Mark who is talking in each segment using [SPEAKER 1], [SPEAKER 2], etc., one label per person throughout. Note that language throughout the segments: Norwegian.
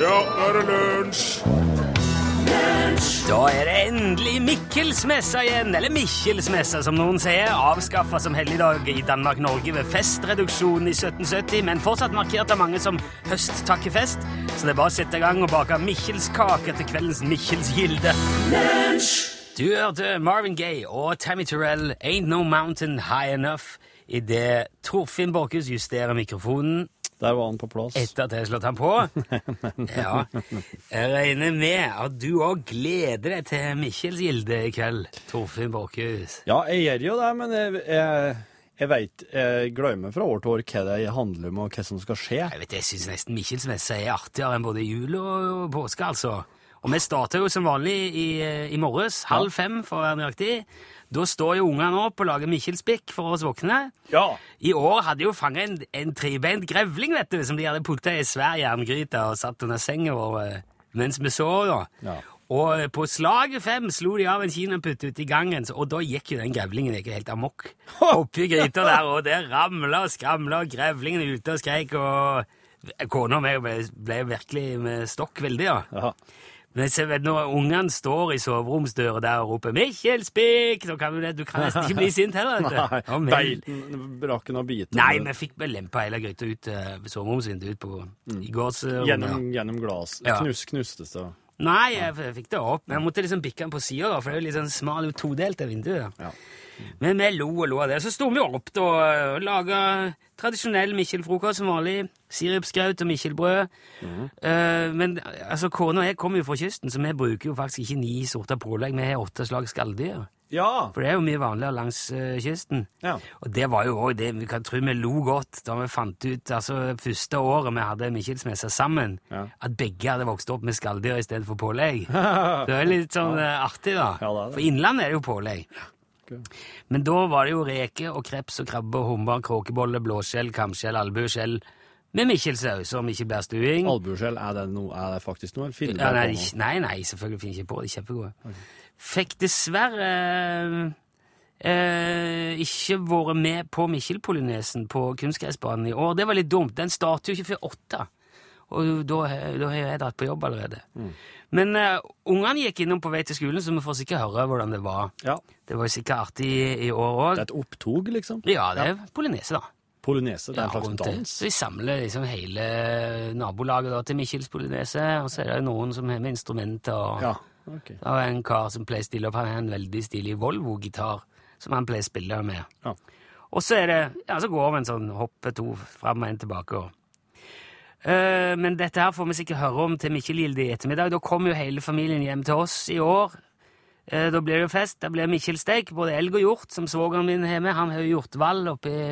[SPEAKER 1] Ja, nå er det lunsj!
[SPEAKER 2] Da er det endelig Mikkelsmessa igjen, eller Mikkjelsmessa som noen sier. Avskaffa som helligdag i Danmark-Norge ved festreduksjonen i 1770, men fortsatt markert av mange som høsttakkefest. Så det er bare å sette i gang og bake Mikkjelskake til kveldens Mikkjelsgilde. Du hørte Marvin Gaye og Tammy Terrell, Ain't No Mountain High Enough, idet Torfinn Borchhus justerer mikrofonen
[SPEAKER 3] Der var han på plass.
[SPEAKER 2] etter at jeg har slått ham på. Ja. Jeg regner med at du òg gleder deg til Mikkjels gilde i kveld, Torfinn Borchhus.
[SPEAKER 3] Ja, jeg gjør jo det, men jeg, jeg, jeg veit Jeg glemmer fra år til år hva det handler om, og hva som skal skje.
[SPEAKER 2] Jeg vet, jeg syns nesten Mikkjelsmessa er artigere enn både jul og, og påske, altså. Og vi starter jo som vanlig i, i morges, halv fem for å være nøyaktig. Da står jo ungene opp og lager Mikkjelsbikk for oss voksne.
[SPEAKER 3] Ja.
[SPEAKER 2] I år hadde jo fanget en, en trebeint grevling, vet du, som de hadde putta i svær jerngryte og satt under senga vår eh, mens vi sov. da.
[SPEAKER 3] Ja.
[SPEAKER 2] Og eh, på slaget fem slo de av en kinaputt ute i gangen, så- og da gikk jo den grevlingen ikke helt amok. Oppi gryta der, og det ramla og skramla, og grevlingen ute og skreik, og kona og meg ble, ble virkelig med stokk veldig, ja.
[SPEAKER 3] ja.
[SPEAKER 2] Men jeg vet, når ungene står i soveromsdøra der og roper 'Mikkjelsbikk', så kan du, det, du kan nesten ikke bli sint heller, vet du.
[SPEAKER 3] Nei,
[SPEAKER 2] Ja, men-
[SPEAKER 3] beiten, braken og biten.
[SPEAKER 2] Nei, vi fikk vel lempa hele gryta ut eh, ved soveromsvinduet ut på i gårdsrommet.
[SPEAKER 3] Mm. Gjennom, gjennom glass.
[SPEAKER 2] Ja.
[SPEAKER 3] Knus, knustes det.
[SPEAKER 2] Nei, jeg, f- fikk det opp, men jeg måtte liksom bikke den på sida, for det er jo litt sånn smal og todelt av vinduet.
[SPEAKER 3] Ja.
[SPEAKER 2] Men vi lo og lo av det. Så sto vi opp da, og laga tradisjonell Mikkjel-frokost som vanlig. Sirupskraut og Mikkjelbrød.
[SPEAKER 3] Mm.
[SPEAKER 2] Eh, men altså, kona og jeg kommer jo fra kysten, så vi bruker jo faktisk ikke ni sorter pålegg, vi har åtte slag skalldyr.
[SPEAKER 3] Ja.
[SPEAKER 2] For det er jo mye vanligere langs eh, kysten.
[SPEAKER 3] Ja.
[SPEAKER 2] Og det var jo også det vi kan tro vi lo godt da vi fant ut altså første året vi hadde Mikkjelsmessa sammen,
[SPEAKER 3] Ja.
[SPEAKER 2] at begge hadde vokst opp med skalldyr istedenfor pålegg. Det er litt sånn eh, artig, da.
[SPEAKER 3] Ja, det er det.
[SPEAKER 2] For Innlandet er det jo pålegg. Men da var det jo reker og kreps og krabbe, hummer, kråkebolle, blåskjell, kamskjell, albueskjell med Mikkjelsaus og Mikkjelbærstuing.
[SPEAKER 3] Albueskjell, er, det no, er det faktisk noe? Finner
[SPEAKER 2] Ja,
[SPEAKER 3] du på
[SPEAKER 2] nei,
[SPEAKER 3] noe?
[SPEAKER 2] ikke- nei, nei, selvfølgelig finner jeg ikke på det. De er Kjempegode. Fikk dessverre eh, eh, ikke vært med på Mikkjelpolinesen på kunstgressbanen i år. Det var litt dumt. Den starter jo ikke før åtte. Og da, har- da har jeg dratt på jobb allerede.
[SPEAKER 3] Mm.
[SPEAKER 2] Men eh, ungene gikk innom på vei til skolen, så vi får sikkert høre hvordan det var.
[SPEAKER 3] Ja.
[SPEAKER 2] Det var jo sikkert artig i, i år
[SPEAKER 3] Det
[SPEAKER 2] òg.
[SPEAKER 3] er et opptog, liksom?
[SPEAKER 2] Ja, det er polinese, da.
[SPEAKER 3] Polynese, det er en
[SPEAKER 2] Ja,
[SPEAKER 3] slags
[SPEAKER 2] rundt det.
[SPEAKER 3] dans?
[SPEAKER 2] Så vi samler liksom hele nabolaget da, til Mikkjels polinese, og så er det jo noen som har med instrumenter. og...
[SPEAKER 3] Ja. ok.
[SPEAKER 2] Det var en kar som pleier å stille opp, han har en veldig stilig Volvo-gitar, som han pleier å spille med.
[SPEAKER 3] Ja.
[SPEAKER 2] Og så er det, ja, så går vi en sånn hoppe to fram og en tilbake. Og. Eh, men dette her får vi sikkert høre om til Mikkel Gilde i ettermiddag. Da kommer jo hele familien hjem til oss i år. Eh, da blir det jo fest, da blir det Mikkjelstek, både elg og hjort, som svogeren min har med. Han har jo hjortvall oppe i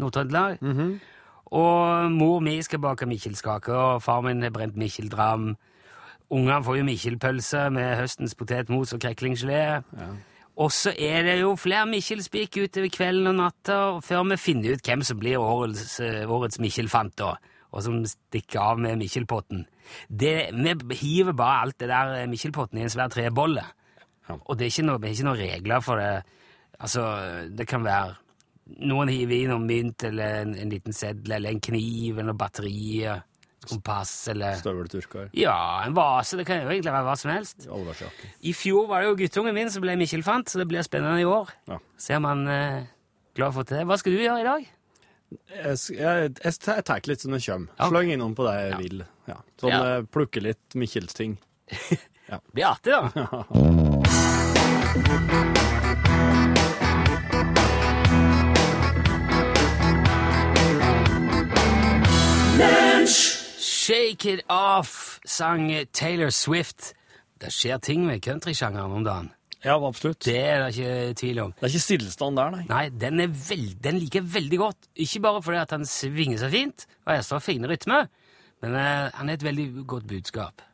[SPEAKER 2] Nord-Trøndelag. Og mor mi skal bake Mikkjelskaker, og far min har brent Mikkjeldram. Ungene får jo Mikkjelpølse med høstens potetmos og kreklinggelé. Og så er det jo flere Mikkjelspik utover kvelden og natta, og før vi finner ut hvem som blir årets, eh, årets Mikkjelfant, da, og som stikker av med Mikkjelpotten. Det- Vi hiver bare alt det der eh, Mikkjelpotten i en svær trebolle.
[SPEAKER 3] Ja.
[SPEAKER 2] Og det er ikke noe- det er ikke noen regler for det. Altså, det kan være noen hiver i noen mynt eller en, en liten seddel eller en kniv eller noe batteri, kompass eller
[SPEAKER 3] Støvelturker.
[SPEAKER 2] ja, en vase. Det kan jo egentlig være hva som helst.
[SPEAKER 3] Allværsjakke.
[SPEAKER 2] I fjor var det jo guttungen min som ble Mikkjelfant, så det blir spennende i år.
[SPEAKER 3] Ja.
[SPEAKER 2] Se om han eh, klarer å få til det. Hva skal du gjøre i dag?
[SPEAKER 3] Jeg, s- jeg, jeg, s- jeg tar litt som det kommer.
[SPEAKER 2] Ja.
[SPEAKER 3] Sløng innom på det jeg vil. Ja. Sånn
[SPEAKER 2] Ja.
[SPEAKER 3] eh, plukke litt Mikkjelsting.
[SPEAKER 2] Det blir artig, da. Shake it off, sang Taylor Swift. Det skjer ting med countrysjangeren om dagen.
[SPEAKER 3] Ja, absolutt. Det,
[SPEAKER 2] Det er det ikke tvil om.
[SPEAKER 3] er ikke stillestand der, nei.
[SPEAKER 2] Nei, den, er veld, den liker jeg veldig godt. Ikke bare fordi at han svinger seg fint, og jeg står fine rytme, men eh, han er et veldig godt budskap.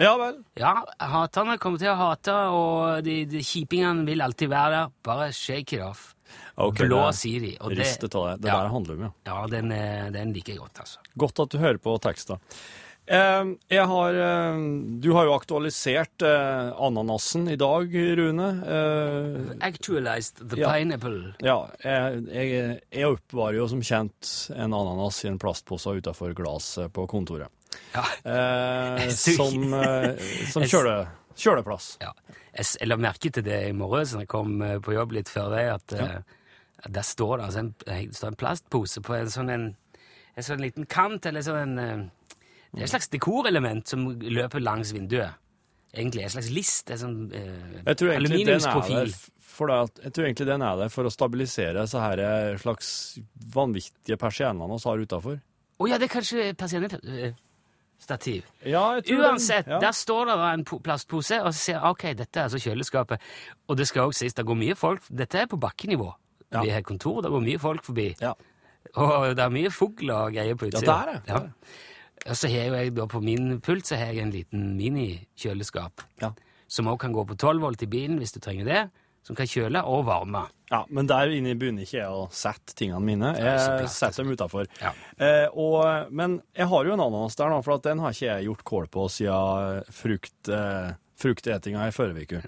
[SPEAKER 3] Ja vel.
[SPEAKER 2] Ja, haterne kommer til å hate, og de, de kjipingene vil alltid være der. Bare shake it off.
[SPEAKER 3] Okay,
[SPEAKER 2] Blås i de. og det-
[SPEAKER 3] Ristet av det. Det
[SPEAKER 2] ja,
[SPEAKER 3] der handler om, ja.
[SPEAKER 2] Ja, den, eh, den liker jeg godt, altså.
[SPEAKER 3] Godt at du hører på teksta.
[SPEAKER 4] Eh, Jeg har, eh, du har jo aktualisert eh, ananasen i dag, Rune. Eh,
[SPEAKER 2] Actualized the
[SPEAKER 4] Ja.
[SPEAKER 2] pineapple.
[SPEAKER 4] Ja, jeg, jeg, jeg oppvarer jo som kjent en ananas i en plastpose utenfor glasset på kontoret.
[SPEAKER 2] Ja.
[SPEAKER 4] Eh,
[SPEAKER 2] Så-
[SPEAKER 4] som eh, som kjøle, kjøleplass.
[SPEAKER 2] Ja. Jeg s- jeg la merke til det i morges når jeg kom eh, på jobb litt før deg, at eh, at der står det altså en, eh, det står en plastpose på en sånn, en, en sånn liten kant, eller sånn en eh, Det er et slags dekorelement som løper langs vinduet. Egentlig en slags list. En sånn eh,
[SPEAKER 4] Jeg tror egentlig den er der
[SPEAKER 2] aluminiumsprofil.
[SPEAKER 4] f- for det at, jeg tror egentlig den er der for å stabilisere disse her eh, slags vanvittige persiennene vi har utenfor.
[SPEAKER 2] Å ja, det er kanskje persiennestativ.
[SPEAKER 4] Ja, jeg tror den-
[SPEAKER 2] Uansett,
[SPEAKER 4] ja.
[SPEAKER 2] der står det da en po- plastpose, og så sier jeg, ok, dette er altså kjøleskapet. Og det skal også sies, det går mye folk, dette er på bakkenivå.
[SPEAKER 4] Ja.
[SPEAKER 2] Vi har kontor, det går mye folk forbi.
[SPEAKER 4] Ja.
[SPEAKER 2] Og det er mye fugler og greier på
[SPEAKER 4] Ja,
[SPEAKER 2] utsida.
[SPEAKER 4] det er det.
[SPEAKER 2] Ja. Og så har jo jeg da på min pult så har jeg en liten minikjøleskap,
[SPEAKER 4] Ja.
[SPEAKER 2] som også kan gå på 12 volt i bilen hvis du trenger det, som kan kjøle og varme.
[SPEAKER 4] Ja, men der inne begynner ikke jeg å sette tingene mine.
[SPEAKER 2] er så
[SPEAKER 4] Jeg
[SPEAKER 2] plass,
[SPEAKER 4] setter dem utafor.
[SPEAKER 2] Ja.
[SPEAKER 4] Eh, og- men jeg har jo en ananas der, nå, for at den har ikke jeg gjort kål på siden frukt, eh, fruktetinga i forrige uke.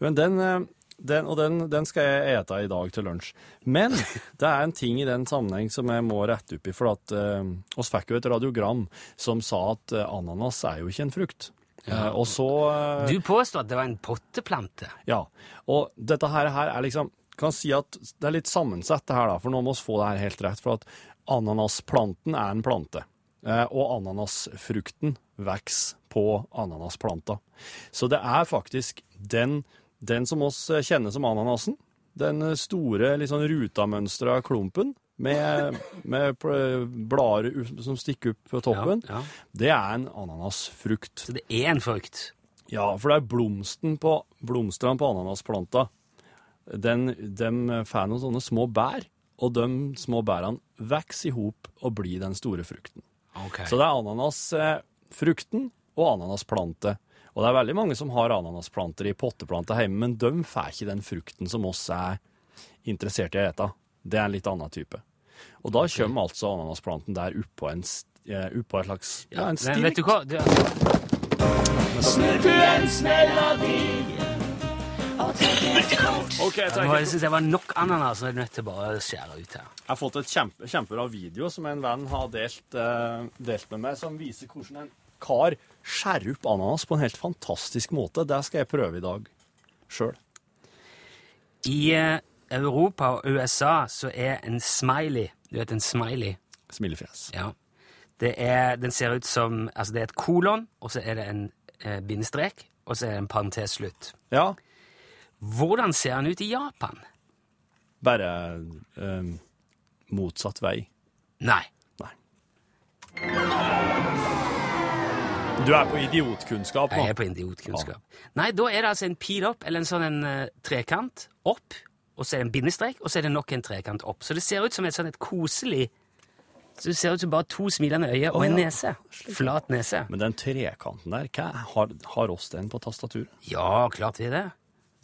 [SPEAKER 4] Men den, eh, den, og den, den skal jeg ete i dag til lunsj. Men det er en ting i den sammenheng som jeg må rette opp i. For at eh, oss fikk jo et radiogram som sa at eh, ananas er jo ikke en frukt. Eh, og så eh,
[SPEAKER 2] Du påstår at det var en potteplante.
[SPEAKER 4] ja, og dette her, her er liksom kan si at det er litt sammensett det her da, for nå må vi få det her helt rett, for at ananasplanten er en plante, eh, og ananasfrukten veks på ananasplanta. Så det er faktisk den, den som oss kjenner som ananasen, den store liksom, rutamønstra klumpen med, med pl- blader u- som stikker opp på toppen,
[SPEAKER 2] Ja, ja.
[SPEAKER 4] det er en ananasfrukt.
[SPEAKER 2] Så det er en frukt.
[SPEAKER 4] Ja, for det er blomsten på, blomstene på ananasplanta. Den, de får noen sånne små bær, og de små bærene vokser i hop og blir den store frukten.
[SPEAKER 2] Ok.
[SPEAKER 4] Så det er ananasfrukten og ananasplante. Og det er veldig mange som har ananasplanter i potteplanter hjemme, men de får ikke den frukten som oss er interessert i å ete. Det er en litt annen type. Og da kommer altså ananasplanten der oppå en, st- eh, oppå en slags ja, en
[SPEAKER 2] Men vet
[SPEAKER 4] stilk.
[SPEAKER 2] du altså, hva? Det, er-
[SPEAKER 4] Ok, jeg
[SPEAKER 2] det var, jeg synes det var nok ananas, så jeg er nødt til å bare skjære ut her.
[SPEAKER 4] Jeg har fått et kjempe, kjempebra video som en venn har delt, eh, delt med meg, som viser hvordan en kar skjærer opp ananas på en helt fantastisk måte. Det skal jeg prøve i dag sjøl.
[SPEAKER 2] I eh, Europa og USA så er en smiley Du vet en smiley?
[SPEAKER 4] Smilefjes.
[SPEAKER 2] Ja. Det er, den ser ut som Altså, det er et kolon, og så er det en eh, bindestrek, og så er det en parentes slutt.
[SPEAKER 4] Ja,
[SPEAKER 2] Hvordan ser den ut i Japan?
[SPEAKER 4] bare eh, motsatt vei.
[SPEAKER 2] Nei.
[SPEAKER 4] Nei. Du er på idiotkunnskap nå.
[SPEAKER 2] Jeg er på idiotkunnskap. Nei, da er det altså en pil opp, eller en sånn en eh, trekant opp, og så er det en bindestrek, og så er det nok en trekant opp. Så det ser ut som et sånn et koselig så Det ser ut som bare to smilende øyne og en
[SPEAKER 4] ja.
[SPEAKER 2] nese. Flat nese.
[SPEAKER 4] Men den trekanten der, hva er- har, har oss den på tastaturet?
[SPEAKER 2] Ja, klart vi er det.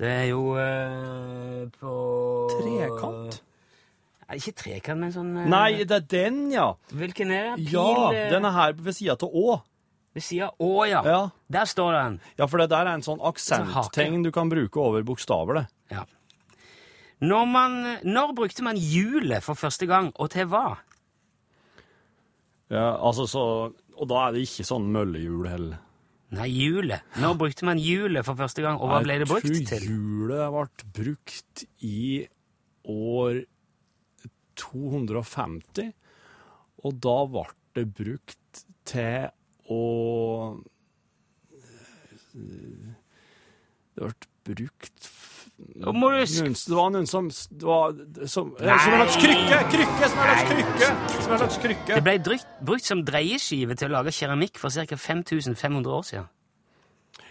[SPEAKER 2] Det er jo eh, på Nei, ikke trekant, men sånn eh,
[SPEAKER 4] Nei, det er den, ja.
[SPEAKER 2] Hvilken er det? Pil
[SPEAKER 4] Ja,
[SPEAKER 2] eh,
[SPEAKER 4] den er her ved sida av Å.
[SPEAKER 2] ved sida Å, ja.
[SPEAKER 4] Ja.
[SPEAKER 2] Der står den.
[SPEAKER 4] Ja, for det der er en sånn
[SPEAKER 2] Sånn hake.
[SPEAKER 4] aksenttegn du kan bruke over bokstaver, det.
[SPEAKER 2] Ja. Når, man, når brukte man hjulet for første gang, og til hva?
[SPEAKER 4] Ja, altså så, og da er det ikke sånn møllehjul heller.
[SPEAKER 2] Nei, hjulet. Når brukte man hjulet for første gang, og hva ble det brukt
[SPEAKER 4] Jeg
[SPEAKER 2] til?
[SPEAKER 4] tror hjulet ble brukt i år 250, og da ble det brukt til å Det ble brukt
[SPEAKER 2] Nå må du sk-
[SPEAKER 4] Noen, det var noen som det var, som, eh, som en slags krykke! Krykke! Som en slags
[SPEAKER 2] Nei.
[SPEAKER 4] krykke! Som en slags krykke.
[SPEAKER 2] Det ble drykt, brukt som dreieskive til å lage keramikk for ca. 5500 år siden.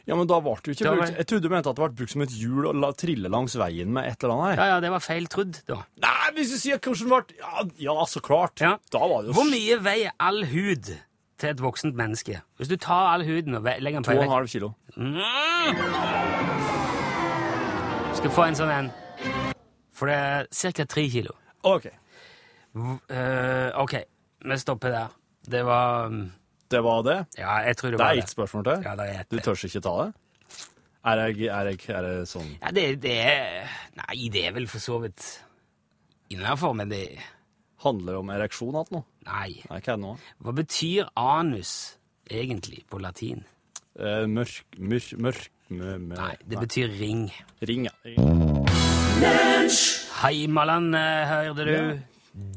[SPEAKER 4] Ja, men da ble det jo ikke
[SPEAKER 2] Da var-
[SPEAKER 4] brukt. Jeg trodde du mente at det ble brukt som et hjul og la, trille langs veien med et eller annet her.
[SPEAKER 2] Ja, ja, det var feil trudd, da.
[SPEAKER 4] Nei, hvis du sier hvordan ble ja, ja, så klart.
[SPEAKER 2] Ja.
[SPEAKER 4] Da var det jo
[SPEAKER 2] Hvor mye veier all hud til et voksent menneske? Hvis du tar all huden og ve- legger den på
[SPEAKER 4] to og
[SPEAKER 2] en
[SPEAKER 4] en
[SPEAKER 2] vekt,
[SPEAKER 4] halv kilo.
[SPEAKER 2] skal du få en sånn en. For det er ca. tre kilo.
[SPEAKER 4] Ok.
[SPEAKER 2] Eh, ok, vi stopper der. Det var mm,
[SPEAKER 4] Det var det?
[SPEAKER 2] Ja, jeg tror det
[SPEAKER 4] Det
[SPEAKER 2] var
[SPEAKER 4] er
[SPEAKER 2] det.
[SPEAKER 4] ett spørsmål til?
[SPEAKER 2] Ja, det er ett.
[SPEAKER 4] Du tør ikke ta det? Er jeg, er jeg, er jeg sånn
[SPEAKER 2] Ja, det, det er Nei, det er vel for så vidt innafor, men det
[SPEAKER 4] Handler det om ereksjon alt nå?
[SPEAKER 2] Nei.
[SPEAKER 4] Nei, hva er det nå?
[SPEAKER 2] Hva betyr anus egentlig på latin?
[SPEAKER 4] Eh, mørk, mørk, mørk mø, mø.
[SPEAKER 2] Nei, det betyr ring.
[SPEAKER 4] Ring, ja.
[SPEAKER 2] Heimalandet, hørte du?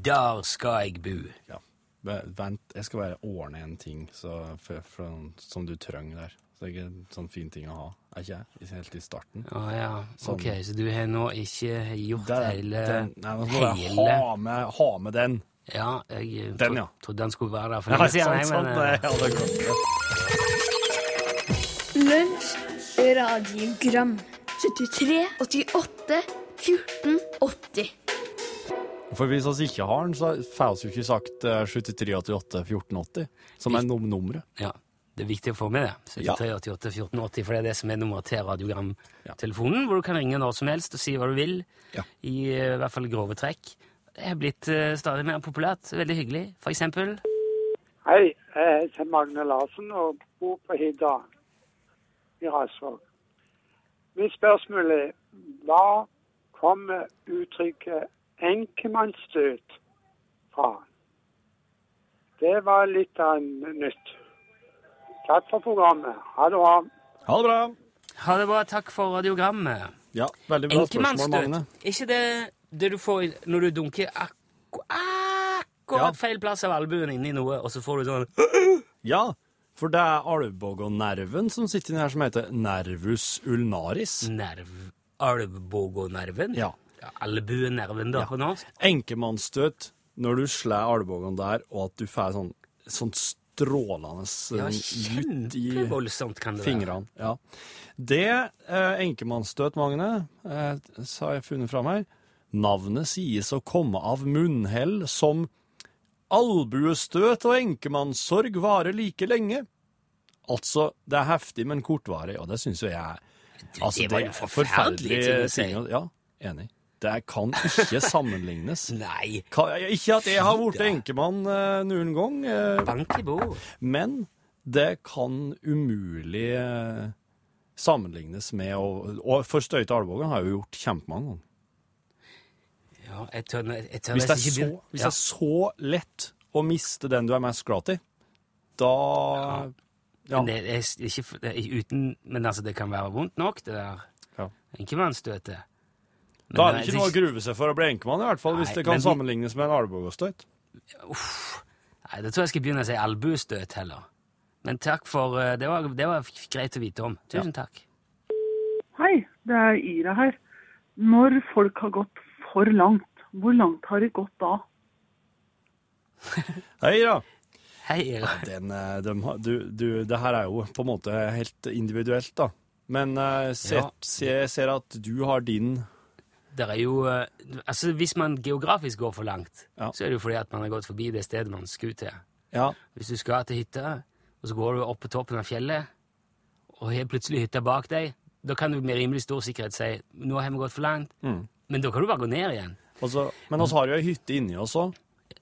[SPEAKER 2] Der skal jeg bu.
[SPEAKER 4] ja. Ve- Vent, jeg skal bare ordne en ting så, for, for, som du trenger der. Så det er ikke en sånn fin ting å ha. Er ikke jeg? Helt i starten.
[SPEAKER 2] Å ja, ok, så du har nå ikke gjort
[SPEAKER 4] Der,
[SPEAKER 2] hele
[SPEAKER 4] Sånn. den, nei, nå må jeg
[SPEAKER 2] eh, hele
[SPEAKER 4] ha med, ha med den.
[SPEAKER 2] Ja, jeg eh,
[SPEAKER 4] Den,
[SPEAKER 2] tro-
[SPEAKER 4] ja.
[SPEAKER 2] trodde han skulle være der for
[SPEAKER 4] Ja,
[SPEAKER 2] lenge
[SPEAKER 4] sant, Sånn,
[SPEAKER 2] siden. jeg,
[SPEAKER 4] sant,
[SPEAKER 2] men,
[SPEAKER 4] nei,
[SPEAKER 2] eh,
[SPEAKER 4] jeg hadde glemt det.
[SPEAKER 5] Lunsj, radiogram 73, 88, 14, 80
[SPEAKER 4] For hvis vi ikke har den, så får vi jo ikke sagt eh, 73, 88, 1480, som er num nummeret.
[SPEAKER 2] Ja, det er viktig å få med det.
[SPEAKER 4] Ja.
[SPEAKER 2] 7388 1480, for det er det som er nummeret til radiogramtelefonen, hvor du kan ringe når som helst og si hva du vil,
[SPEAKER 4] Ja.
[SPEAKER 2] i eh, hvert fall grove trekk. Det er blitt eh, stadig mer populært, veldig hyggelig. For eksempel,
[SPEAKER 6] Hei, jeg heter Magne Larsen og bor på Hidda i Rasvåg. Mitt spørsmål er hva kommer uttrykket enkemannsstøt fra? Det var litt av en nytt. Takk for programmet. Ha det bra.
[SPEAKER 4] Ha det bra!
[SPEAKER 2] ha det bra, takk for radiogrammet.
[SPEAKER 4] Ja, veldig bra spørsmål,
[SPEAKER 2] Enkemannsstøt,
[SPEAKER 4] Magne.
[SPEAKER 2] er ikke det det du får i- når du dunker akku- akkurat
[SPEAKER 4] Ja.
[SPEAKER 2] feil plass av albuen inni noe, og så får du sånn
[SPEAKER 4] Ja, for det er alvbogonerven som sitter inni her, som heter nervus ulnaris.
[SPEAKER 2] nerv, alvbogonerven?
[SPEAKER 4] Ja.
[SPEAKER 2] ja Albuenerven, da, på norsk?
[SPEAKER 4] Enkemannsstøt når du slår albuene der, og at du får sånn, sånn strålende
[SPEAKER 2] Ja,
[SPEAKER 4] eh, ut i
[SPEAKER 2] kjempevoldsomt kan det være.
[SPEAKER 4] fingrene. Ja. Det eh, enkemannsstøt, Magne, eh, så har jeg funnet fram her. Navnet sies å komme av munnhell som albuestøt og enkemannssorg varer like lenge. Altså, det er heftig, men kortvarig, og det syns jo jeg er altså,
[SPEAKER 2] det var jo
[SPEAKER 4] er
[SPEAKER 2] forferdelige ting å si.
[SPEAKER 4] å- Ja, enig. Det kan ikke sammenlignes.
[SPEAKER 2] Nei,
[SPEAKER 4] Kan, ikke at jeg har blitt
[SPEAKER 2] Fy da.
[SPEAKER 4] enkemann eh, noen gang. Eh,
[SPEAKER 2] bank i bord.
[SPEAKER 4] men det kan umulig eh, sammenlignes med å Og for Støyte Alvågen har jeg jo gjort kjempemange ganger.
[SPEAKER 2] Ja, jeg tør, jeg tør
[SPEAKER 4] Hvis det
[SPEAKER 2] nesten
[SPEAKER 4] er så,
[SPEAKER 2] ikke begynne.
[SPEAKER 4] hvis det er så lett å miste den du er mest glad i, da
[SPEAKER 2] ja.
[SPEAKER 4] ja.
[SPEAKER 2] Men det er s- ikke, f- det er uten, men altså, det kan være vondt nok, det der
[SPEAKER 4] Ja.
[SPEAKER 2] enkemannsstøtet. Men
[SPEAKER 4] Da er det
[SPEAKER 2] nei,
[SPEAKER 4] ikke noe å grue seg for å bli enkemann, i hvert fall, hvis
[SPEAKER 2] Nei,
[SPEAKER 4] det kan
[SPEAKER 2] men vi-
[SPEAKER 4] sammenlignes med en albuestøyt.
[SPEAKER 2] Nei, da tror jeg jeg skal begynne å si albuestøt heller. Men takk for eh, Det var, det var f- greit å vite om. Tusen takk.
[SPEAKER 7] Hei, det er Ira her. Når folk har gått for langt, hvor langt har de gått da?
[SPEAKER 4] Hei, da!
[SPEAKER 2] Hei, Ira.
[SPEAKER 4] Den, eh, dem har- du, du, det her er jo på en måte helt individuelt, da. Men eh, se-
[SPEAKER 2] Ja.
[SPEAKER 4] se- jeg ser at du har din
[SPEAKER 2] Det er jo eh, Altså, hvis man geografisk går for langt,
[SPEAKER 4] Ja.
[SPEAKER 2] så er det jo fordi at man har gått forbi det stedet man skulle til.
[SPEAKER 4] Ja,
[SPEAKER 2] Hvis du skal til hytta, og så går du opp på toppen av fjellet, og har plutselig hytta bak deg, da kan du med rimelig stor sikkerhet si nå har vi gått for langt,
[SPEAKER 4] Mm.
[SPEAKER 2] men da kan du bare gå ned igjen.
[SPEAKER 4] altså, men oss har jo ei hytte inni oss òg.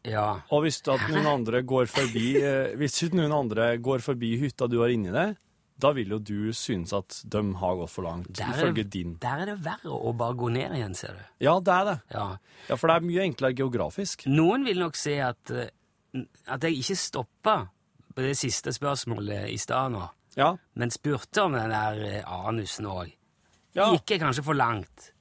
[SPEAKER 2] Ja,
[SPEAKER 4] Og hvis at noen andre går forbi eh, Hvis ikke noen andre går forbi hytta du har inni deg, da vil jo du synes at de har gått for langt,
[SPEAKER 2] der er,
[SPEAKER 4] ifølge
[SPEAKER 2] det,
[SPEAKER 4] din.
[SPEAKER 2] der er det verre å bare gå ned igjen, ser du.
[SPEAKER 4] Ja, det er det.
[SPEAKER 2] Ja.
[SPEAKER 4] Ja, For det er mye enklere geografisk.
[SPEAKER 2] Noen vil nok si at, eh, at jeg ikke stoppa på det siste spørsmålet i stad nå,
[SPEAKER 4] Ja.
[SPEAKER 2] men spurte om den der eh, anusen òg.
[SPEAKER 4] ja.
[SPEAKER 2] Gikk jeg kanskje for langt?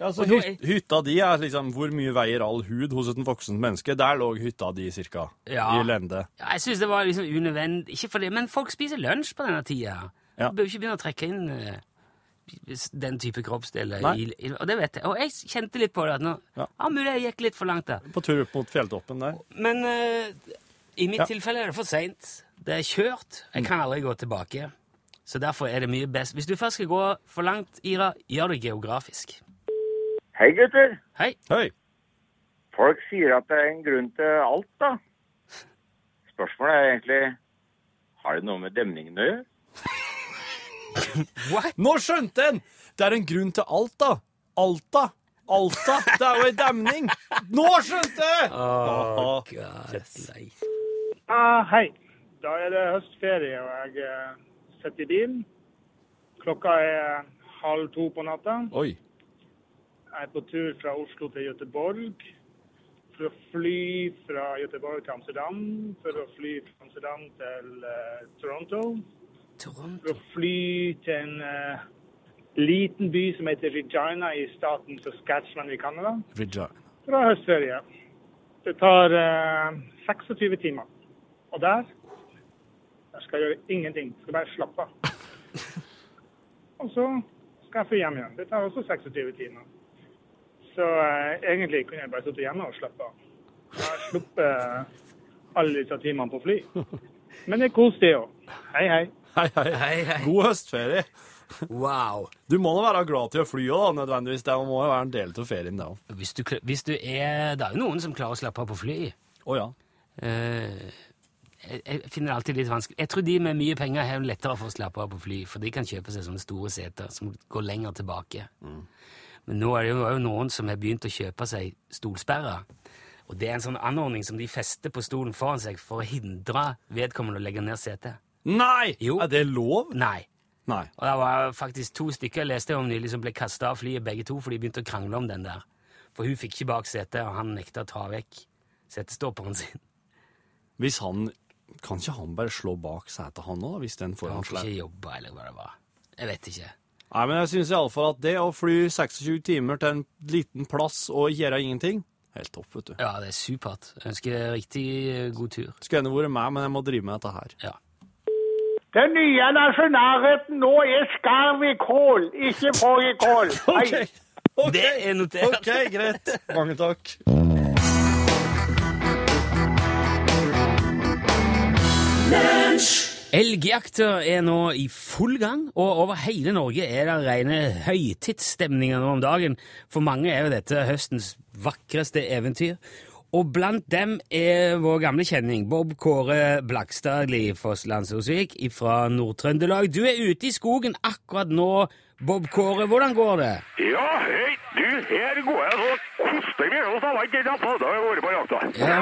[SPEAKER 4] ja så
[SPEAKER 2] Og da
[SPEAKER 4] hyt, hytta di er liksom Hvor mye veier all hud hos et voksent menneske? Der lå hytta di cirka.
[SPEAKER 2] Ja.
[SPEAKER 4] I lende.
[SPEAKER 2] Ja, jeg synes det var liksom unødvendig. Ikke for det, men folk spiser lunsj på denne tida.
[SPEAKER 4] Ja.
[SPEAKER 2] Du bør ikke begynne å trekke inn eh, den type kroppsdeler.
[SPEAKER 4] Nei.
[SPEAKER 2] I, i- og det vet jeg. Og jeg kjente litt på det. at nå,
[SPEAKER 4] Ja.
[SPEAKER 2] ja. Mulig jeg gikk litt for langt der.
[SPEAKER 4] På tur opp mot fjelltoppen der.
[SPEAKER 2] Men eh, i mitt
[SPEAKER 4] Ja.
[SPEAKER 2] tilfelle er det for seint. Det er kjørt. Jeg kan aldri gå tilbake. Så derfor er det mye best. Hvis du først skal gå for langt, Ira, gjør det geografisk.
[SPEAKER 8] Hei, gutter.
[SPEAKER 2] Hei.
[SPEAKER 4] Høy!
[SPEAKER 8] Folk sier at det er en grunn til alt, da. Spørsmålet er egentlig har det noe med demningen å gjøre?
[SPEAKER 2] What?
[SPEAKER 4] Nå skjønte en! Det er en grunn til Alta. Alta. Alta. Det er jo ei demning.
[SPEAKER 2] Ah.
[SPEAKER 4] Nå skjønte jeg!
[SPEAKER 2] God, nei.
[SPEAKER 7] Ah, hei,
[SPEAKER 9] Da er det høstferie, og jeg eh, sitter i bilen. Klokka er halv to på natta.
[SPEAKER 4] Oi.
[SPEAKER 9] Jeg er på tur fra Oslo til Göteborg. For å fly fra Göteborg til Amsterdam. For å fly fra Amsterdam til eh, Toronto. For
[SPEAKER 2] Toronto.
[SPEAKER 9] å fly til en eh, liten by som heter Regina i staten Saskatchewan i Canada.
[SPEAKER 4] Regina.
[SPEAKER 9] For å ha høstferie. Det tar eh, 26 timer. Og der der skal jeg gjøre ingenting. Skal bare slappe av. Og så skal jeg fly hjem igjen. Det tar også 26 timer. Så eh, egentlig kunne jeg bare sittet hjemme og slappe av. Jeg har sluppet alle disse timene på fly. Men det er kos, det òg. Hei, hei.
[SPEAKER 4] Hei, hei.
[SPEAKER 2] Hei, hei.
[SPEAKER 4] God høstferie.
[SPEAKER 2] Wow.
[SPEAKER 4] Du må nå være glad til å fly òg, nødvendigvis. Det må jo være en del av ferien, det òg.
[SPEAKER 2] Hvis du, kl- hvis du er Det er jo noen som klarer å slappe av på fly.
[SPEAKER 4] Å ja.
[SPEAKER 2] Eh, jeg, jeg finner det alltid litt vanskelig. Jeg tror de med mye penger har lettere for å slappe av på fly, for de kan kjøpe seg sånne store seter som går lenger tilbake. Men nå er det jo også noen som har begynt å kjøpe seg stolsperrer. Og det er en sånn anordning som de fester på stolen foran seg for å hindre vedkommende å legge ned setet.
[SPEAKER 4] Nei!
[SPEAKER 2] Jo.
[SPEAKER 4] Er det lov?
[SPEAKER 2] Nei.
[SPEAKER 4] Nei.
[SPEAKER 2] Og det var faktisk to stykker jeg leste om nylig som ble kasta av flyet, begge to, for de begynte å krangle om den der. For hun fikk ikke bak setet, og han nekta å ta vekk setestopperen sin.
[SPEAKER 4] Hvis han Kan ikke han bare slå bak setet, han òg, hvis den får
[SPEAKER 2] Han
[SPEAKER 4] han
[SPEAKER 2] fikk
[SPEAKER 4] slem?
[SPEAKER 2] ikke jobba, eller hva det var. Jeg vet ikke.
[SPEAKER 4] Nei, men jeg syns iallfall at det å fly 26 timer til en liten plass og gjøre ingenting Helt topp, vet du.
[SPEAKER 2] Ja, det er supert. Jeg ønsker riktig eh, god tur.
[SPEAKER 4] Skulle gjerne vært meg, men jeg må drive med dette her.
[SPEAKER 2] Ja.
[SPEAKER 10] Den nye nasjonalretten nå er skarv i kål, ikke fårikål.
[SPEAKER 4] Ok.
[SPEAKER 2] Det er notert.
[SPEAKER 4] OK, greit. Mange takk.
[SPEAKER 2] Elgjakta er nå i full gang, og over hele Norge er det rene høytidsstemninger nå om dagen. For mange er jo dette høstens vakreste eventyr. Og blant dem er vår gamle kjenning Bob Kåre Blakstadli Fosslandsosvik fra Nord-Trøndelag. Du er ute i skogen akkurat nå, Bob Kåre. Hvordan går det?
[SPEAKER 1] Ja, hei, du, her går jeg og koster meg, og så har jeg ikke rappet, da har jeg vært på jakta.
[SPEAKER 2] Ja.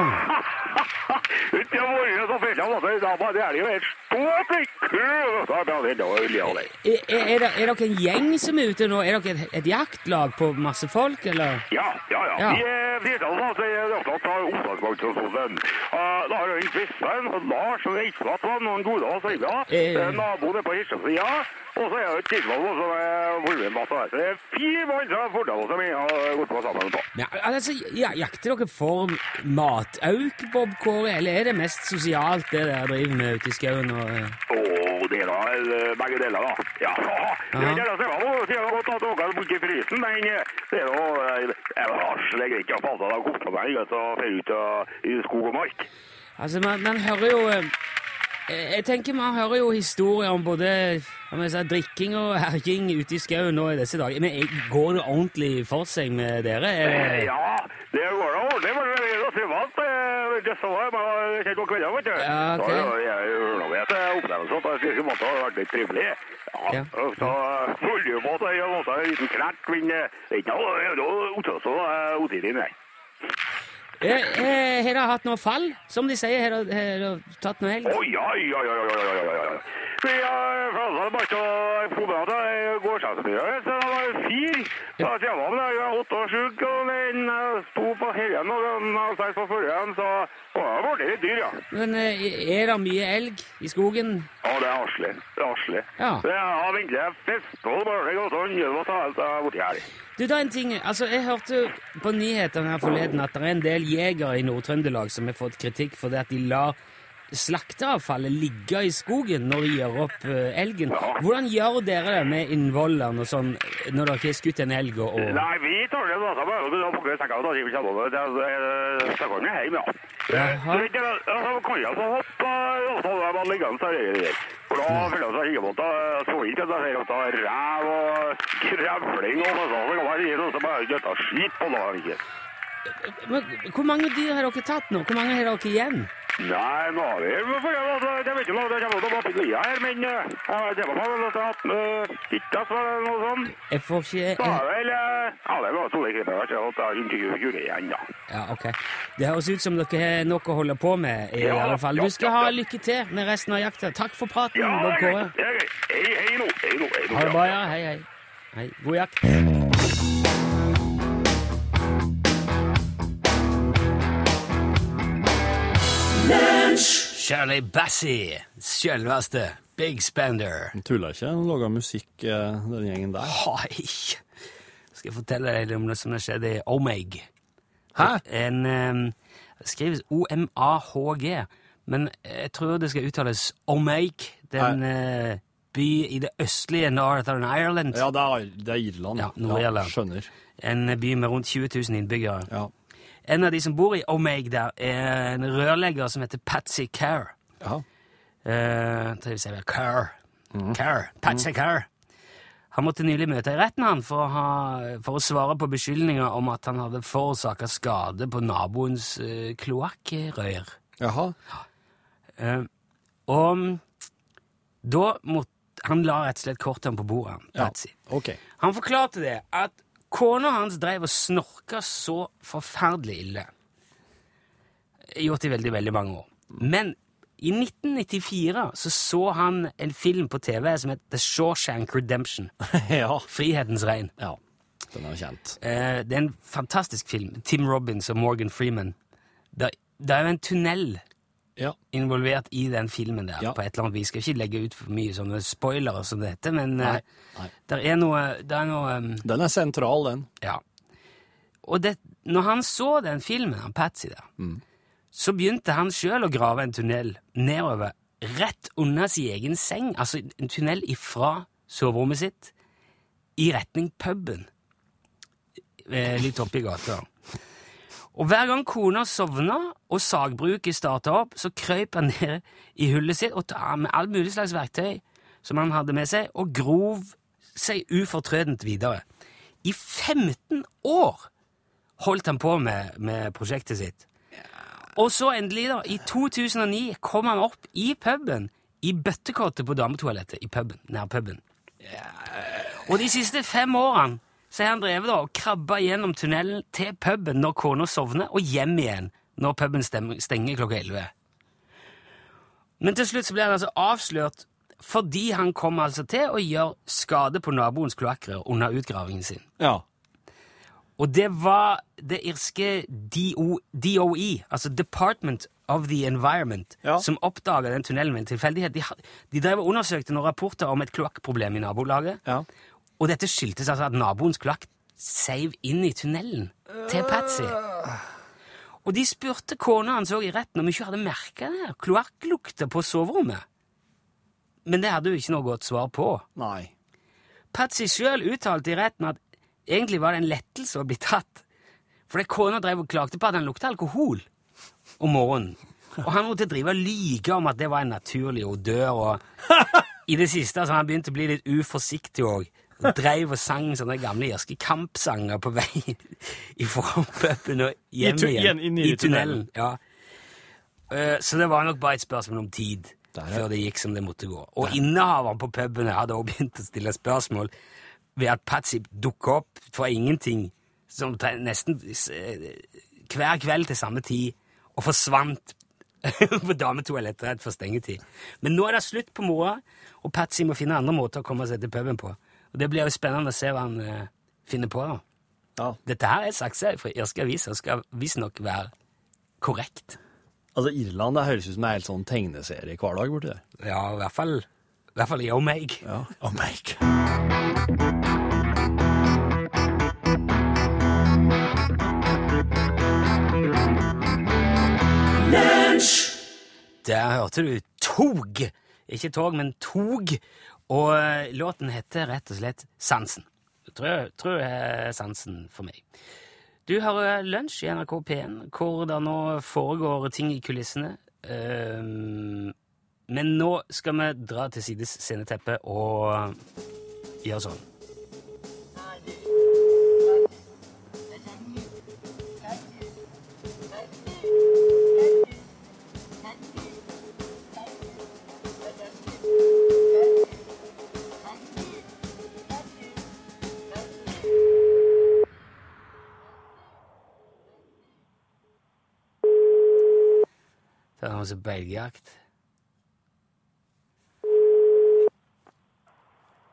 [SPEAKER 1] Uten å være så fint, jeg måtte da var det er jo et stort kø, og så er det da vil jeg ha det.
[SPEAKER 2] Er, er, er, det- er dere en gjeng som er ute nå? Er dere et, et jaktlag på masse folk, eller?
[SPEAKER 1] Ja, ja, ja.
[SPEAKER 2] Ja.
[SPEAKER 1] Vi er Fridal, altså, jeg er opptatt av Oslagsbanksjonen. Da har jeg en Kristian, og Lars og Reisvatt og noen gode av seg, ja.
[SPEAKER 2] Eh.
[SPEAKER 1] Eh, Naboen er på Riksjøsida, ja. og så er det Tidvald som er volvenmasse her. Så det er fire mann som har fordel som jeg har gått på sammen på.
[SPEAKER 2] Ja, altså, ja, Jakter dere for matauk, Bob Kåre, eller er det mest sosialt det dere driver med ute i skauen? Og, eh?
[SPEAKER 1] Åh, det da, eh, begge deler da. Ja, det er det som er nå. Det er godt at dere har bort i frysen, men eh, det er jo, eh, jeg har slik ikke å passe deg og koste meg, ikke, så fer ut eh, i skog og mark.
[SPEAKER 2] Altså, man, man hører jo eh, Jeg tenker man hører jo historier om både om jeg sa, drikking og herjing ute i skauen nå i disse dager. Men eh, går det ordentlig for seg med dere? Er
[SPEAKER 1] Eh,
[SPEAKER 2] det-
[SPEAKER 1] Ja, det går da ordentlig, men det er jo privat. eh, Det så jeg bare kjent på kvelden, vet du.
[SPEAKER 2] Ja, ok.
[SPEAKER 1] Så jeg- jeg gjør noe etter opplevelsen at jeg synes måtte ha vært litt trivelig.
[SPEAKER 2] Ja.
[SPEAKER 1] Ja, og så følger jo på at jeg måtte ha en liten knert, men eh, det er ikke noe, det er noe utøvelse, eh, utidig, nei.
[SPEAKER 2] Eh, eh, Har dere hatt noe fall? Som de sier, har dere- har dere tatt noe helg?
[SPEAKER 1] Oi, oi, oi, oi, oi, oi, oi, oi. Vi har flasset bare til å få med at jeg går sjefsmiddel, så det var fire. Da jeg var med, jeg var åtte år syk, og den eh, sto på helgen, og den har seks på forrige, så det var det litt dyr, ja.
[SPEAKER 2] Men eh, er det mye elg i skogen?
[SPEAKER 1] Ja, det er arslig. Det er arslig.
[SPEAKER 2] Ja.
[SPEAKER 1] Det er egentlig en festhold bare det går sånn. Gjør hva som helst, jeg er borti her.
[SPEAKER 2] Du, da en ting, altså Jeg hørte på nyhetene her forleden at det er en del jegere i Nord-Trøndelag som har fått kritikk for det at de lar slakteavfallet ligge i skogen når de gjør opp eh, elgen. Hvordan gjør dere det med innvollene og sånn når dere har skutt en elg og og-
[SPEAKER 1] Nei, vi tar det da, så bare da pakker vi sekkene, da sier vi kjempe over til eh, sekkene hjem, ja.
[SPEAKER 2] Jaha.
[SPEAKER 1] Du vet, det er- altså, kan jeg få hoppe, eh, og så er man liggende så er det der. For da føler jeg seg hyggemåte, så ikke at jeg ser at det er ræv og krevling og sånn, så kan man si noe som bare gjør skit på dagen.
[SPEAKER 2] Men hvor mange dyr har dere tatt nå? Hvor mange har dere igjen?
[SPEAKER 1] Nei, nå har vi for jeg, altså, jeg vet ikke om det kommer til å bli lia her, men eh, jeg vet ikke om jeg har hatt med fittas eller noe sånt.
[SPEAKER 2] Jeg får ikke
[SPEAKER 1] Da
[SPEAKER 2] jeg,
[SPEAKER 1] er det vel eh, Ja, det var to lekere, jeg har ikke hatt 120 gull igjen, da.
[SPEAKER 2] Ja, ok. Det høres ut som dere har nok å holde på med, i
[SPEAKER 1] Ja,
[SPEAKER 2] alle fall.
[SPEAKER 1] ja,
[SPEAKER 2] Du skal
[SPEAKER 1] ja,
[SPEAKER 2] ha
[SPEAKER 1] ja.
[SPEAKER 2] lykke til med resten av jakta. Takk for praten,
[SPEAKER 1] Ja,
[SPEAKER 2] Bob
[SPEAKER 1] Mm, det er
[SPEAKER 2] Kåre.
[SPEAKER 1] greit. det er greit. Hei, hei nå, hei nå, hei nå.
[SPEAKER 2] Ha det
[SPEAKER 1] ja.
[SPEAKER 2] bra, ja. Hei, hei. hei. God jakt. Shirley Bassey, selveste Big Spender.
[SPEAKER 3] Han tuller ikke, han lager musikk, eh, den gjengen der.
[SPEAKER 2] Hei! Skal jeg fortelle deg om noe som har skjedd i Omeg?
[SPEAKER 3] Hæ?
[SPEAKER 2] En eh, Det skrives O-M-A-H-G, men jeg tror det skal uttales Omeg. Den eh, by i det østlige Northern Ireland.
[SPEAKER 3] Ja, det er, det er Irland.
[SPEAKER 2] Ja, Nord-Irland.
[SPEAKER 3] skjønner.
[SPEAKER 2] En by med rundt 20 000 innbyggere.
[SPEAKER 3] Ja.
[SPEAKER 2] En av de som bor i Omeg der, er en rørlegger som heter Patsy Kerr.
[SPEAKER 3] ja.
[SPEAKER 2] Eh, tror jeg vi sier vel Kerr.
[SPEAKER 3] Mhm.
[SPEAKER 2] Kerr. Patsy Kerr. Han måtte nylig møte i retten han for å, ha, for å svare på beskyldninger om at han hadde forårsaka skade på naboens uh, kloakkrør.
[SPEAKER 3] Jaha.
[SPEAKER 2] Eh, og mm, da måtte Han la rett og slett kortene på bordet, han,
[SPEAKER 3] Ja.
[SPEAKER 2] Patsy.
[SPEAKER 3] Ok.
[SPEAKER 2] Han forklarte det at kona hans drev og snorka så forferdelig ille. Gjort i veldig, veldig mange år. Men i 1994 så, så han en film på TV som het The Shawshank Redemption.
[SPEAKER 3] ja.
[SPEAKER 2] Frihetens regn.
[SPEAKER 3] ja. Den er jo kjent.
[SPEAKER 2] Eh, det er en fantastisk film. Tim Robbins og Morgan Freeman. Det, det er jo en tunnel
[SPEAKER 3] Ja.
[SPEAKER 2] involvert i den filmen der.
[SPEAKER 3] Ja.
[SPEAKER 2] på et eller annet vis. Skal ikke legge ut for mye sånne spoilere som dette, men
[SPEAKER 3] Nei. Nei.
[SPEAKER 2] det er noe, der er noe eh,
[SPEAKER 3] Den er sentral, den.
[SPEAKER 2] Ja. Og det, når han så den filmen, han Patsy der,
[SPEAKER 3] Mm.
[SPEAKER 2] så begynte han sjøl å grave en tunnel nedover, rett under sin egen seng. Altså en tunnel ifra soverommet sitt i retning puben. Eh, litt oppi gata. Og hver gang kona sovna og sagbruket starta opp, så krøp han ned i hullet sitt og ta med all mulig slags verktøy som han hadde med seg, og grov seg ufortrødent videre. I 15 år holdt han på med, med prosjektet sitt. Og så endelig, da, i 2009 kom han opp i puben, i bøttekottet på dametoalettet i puben, nær puben. Og de siste fem årene så har han drevet da, og krabba gjennom tunnelen til puben når kona sovner, og hjem igjen når puben stem- stenger klokka 11. Men til slutt så ble han altså avslørt fordi han kom altså til å gjøre skade på naboens kloakkrør under utgravingen sin.
[SPEAKER 3] Ja.
[SPEAKER 2] Og det var det irske DO, DOE, altså Department of the Environment,
[SPEAKER 3] Ja.
[SPEAKER 2] som oppdaga den tunnelen ved en tilfeldighet. De, had- de drev og undersøkte noen rapporter om et kloakkproblem i nabolaget.
[SPEAKER 3] Ja.
[SPEAKER 2] Og dette skyldtes altså at naboens kloakk seiv inn i tunnelen til Patsy. Og de spurte kona hans òg i retten om hun ikke hadde merka det. her, Kloakklukta på soverommet. Men det hadde hun ikke noe godt svar på.
[SPEAKER 3] Nei.
[SPEAKER 2] Patsy sjøl uttalte i retten at egentlig var det en lettelse å bli tatt. Fordi kona drev og klagde på at han lukta alkohol om morgenen. Og han måtte drive og lyge om at det var en naturlig odør. Og i det siste så har han begynt å bli litt uforsiktig òg. Dreiv og sang sånne gamle irske kampsanger på vei ifra puben og
[SPEAKER 3] I
[SPEAKER 2] hjem
[SPEAKER 3] tu-
[SPEAKER 2] igjen.
[SPEAKER 3] igjen inn i tunnelen.
[SPEAKER 2] Ja. Eh, Så det var nok bare et spørsmål om tid
[SPEAKER 3] Der er-
[SPEAKER 2] før det gikk som det måtte gå. Og innehaveren på puben hadde også begynt å stille spørsmål ved at Patsy dukket opp fra ingenting som tre- nesten eh, hver kveld til samme tid og forsvant på dametoalettet rett for stengetid. Men nå er det slutt på moroa, og Patsy må finne andre måter å komme seg til puben på. Og Det blir jo spennende å se hva han eh, finner på. da.
[SPEAKER 3] Ja.
[SPEAKER 2] Dette her er saksa fra irske aviser og skal visstnok være korrekt.
[SPEAKER 3] Altså, Irland det høres ut som en helt sånn tegneserie hver dag borti der.
[SPEAKER 2] Ja, i hvert fall, i hvert fall i Omeg.
[SPEAKER 3] Ja. Oh my God.
[SPEAKER 2] Der hørte du Tog! Ikke tog, men Tog. Og eh, låten heter rett og slett Sansen. Jeg Tror, tror jeg er sansen for meg. Du hører Lunsj i NRK P1, hvor det nå foregår ting i kulissene. Ehm, men nå skal vi dra til sides sceneteppet og eh, gjøre sånn. på seg belgjakt.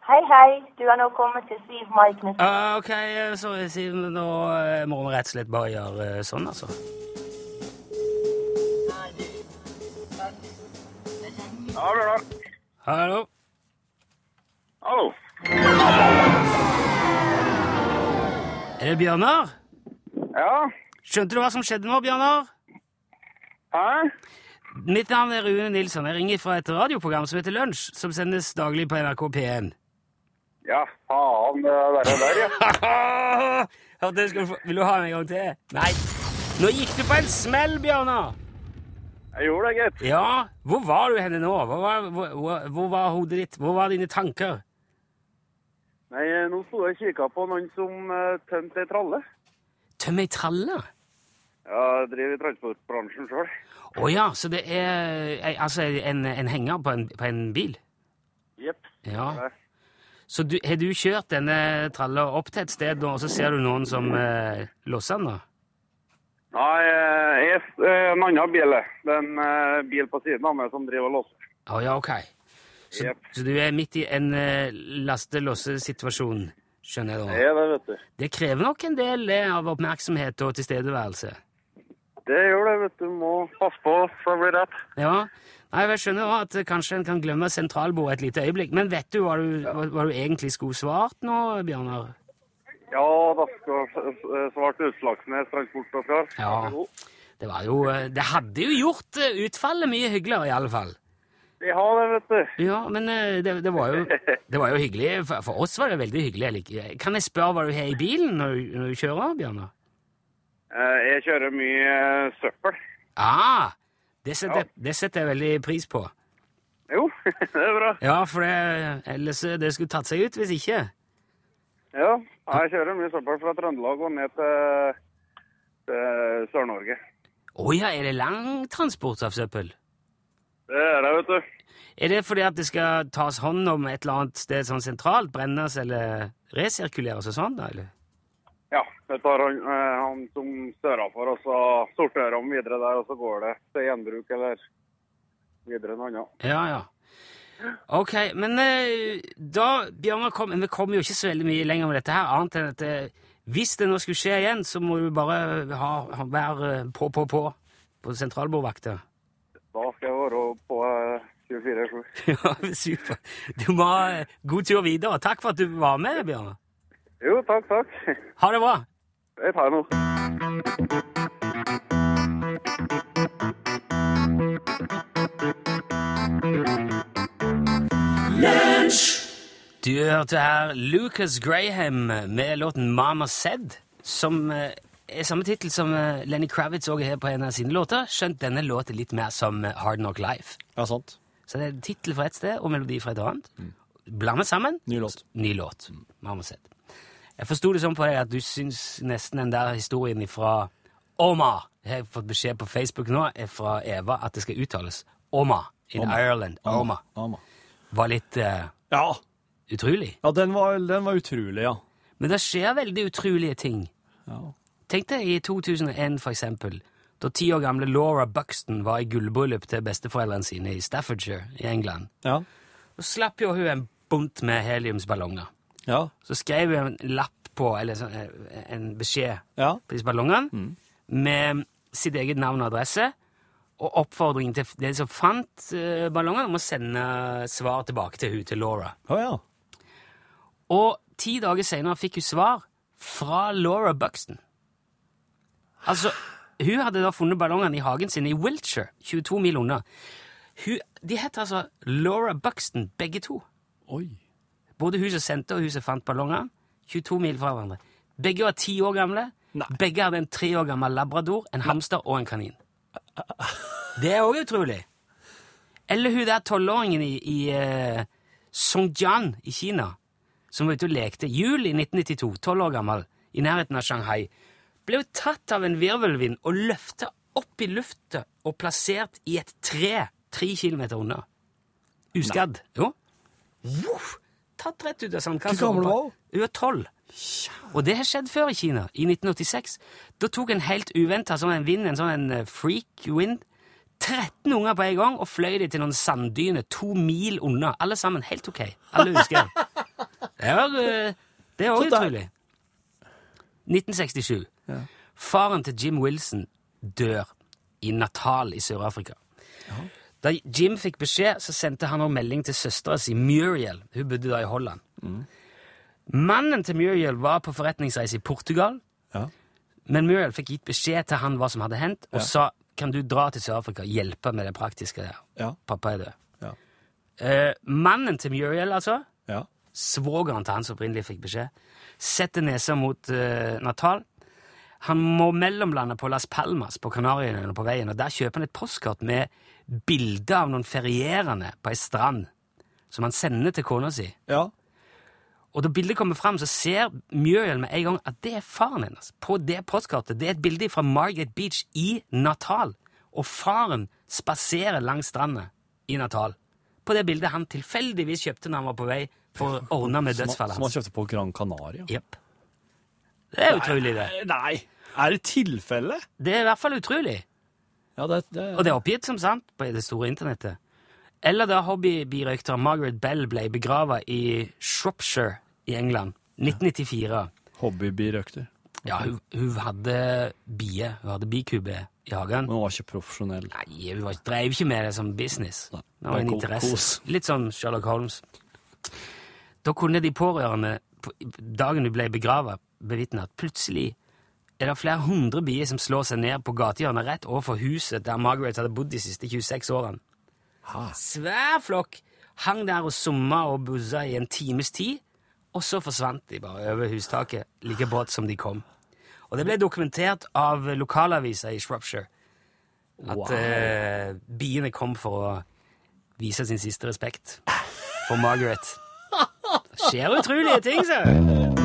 [SPEAKER 11] Hei, hei. Du er nå kommet til Siv Mai Knutsen.
[SPEAKER 2] Ah, ok, eh, sorry, Siv. Nå eh, må vi rett og slett bare gjøre eh, sånn, altså.
[SPEAKER 12] Ja, Bjørnar.
[SPEAKER 2] Hallo?
[SPEAKER 12] Hallo.
[SPEAKER 2] Er det Bjørnar?
[SPEAKER 12] Ja.
[SPEAKER 2] Skjønte du hva som skjedde nå, Bjørnar?
[SPEAKER 12] Hæ?
[SPEAKER 2] Mitt navn er Rune Nilsson. Jeg ringer fra et radioprogram som heter Lunsj, som sendes daglig på NRK P1.
[SPEAKER 12] Ja, faen, det der og der, ja.
[SPEAKER 2] Hørte jeg skulle få... Vil du ha den en gang til? Nei. Nå gikk du på en smell, Bjørnar!
[SPEAKER 12] Jeg gjorde det, gitt.
[SPEAKER 2] Ja, hvor var du henne nå? Hvor var, hvor, hvor, hvor var hodet ditt? Hvor var dine tanker?
[SPEAKER 12] Nei, nå sto jeg og kikka på noen som eh, tømte ei tralle.
[SPEAKER 2] Tøm ei tralle?
[SPEAKER 12] Ja, jeg driver i transportbransjen sjøl.
[SPEAKER 2] Å ja, så det er ei- altså en, en henger på en, på en bil?
[SPEAKER 12] Jepp.
[SPEAKER 2] Ja. Så du, har du kjørt denne tralla opp til et sted, nå, og så ser du noen som eh, losser den? da?
[SPEAKER 12] Nei, eh, jeg, eh, en annen bil. eh. Det er en eh, bil på siden av meg som driver og låser.
[SPEAKER 2] Å ja, ok. Så,
[SPEAKER 12] Jepp.
[SPEAKER 2] så du er midt i en eh, laste-losse-situasjon, skjønner
[SPEAKER 12] Det
[SPEAKER 2] jeg da.
[SPEAKER 12] er det, vet du.
[SPEAKER 2] Det krever nok en del eh, av oppmerksomhet og tilstedeværelse.
[SPEAKER 12] Det gjør det, vet du. Må passe på for å bli rett.
[SPEAKER 2] Ja. Nei, jeg skjønner også at eh, kanskje en kan glemme sentralbordet et lite øyeblikk, men vet du hva du, hva, hva du egentlig skulle svart nå, Bjørnar?
[SPEAKER 12] Ja, da skal eh, svart Utslagsnes transport og fjær.
[SPEAKER 2] Ja.
[SPEAKER 12] Vær så god.
[SPEAKER 2] Det var jo eh, Det hadde jo gjort eh, utfallet mye hyggeligere, i alle fall.
[SPEAKER 12] Vi har det, vet du.
[SPEAKER 2] Ja, men eh, det, det, var jo, det var jo hyggelig. For, for oss var det veldig hyggelig. Jeg liker- Kan jeg spørre hva du har i bilen når du, når du kjører, Bjørnar?
[SPEAKER 12] Eh, Jeg kjører mye eh, søppel.
[SPEAKER 2] Ah, det setter,
[SPEAKER 12] Ja.
[SPEAKER 2] det setter jeg veldig pris på.
[SPEAKER 12] Jo, det er bra.
[SPEAKER 2] Ja, for det, ellers eh, det skulle tatt seg ut hvis ikke.
[SPEAKER 12] Ja, jeg kjører mye søppel fra Trøndelag og ned til, til Sør-Norge.
[SPEAKER 2] Å ja, er det lang transport av søppel?
[SPEAKER 12] Det er det, vet du.
[SPEAKER 2] Er det fordi at det skal tas hånd om et eller annet sted sånn sentralt, brennes eller resirkuleres og sånn, da? eller?
[SPEAKER 12] Ja, det tar han, eh, han som stører for, og så sorterer han videre der, og så går det til gjenbruk eller videre en annen.
[SPEAKER 2] Ja, ja. Ok, men eh, da, Bjørnar, kom, vi kommer jo ikke så veldig mye lenger med dette her, annet enn at eh, hvis det nå skulle skje igjen, så må du bare ha, ha, være eh, på, på, på på sentralbordvakta.
[SPEAKER 12] Da skal jeg være på eh, 24-7.
[SPEAKER 2] Ja, super. Du må ha eh, god tur videre. Takk for at du var med, Bjørnar.
[SPEAKER 12] Jo, takk, takk.
[SPEAKER 2] Ha det bra.
[SPEAKER 12] Jeg tar noe.
[SPEAKER 2] Du hørte her Lucas Graham med låten Mama Said, som eh, er samme tittel som eh, Lenny Kravitz også har på en av sine låter, skjønt denne låten litt mer som eh, Hard Knock Life.
[SPEAKER 3] Ja, sant.
[SPEAKER 2] Så det er tittel fra et sted og melodi fra et annet.
[SPEAKER 3] Mm.
[SPEAKER 2] Blandet sammen.
[SPEAKER 3] Ny låt.
[SPEAKER 2] Ny låt.
[SPEAKER 3] Mm.
[SPEAKER 2] Mama Said. Jeg forsto det sånn på deg at du syns nesten den der historien fra Oma Jeg har fått beskjed på Facebook nå eh, fra Eva at det skal uttales Oma in
[SPEAKER 3] Oma.
[SPEAKER 2] Ireland. Oma.
[SPEAKER 3] Ama.
[SPEAKER 2] Var litt eh,
[SPEAKER 3] Ja,
[SPEAKER 2] utrolig.
[SPEAKER 3] ja den, var, den var utrolig, ja.
[SPEAKER 2] Men det skjer veldig utrolige ting.
[SPEAKER 3] Ja.
[SPEAKER 2] Tenk deg i 2001, for eksempel, da ti år gamle Laura Buxton var i gullbryllup til besteforeldrene sine i Staffordshire i England.
[SPEAKER 3] Ja.
[SPEAKER 2] Så slapp jo hun en bunt med heliumsballonger.
[SPEAKER 3] Ja.
[SPEAKER 2] Så skrev hun en lapp på, eller sånn, eh, en beskjed
[SPEAKER 3] ja.
[SPEAKER 2] på disse ballongene, med sitt eget navn og adresse, og oppfordringen til de som fant eh, ballongene, om å sende svar tilbake til hun, til Laura.
[SPEAKER 3] Å ja.
[SPEAKER 2] Og ti dager senere fikk hun svar fra Laura Buxton. Altså, hun hadde da funnet ballongene i hagen sin i Wiltshire, 22 mil unna. Hun, de heter altså Laura Buxton, begge to.
[SPEAKER 3] Oi.
[SPEAKER 2] Både hun som sendte og hun som fant ballongene. 22 mil fra hverandre. Begge var ti år gamle.
[SPEAKER 3] Nei.
[SPEAKER 2] Begge hadde en tre år gammel labrador, en hamster og en kanin. Det er òg utrolig. Eller hun der tolvåringen i, i eh, Songjiang i Kina, som var ute og lekte jul i 1992, tolv år gammel, i nærheten av Shanghai, ble jo tatt av en virvelvind og løfta opp i lufta og plassert i et tre tre kilometer unna. Uskadd. Jo. Voff! Tatt rett ut av sandkassa.
[SPEAKER 3] Hvor gammel var hun?
[SPEAKER 2] Hun var tolv. Og det har skjedd før i Kina, i 1986. Da tok en helt uventa sånn en vind, en sånn en eh, freak wind, 13 unger på en gang og fløy de til noen sanddyner to mil unna. Alle sammen helt ok. Alle husker jeg. Det var, eh, det er også utrolig. 1967. Faren til Jim Wilson dør i Natal i Sør-Afrika. Da Jim fikk beskjed, så sendte han en melding til søstera si, Muriel. Hun bodde da i Holland. Mannen til Muriel var på forretningsreise i Portugal.
[SPEAKER 3] Ja.
[SPEAKER 2] Men Muriel fikk gitt beskjed til han hva som hadde hendt, og sa kan du dra til Sør-Afrika og hjelpe med det praktiske der.
[SPEAKER 3] Ja.
[SPEAKER 2] Pappa er død.
[SPEAKER 3] Ja.
[SPEAKER 2] Eh, mannen til Muriel, altså,
[SPEAKER 3] Ja.
[SPEAKER 2] svogeren til han som opprinnelig fikk beskjed, setter nesa mot eh, Natal. Han må mellomlande på Las Palmas på Kanariøyene på veien, og der kjøper han et postkort med bilde av noen ferierende på ei strand, som han sender til kona si.
[SPEAKER 3] ja.
[SPEAKER 2] Og da bildet kommer fram, så ser Muriel med en gang at det er faren hennes. På det postkartet. Det er et bilde fra Margaret Beach i Natal. Og faren spaserer langs stranda i Natal. På det bildet han tilfeldigvis kjøpte når han var på vei for å ordne med
[SPEAKER 3] Som, han-
[SPEAKER 2] dødsfallet
[SPEAKER 3] som han
[SPEAKER 2] hans.
[SPEAKER 3] kjøpte på Gran Canaria. Eh,
[SPEAKER 2] Jep. Det er utrolig, det.
[SPEAKER 3] Nei! Er det tilfelle?
[SPEAKER 2] Det er i hvert fall utrolig.
[SPEAKER 3] Ja, det, det,
[SPEAKER 2] Og det er oppgitt som sant på det store internettet. Eller da hobbybirøykter Margaret Bell ble begrava i Shropshire i England 1994.
[SPEAKER 3] Hobbybirøkter.
[SPEAKER 2] Ja, hun, hun hadde bie. Hun hadde bikube i hagen.
[SPEAKER 3] Men han var ikke profesjonell.
[SPEAKER 2] Nei, hun var, drev ikke med det som business.
[SPEAKER 3] Nei,
[SPEAKER 2] Det var en
[SPEAKER 3] bare ko-
[SPEAKER 2] interesse.
[SPEAKER 3] kos.
[SPEAKER 2] Litt sånn Sherlock Holmes. Da kunne de pårørende, på- dagen hun ble begrava, bevitne at plutselig er det flere hundre bier som slår seg ned på gatehjørnet rett overfor huset der Margaret hadde bodd de siste 26 årene. Svær flokk hang der og summa og buzza i en times tid, og så forsvant de bare over hustaket like brått som de kom. Og det ble dokumentert av lokalaviser i Shropshire. At eh, biene kom for å vise sin siste respekt for Margaret. Det skjer utrolige ting, ser du.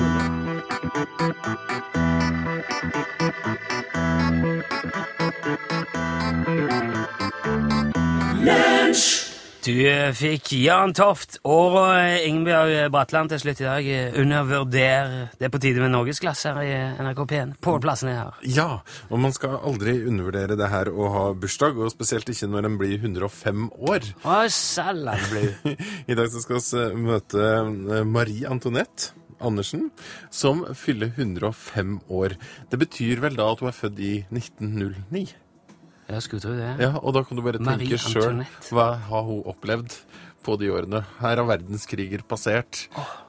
[SPEAKER 2] Du eh, fikk Jan Toft og eh, Ingebjørg Bratland til slutt i dag. eh, Undervurder Det er på tide med norgesklasse her i NRK P1. Pål Plassen er her.
[SPEAKER 8] Ja, og man skal aldri undervurdere det her å ha bursdag, og spesielt ikke når en blir 105 år.
[SPEAKER 2] Å, salam, blu.
[SPEAKER 8] I dag så skal vi møte eh, Marie Antoinette Andersen, som fyller 105 år. Det betyr vel da at hun er født i 1909?
[SPEAKER 2] Jeg skulle tro det.
[SPEAKER 8] Ja, og da kan du bare
[SPEAKER 2] Marie
[SPEAKER 8] tenke sjøl.
[SPEAKER 2] Antoinette.
[SPEAKER 8] Hva har hun opplevd på de årene? Her har verdenskriger passert.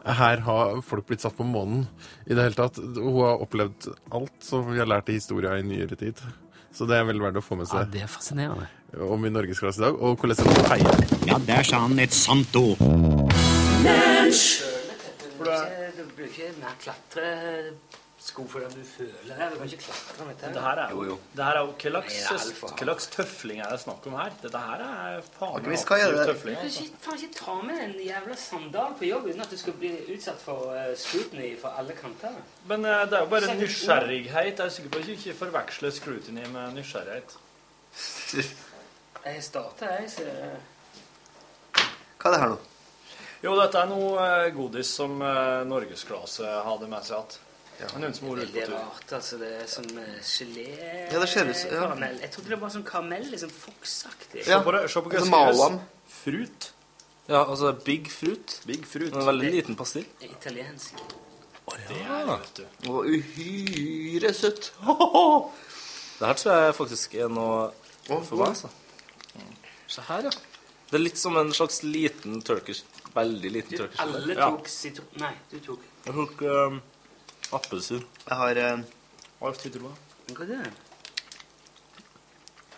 [SPEAKER 8] Her har folk blitt satt på månen. I det hele tatt. Hun har opplevd alt som vi har lært i historia i nyere tid. Så det er vel verdt å få med
[SPEAKER 2] Ja,
[SPEAKER 8] seg
[SPEAKER 2] det er fascinerende.
[SPEAKER 8] om i norgesklasse i dag. Og hvordan skal man feire
[SPEAKER 9] Ja, der sa han et sant ord.
[SPEAKER 2] Du bør ikke mer klatre sko for det du føler her. Du kan ikke klatre med dette.
[SPEAKER 4] Det her er jo, Det her er jo hva
[SPEAKER 2] Nei, det er alt
[SPEAKER 4] slags-
[SPEAKER 2] for hardt.
[SPEAKER 4] hva slags tøfling er det snakk om her? Dette her er faen
[SPEAKER 9] vi skal
[SPEAKER 4] absolutt
[SPEAKER 9] gjøre det.
[SPEAKER 4] tøfling.
[SPEAKER 2] Du kan
[SPEAKER 4] Altså.
[SPEAKER 2] ikke, faen ikke ta med en jævla sandal på jobb uten at du skal bli utsatt for eh, scrutiny fra alle kanter.
[SPEAKER 4] Men eh, det er jo bare
[SPEAKER 2] Sikkert ord.
[SPEAKER 4] nysgjerrighet. Jeg er sikker på at du ikke forveksler scrutiny med nysgjerrighet.
[SPEAKER 2] Jeg starter, jeg, så
[SPEAKER 9] Hva er det her nå?
[SPEAKER 4] Jo, dette er noe eh, godis som eh, norgesklasse hadde med seg igjen. Men Noen som har vært
[SPEAKER 2] Veldig
[SPEAKER 4] ute på tur.
[SPEAKER 2] rart, altså. Det er som eh, gelé
[SPEAKER 9] Ja, det ser ut som- ja.
[SPEAKER 2] karamell. Jeg trodde det var sånn karamell, liksom foksaktig.
[SPEAKER 4] Se på det. Se på hva
[SPEAKER 9] altså
[SPEAKER 4] som skrives.
[SPEAKER 9] Malwam.
[SPEAKER 4] Fruit.
[SPEAKER 13] Ja, altså Big Fruit.
[SPEAKER 4] Big fruit.
[SPEAKER 13] En veldig liten pastill.
[SPEAKER 2] Italiensk.
[SPEAKER 4] Det er det, vet du.
[SPEAKER 9] Og uhyre søtt.
[SPEAKER 13] Det her tror jeg faktisk er noe for meg, altså. Se her, ja. Det er litt som en slags liten turkish Veldig liten
[SPEAKER 2] Du,
[SPEAKER 13] turkish.
[SPEAKER 2] alle
[SPEAKER 13] Ja.
[SPEAKER 2] tok sitron... Nei, du tok
[SPEAKER 13] Jeg tok um, appelsin.
[SPEAKER 9] Jeg har eh,
[SPEAKER 4] Alt hydrogen.
[SPEAKER 2] Hva er det?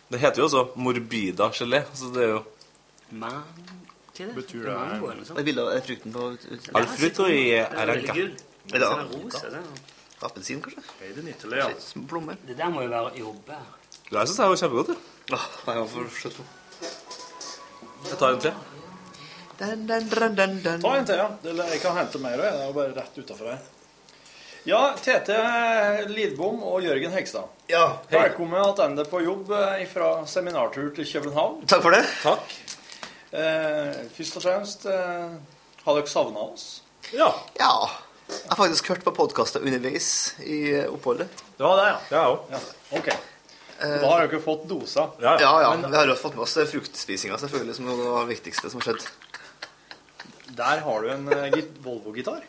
[SPEAKER 13] Det heter jo også morbida gelé. Så det er jo
[SPEAKER 2] Man... Hva er sånn det?
[SPEAKER 4] Betyr det-
[SPEAKER 2] Mango eller noe sånt?
[SPEAKER 9] et bilde av frukten på ut- ut-
[SPEAKER 13] Al frutto i eh,
[SPEAKER 2] Den er veldig
[SPEAKER 13] aranca.
[SPEAKER 2] gul.
[SPEAKER 9] Er det
[SPEAKER 2] Den er
[SPEAKER 9] av-
[SPEAKER 2] rosa, den.
[SPEAKER 9] appelsin, kanskje?
[SPEAKER 4] Made in Italy, ja.
[SPEAKER 9] Som plommer.
[SPEAKER 2] Det der må jo være jordbær.
[SPEAKER 13] Det her syns jeg var kjempegodt. jo.
[SPEAKER 9] Åh, jeg har for søtt på.
[SPEAKER 13] Jeg tar en til.
[SPEAKER 9] Dun, dun, dun, dun, dun.
[SPEAKER 4] Ta en til, ja. Det- Jeg kan hente mer òg. Det er jo bare rett utafor her. Ja, Tete Lidbom og Jørgen Hegstad.
[SPEAKER 9] Ja, hei.
[SPEAKER 4] Velkommen tilbake på jobb fra seminartur til København.
[SPEAKER 9] Takk for det.
[SPEAKER 4] Takk. Eh, først og fremst, eh, har dere savna oss?
[SPEAKER 13] Ja.
[SPEAKER 9] Ja. Jeg har faktisk hørt på podkaster underveis i eh, oppholdet.
[SPEAKER 4] Det var det, ja.
[SPEAKER 13] Jeg òg.
[SPEAKER 4] ja. Ok. Da har dere fått dosa.
[SPEAKER 9] Ja, Eh. ja. Vi har jo fått med oss fruktspisinga, selvfølgelig, som er det viktigste som har skjedd.
[SPEAKER 4] Der har du en eh, git- Volvo-gitar.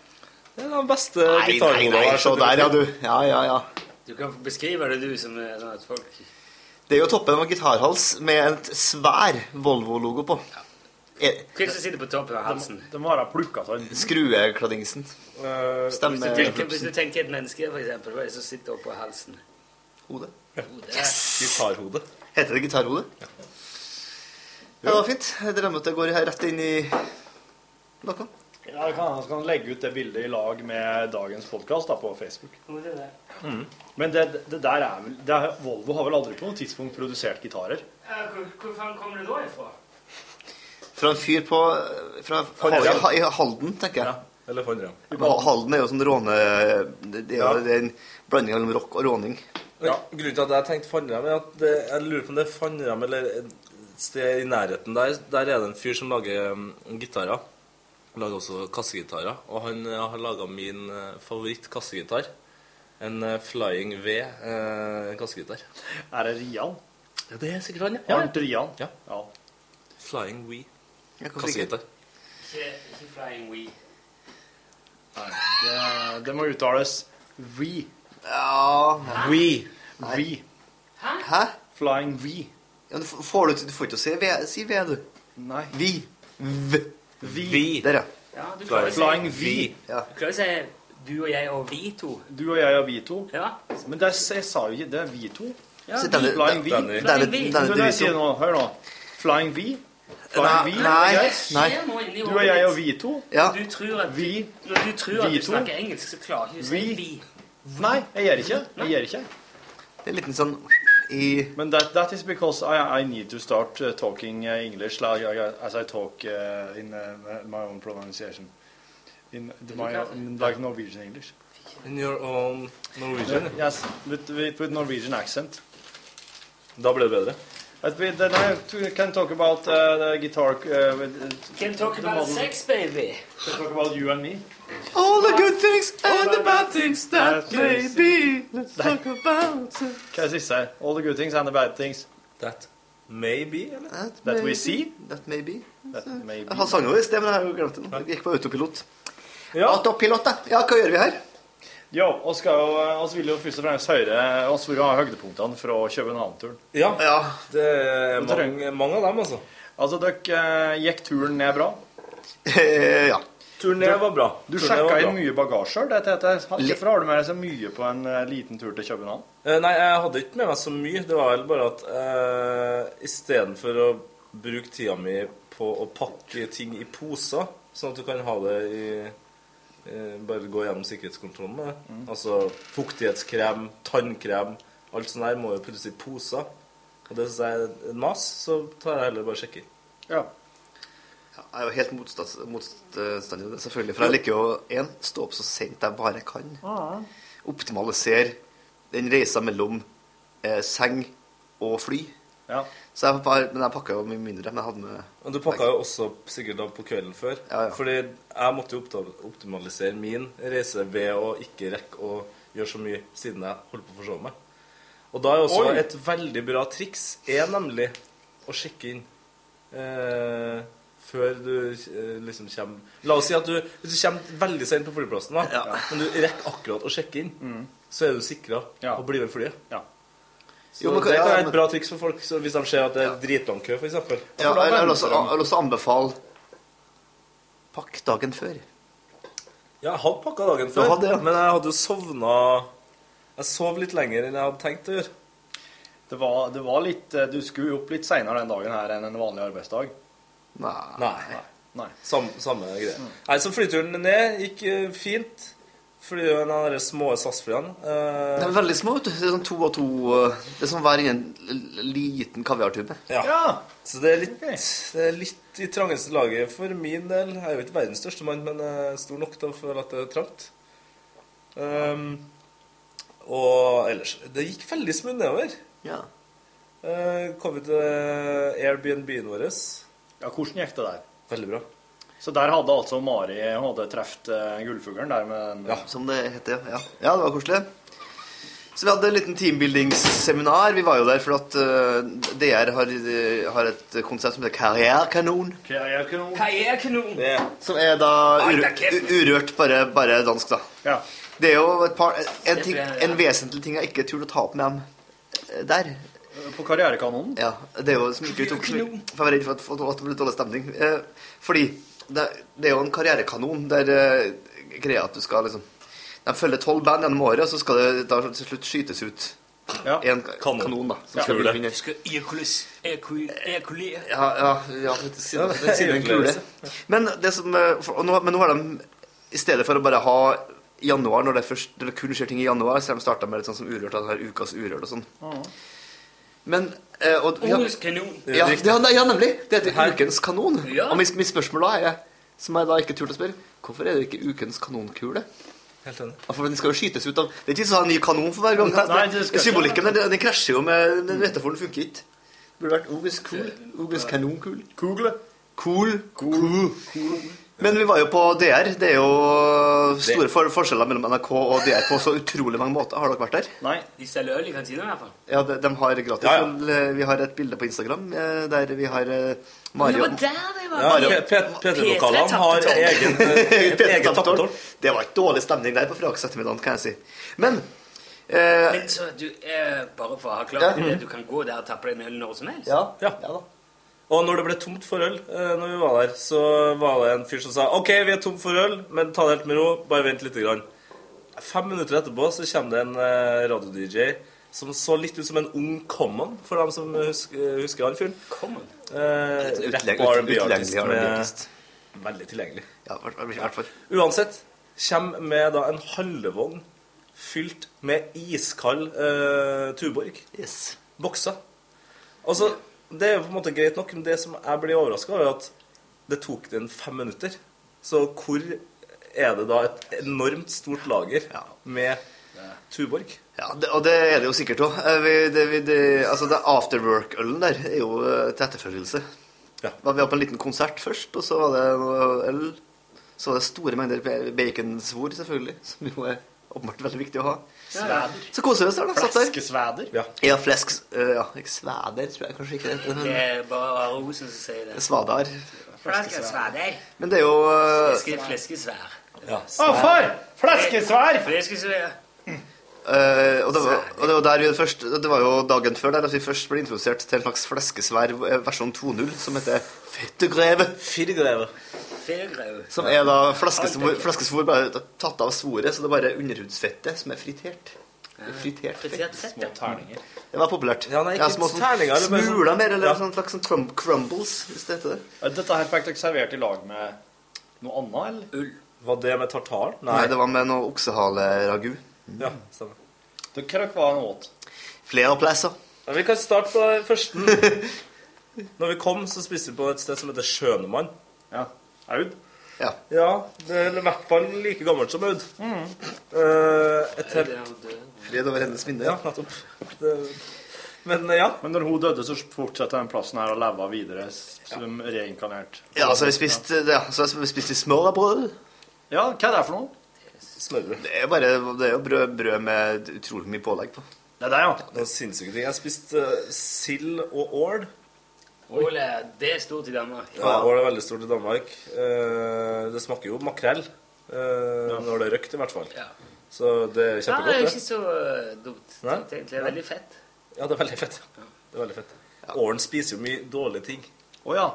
[SPEAKER 13] Det er den beste
[SPEAKER 9] Nei, nei, nei, se der, ja, du. Ja, ja, ja.
[SPEAKER 2] Du kan beskrive det, du, som er sånn at folk
[SPEAKER 9] Det er jo toppen av en gitarhals med et svær Volvo-logo på. Er-
[SPEAKER 2] Hva er det som sitter på toppen av halsen?
[SPEAKER 4] De må ha plukka sånn.
[SPEAKER 9] Skruekladingsen.
[SPEAKER 13] Eh,
[SPEAKER 2] Hvis
[SPEAKER 9] Stemme
[SPEAKER 2] du, tenker, hvis du tenker et menneske, for eksempel, hva er det som sitter oppå halsen?
[SPEAKER 9] Hodet.
[SPEAKER 2] Hodet.
[SPEAKER 9] Gitarhode. Heter det gitarhode? Ja. det var fint. Jeg drømmer at jeg går her rett inn i noe.
[SPEAKER 4] Ja, jeg kan, jeg kan legge ut det bildet i lag med dagens podkast da, på Facebook. Mm. Men det, det der er vel det er, Volvo har vel aldri på noe tidspunkt produsert gitarer?
[SPEAKER 2] Hvor faen kommer det da ifra?
[SPEAKER 9] Fra en fyr på eh, fra
[SPEAKER 4] Håndram.
[SPEAKER 9] Ha- i Halden, tenker jeg.
[SPEAKER 13] Eller håndram.
[SPEAKER 9] Ha- Halden er jo sånn råne... Det det er jo det er en blanding mellom rock og råning.
[SPEAKER 13] Men Grunnen til at jeg tenkte Fannram, er at det, jeg lurer på om det er Fannram eller et sted i nærheten der. Der er det en fyr som lager mm, gitarer. Han lager også kassegitarer. Og han eh, har laga min eh, favoritt-kassegitar. En eh, Flying V eh, kassegitar.
[SPEAKER 4] Er det Rian?
[SPEAKER 13] Ja, det er sikkert han, ja.
[SPEAKER 4] Arnt Rian.
[SPEAKER 13] Ja.
[SPEAKER 4] Ja.
[SPEAKER 13] Flying V
[SPEAKER 9] hvorfor ikke?
[SPEAKER 13] kassegitar.
[SPEAKER 2] Ikke, ikke Flying We.
[SPEAKER 4] Nei, det, det må uttales We.
[SPEAKER 9] Ja
[SPEAKER 4] We. We.
[SPEAKER 9] Hæ?
[SPEAKER 4] Flying V.
[SPEAKER 9] Ja, du, f- får du, til- du får ikke å si V, si v du.
[SPEAKER 4] Nei.
[SPEAKER 9] Vi. V.
[SPEAKER 4] Vi.
[SPEAKER 9] Der, ja.
[SPEAKER 2] Ja, du klarer å si-
[SPEAKER 4] Flying V.
[SPEAKER 9] Ja.
[SPEAKER 2] Du klarer å si du og jeg og vi to.
[SPEAKER 4] Du og jeg og vi to.
[SPEAKER 2] Ja.
[SPEAKER 4] Men det, er- jeg sa jo ikke det er vi to.
[SPEAKER 2] Ja,
[SPEAKER 9] Så
[SPEAKER 4] vi,
[SPEAKER 9] denne-
[SPEAKER 4] flying V.
[SPEAKER 9] denne- denne-
[SPEAKER 4] Flying V.
[SPEAKER 9] denne
[SPEAKER 4] Men jeg
[SPEAKER 9] divisjonen-
[SPEAKER 4] sier nå, Hør nå. Flying V.
[SPEAKER 9] Nei,
[SPEAKER 4] Flying V.
[SPEAKER 9] nei,
[SPEAKER 4] Yes.
[SPEAKER 9] nei.
[SPEAKER 4] Du og jeg og vi to.
[SPEAKER 9] Ja.
[SPEAKER 2] Du tror at,
[SPEAKER 4] Vi.
[SPEAKER 2] når du, tror at
[SPEAKER 4] Vi
[SPEAKER 2] du
[SPEAKER 4] to.
[SPEAKER 2] snakker engelsk, så klarer ikke du å si
[SPEAKER 4] Vi.
[SPEAKER 2] vi.
[SPEAKER 4] Nei, jeg gjør ikke. Jeg gjør ikke.
[SPEAKER 9] Det er en liten sånn i
[SPEAKER 4] Men that, that is because I, I need to start uh, talking uh, English like, I, as I talk uh, in uh, my own pronunciation. In the, my, in, like Norwegian English.
[SPEAKER 13] In your own Norwegian.
[SPEAKER 4] Yes, with, with, with Norwegian accent.
[SPEAKER 13] Da ble det bedre.
[SPEAKER 4] But we, then I t- can talk about uh, the guitar. Uh, with, uh,
[SPEAKER 2] Can talk
[SPEAKER 4] the
[SPEAKER 2] about
[SPEAKER 4] modern-
[SPEAKER 2] sex, baby.
[SPEAKER 4] Can talk about you and me.
[SPEAKER 9] All the good things and the bad things
[SPEAKER 4] that may
[SPEAKER 9] be. Let's talk about it.
[SPEAKER 4] Hva er det siste? All the good things and the bad things
[SPEAKER 13] That maybe, eller?
[SPEAKER 4] that we see.
[SPEAKER 9] That may be.
[SPEAKER 4] That may be.
[SPEAKER 9] Jeg har sangen vår i sted, men jeg har jo glemt den. Jeg gikk på autopilot. Autopilot, da. Ja, hva gjør vi her?
[SPEAKER 4] Jo, oss, skal jo, eh, oss vil jo først og fremst høre oss vil jo ha høydepunktene fra København-turen.
[SPEAKER 13] Ja.
[SPEAKER 9] Ja.
[SPEAKER 13] Det er
[SPEAKER 4] Det
[SPEAKER 13] mange, mange av dem, altså.
[SPEAKER 4] Altså, dere eh, gikk turen ned bra?
[SPEAKER 9] Eh, ja.
[SPEAKER 13] Turen ned var bra.
[SPEAKER 4] Du
[SPEAKER 13] Turen ned var bra.
[SPEAKER 4] sjekka inn mye bagasje? Det, det, det,
[SPEAKER 13] Litt.
[SPEAKER 4] hvorfor har du med deg så mye på en eh, liten tur til København?
[SPEAKER 13] Eh, Nei, jeg hadde ikke med meg så mye. Det var vel bare at eh, istedenfor å bruke tida mi på å pakke ting i poser, sånn at du kan ha det i eh, Bare gå gjennom sikkerhetskontrollen med det. Altså fuktighetskrem, tannkrem Alt sånt der må jo puttes i poser. Og det syns jeg er en mas, så tar jeg heller bare og sjekker.
[SPEAKER 4] Ja.
[SPEAKER 9] Jeg er jo helt motstands- motstander, av det, selvfølgelig. For jeg liker jo én stå opp så sent jeg bare kan. Optimalisere den reisa mellom eh, seng og fly.
[SPEAKER 4] Ja.
[SPEAKER 9] Så jeg, bare- men jeg pakka jo mye mindre. Men jeg hadde med
[SPEAKER 13] Men du pakka jo også sikkert av på kvelden før. Fordi jeg måtte jo opta- optimalisere min reise ved å ikke rekke å gjøre så mye siden jeg holdt på å forsove meg. Og da er også
[SPEAKER 4] Oi.
[SPEAKER 13] et veldig bra triks er nemlig å sjekke inn eh, før du eh, liksom kommer La oss si at du, hvis du kommer veldig sent på flyplassen, da, men du rekker akkurat å sjekke inn, så er du sikra å bli ved flyet. Så
[SPEAKER 9] Jo, men hva-
[SPEAKER 13] det kan
[SPEAKER 9] ja,
[SPEAKER 13] være
[SPEAKER 9] men-
[SPEAKER 13] et bra triks for folk så hvis de ser at det er dritlang kø, f.eks.
[SPEAKER 9] ja, jeg, jeg, vil også, jeg vil også anbefale pakk dagen før.
[SPEAKER 13] Ja, jeg hadde pakka dagen
[SPEAKER 9] Du
[SPEAKER 13] før,
[SPEAKER 9] hadde, ja.
[SPEAKER 13] men jeg hadde jo sovna Jeg sov litt lenger enn jeg hadde tenkt å gjøre.
[SPEAKER 4] Det var, det var litt eh, Du skulle jo opp litt seinere den dagen her enn en vanlig arbeidsdag.
[SPEAKER 13] Nei.
[SPEAKER 4] Nei. Mm.
[SPEAKER 13] Sam, samme greie. Nei, så flyturen ned gikk eh, fint. Flyr jo en av de små SAS-flyene. Eh,
[SPEAKER 9] De er veldig små, vet du. Det er sånn to og to eh, Det er som hver i en l- liten kaviartube.
[SPEAKER 13] ja. Så det er, litt, det er litt i trangeste laget for min del. Jeg er jo ikke verdens største mann, men jeg er stor nok til å føle at det er trangt. Ehm, og ellers Det gikk veldig smooth nedover.
[SPEAKER 9] Ja.
[SPEAKER 13] Eh, kom vi til
[SPEAKER 4] Eh,
[SPEAKER 13] Airbnb-en vår.
[SPEAKER 4] Ja, hvordan gikk det der?
[SPEAKER 13] Veldig bra.
[SPEAKER 4] Så der hadde altså Mari hun hadde truffet eh, gullfuglen der med den
[SPEAKER 9] Som det heter, ja. Ja, det var koselig. Så vi hadde en liten teambuildingsseminar. Vi var jo der fordi at eh, DR har, eh, har et konsept som heter Karrierekanon.
[SPEAKER 8] Karrierekanon.
[SPEAKER 2] Karrierekanon.
[SPEAKER 9] Som er da
[SPEAKER 8] Ai,
[SPEAKER 9] ur,
[SPEAKER 8] da kjeft.
[SPEAKER 9] urørt, bare, bare dansk, da.
[SPEAKER 8] Ja.
[SPEAKER 9] Det er jo et par, en, ting, en vesentlig ting jeg ikke turte å ta opp med dem eh, der.
[SPEAKER 8] På Karrierekanonen?
[SPEAKER 9] Ja. Det er jo som ikke vi tok, for jeg var redd for at, for at det ble dårlig stemning. Eh, fordi det, det er jo en karrierekanon der eh, greia at du skal liksom De følger tolv band gjennom året, og så skal det da til slutt skytes ut
[SPEAKER 8] ja.
[SPEAKER 9] en kanon, da. Som skal bli vinner. Ja, ja, ja det sier det sier jo en kule. Men, det som, eh, for, og nå, men nå har de I stedet for å bare ha januar, når det, først, når det kun skjer ting i januar, så har de starta med litt sånn som urørt, at de har ukas urørt og sånn. Men eh, og, vi har-
[SPEAKER 14] Årets kanon.
[SPEAKER 9] Ja,
[SPEAKER 14] Det er
[SPEAKER 9] ja, nei, ja, nemlig. Det heter Ukens kanon. Og mitt, mitt spørsmål da er, som jeg da ikke turte å spørre, hvorfor er det ikke Ukens kanonkule?
[SPEAKER 4] Helt enig.
[SPEAKER 9] Ja, For den skal jo skytes ut av Det er ikke sånn å ha en ny kanon for hver gang.
[SPEAKER 8] Nei, det skal ikke.
[SPEAKER 9] Symbolikken den, den krasjer jo med Den metaforen funker ikke. Det burde vært Ukens kul. Ukens kanonkul.
[SPEAKER 8] Kugle.
[SPEAKER 9] Cool. Cool. Men vi var jo på DR. Det er jo store for forskjeller mellom NRK og DR på så utrolig mange måter. Har dere vært der?
[SPEAKER 8] Nei.
[SPEAKER 2] De selger øl i kantina i hvert fall.
[SPEAKER 9] Ja, de, de har gratis.
[SPEAKER 2] Ja, ja.
[SPEAKER 9] øl. Vi har et bilde på Instagram eh, der vi har eh,
[SPEAKER 2] Det
[SPEAKER 9] Mario
[SPEAKER 2] var der det var.
[SPEAKER 9] Mario-
[SPEAKER 4] Ja, P- P- P3-lokalene har
[SPEAKER 9] P3 tapte
[SPEAKER 4] egen-
[SPEAKER 9] tolv.
[SPEAKER 4] et
[SPEAKER 9] P3
[SPEAKER 4] eget
[SPEAKER 9] tapte
[SPEAKER 4] tapte
[SPEAKER 9] tolv. Det var ikke dårlig stemning der på Fraks ettermiddagen, kan jeg si. Men eh,
[SPEAKER 2] Men så du, eh, bare for å ha
[SPEAKER 9] Ja.
[SPEAKER 2] klart det, du kan gå der og tappe deg en øl når som helst?
[SPEAKER 4] Ja. Og når det ble tomt for øl, eh, når vi var der, så var det en fyr som sa OK, vi er tom for øl, men ta det helt med ro, bare vent lite grann. Fem minutter etterpå så kommer det en eh, radio-DJ som så litt ut som en ung Common, for dem som husker, husker han fyren.
[SPEAKER 2] Common?
[SPEAKER 4] Eh,
[SPEAKER 9] Litt
[SPEAKER 4] Rapp-
[SPEAKER 9] utlegg-
[SPEAKER 4] og
[SPEAKER 9] utleggelig
[SPEAKER 4] R&B-artist med
[SPEAKER 9] R&B-artist.
[SPEAKER 4] Veldig tilgjengelig.
[SPEAKER 9] Ja, i hvert- i hvert fall.
[SPEAKER 4] Uansett kommer med da en handlevogn fylt med iskald eh, Tuborg.
[SPEAKER 9] Yes.
[SPEAKER 4] Bokser. Altså, det er jo på en måte greit nok, men det som jeg blir overraska over, er at det tok den fem minutter. Så hvor er det da et enormt stort lager med Tuborg?
[SPEAKER 9] Ja, det, og det er det jo sikkert Eh, òg. Altså, det afterwork-ølen der er jo eh, til etterfølgelse. Var vi var på en liten konsert først, og så var det noe øl. Så var det store mengder ba- baconsvor, selvfølgelig, som jo er åpenbart veldig viktig å ha.
[SPEAKER 8] Sveder.
[SPEAKER 9] Så koser vi oss der, da. Satt der.
[SPEAKER 8] Fleskesveder?
[SPEAKER 4] Ja.
[SPEAKER 9] Ja, flesk... eh, ja, ikke sveder, tror jeg kanskje ikke. det
[SPEAKER 2] Det
[SPEAKER 9] heter,
[SPEAKER 2] er bare Rosen som sier
[SPEAKER 9] men
[SPEAKER 2] det.
[SPEAKER 9] Svadar.
[SPEAKER 2] Fleskesvær.
[SPEAKER 9] Men det er jo eh,
[SPEAKER 2] Fleske, fleskesvær.
[SPEAKER 9] Å, far!
[SPEAKER 8] Fleskesvær!
[SPEAKER 2] Fleskesvær.
[SPEAKER 9] Eh, og, det var, og det var der vi først Det var jo dagen før der at vi først ble introdusert til en slags fleskesvær eh, versjon 2.0 som heter Fettegreve.
[SPEAKER 4] Fettegreve.
[SPEAKER 2] Fettegreve.
[SPEAKER 9] Som er da fleskesvor, fleskesvor bare tatt av svoret, så det er bare underhudsfettet som er fritert. Det er Fritert fett.
[SPEAKER 2] Små
[SPEAKER 4] terninger.
[SPEAKER 9] Det var populært.
[SPEAKER 4] Ja, nei, ikke
[SPEAKER 9] små sånn
[SPEAKER 4] terninger, det er bare sånn-
[SPEAKER 9] Smuler mer, eller
[SPEAKER 4] Ja.
[SPEAKER 9] sånn slags sånn crum crumbles, hvis det heter det.
[SPEAKER 8] Dette her fikk dere servert i lag med noe annet, eller?
[SPEAKER 4] Ull. Var det med tartar?
[SPEAKER 9] Nei, det var med noe oksehaleragu.
[SPEAKER 4] Ja, stemmer.
[SPEAKER 8] Hva dere var han åt?
[SPEAKER 9] Flere plasser.
[SPEAKER 4] Ja, vi kan starte på den første. Når vi kom, så spiste vi på et sted som heter Skjønemann.
[SPEAKER 8] Ja. Aud?
[SPEAKER 9] Ja.
[SPEAKER 4] Det er i hvert fall like gammelt som Aud.
[SPEAKER 8] Mm.
[SPEAKER 4] Eh, et helt
[SPEAKER 9] Fred over hennes minne.
[SPEAKER 4] Ja, nettopp. Det- Men eh, ja.
[SPEAKER 8] Men når hun døde, så fortsatte den plassen her å leve videre som reinkarnert.
[SPEAKER 9] Ja, så har vi spist, eh, ja, så har vi spist i smørbrød.
[SPEAKER 8] Ja, hva er det for noe?
[SPEAKER 4] Smørbrød.
[SPEAKER 9] Det er bare det er jo brød, brød med utrolig mye pålegg på.
[SPEAKER 8] Det er det, ja.
[SPEAKER 4] Det var sinnssyke ting. Jeg spiste eh, sild og ål.
[SPEAKER 2] Ole, det er stort i Danmark.
[SPEAKER 4] Ja, ål er veldig stort i Danmark. Eh, det smaker jo makrell. eh, Når det er røkt, i hvert fall. Så det er
[SPEAKER 2] Ja, det er jo ikke
[SPEAKER 4] kjempegodt. det.
[SPEAKER 2] så eh, dumt.
[SPEAKER 4] Nei?
[SPEAKER 2] tenkt egentlig. Det er veldig fett.
[SPEAKER 4] Ja, det er veldig fett. Det er veldig fett. Ålen spiser jo mye dårlige ting. Eh,
[SPEAKER 8] Å ja.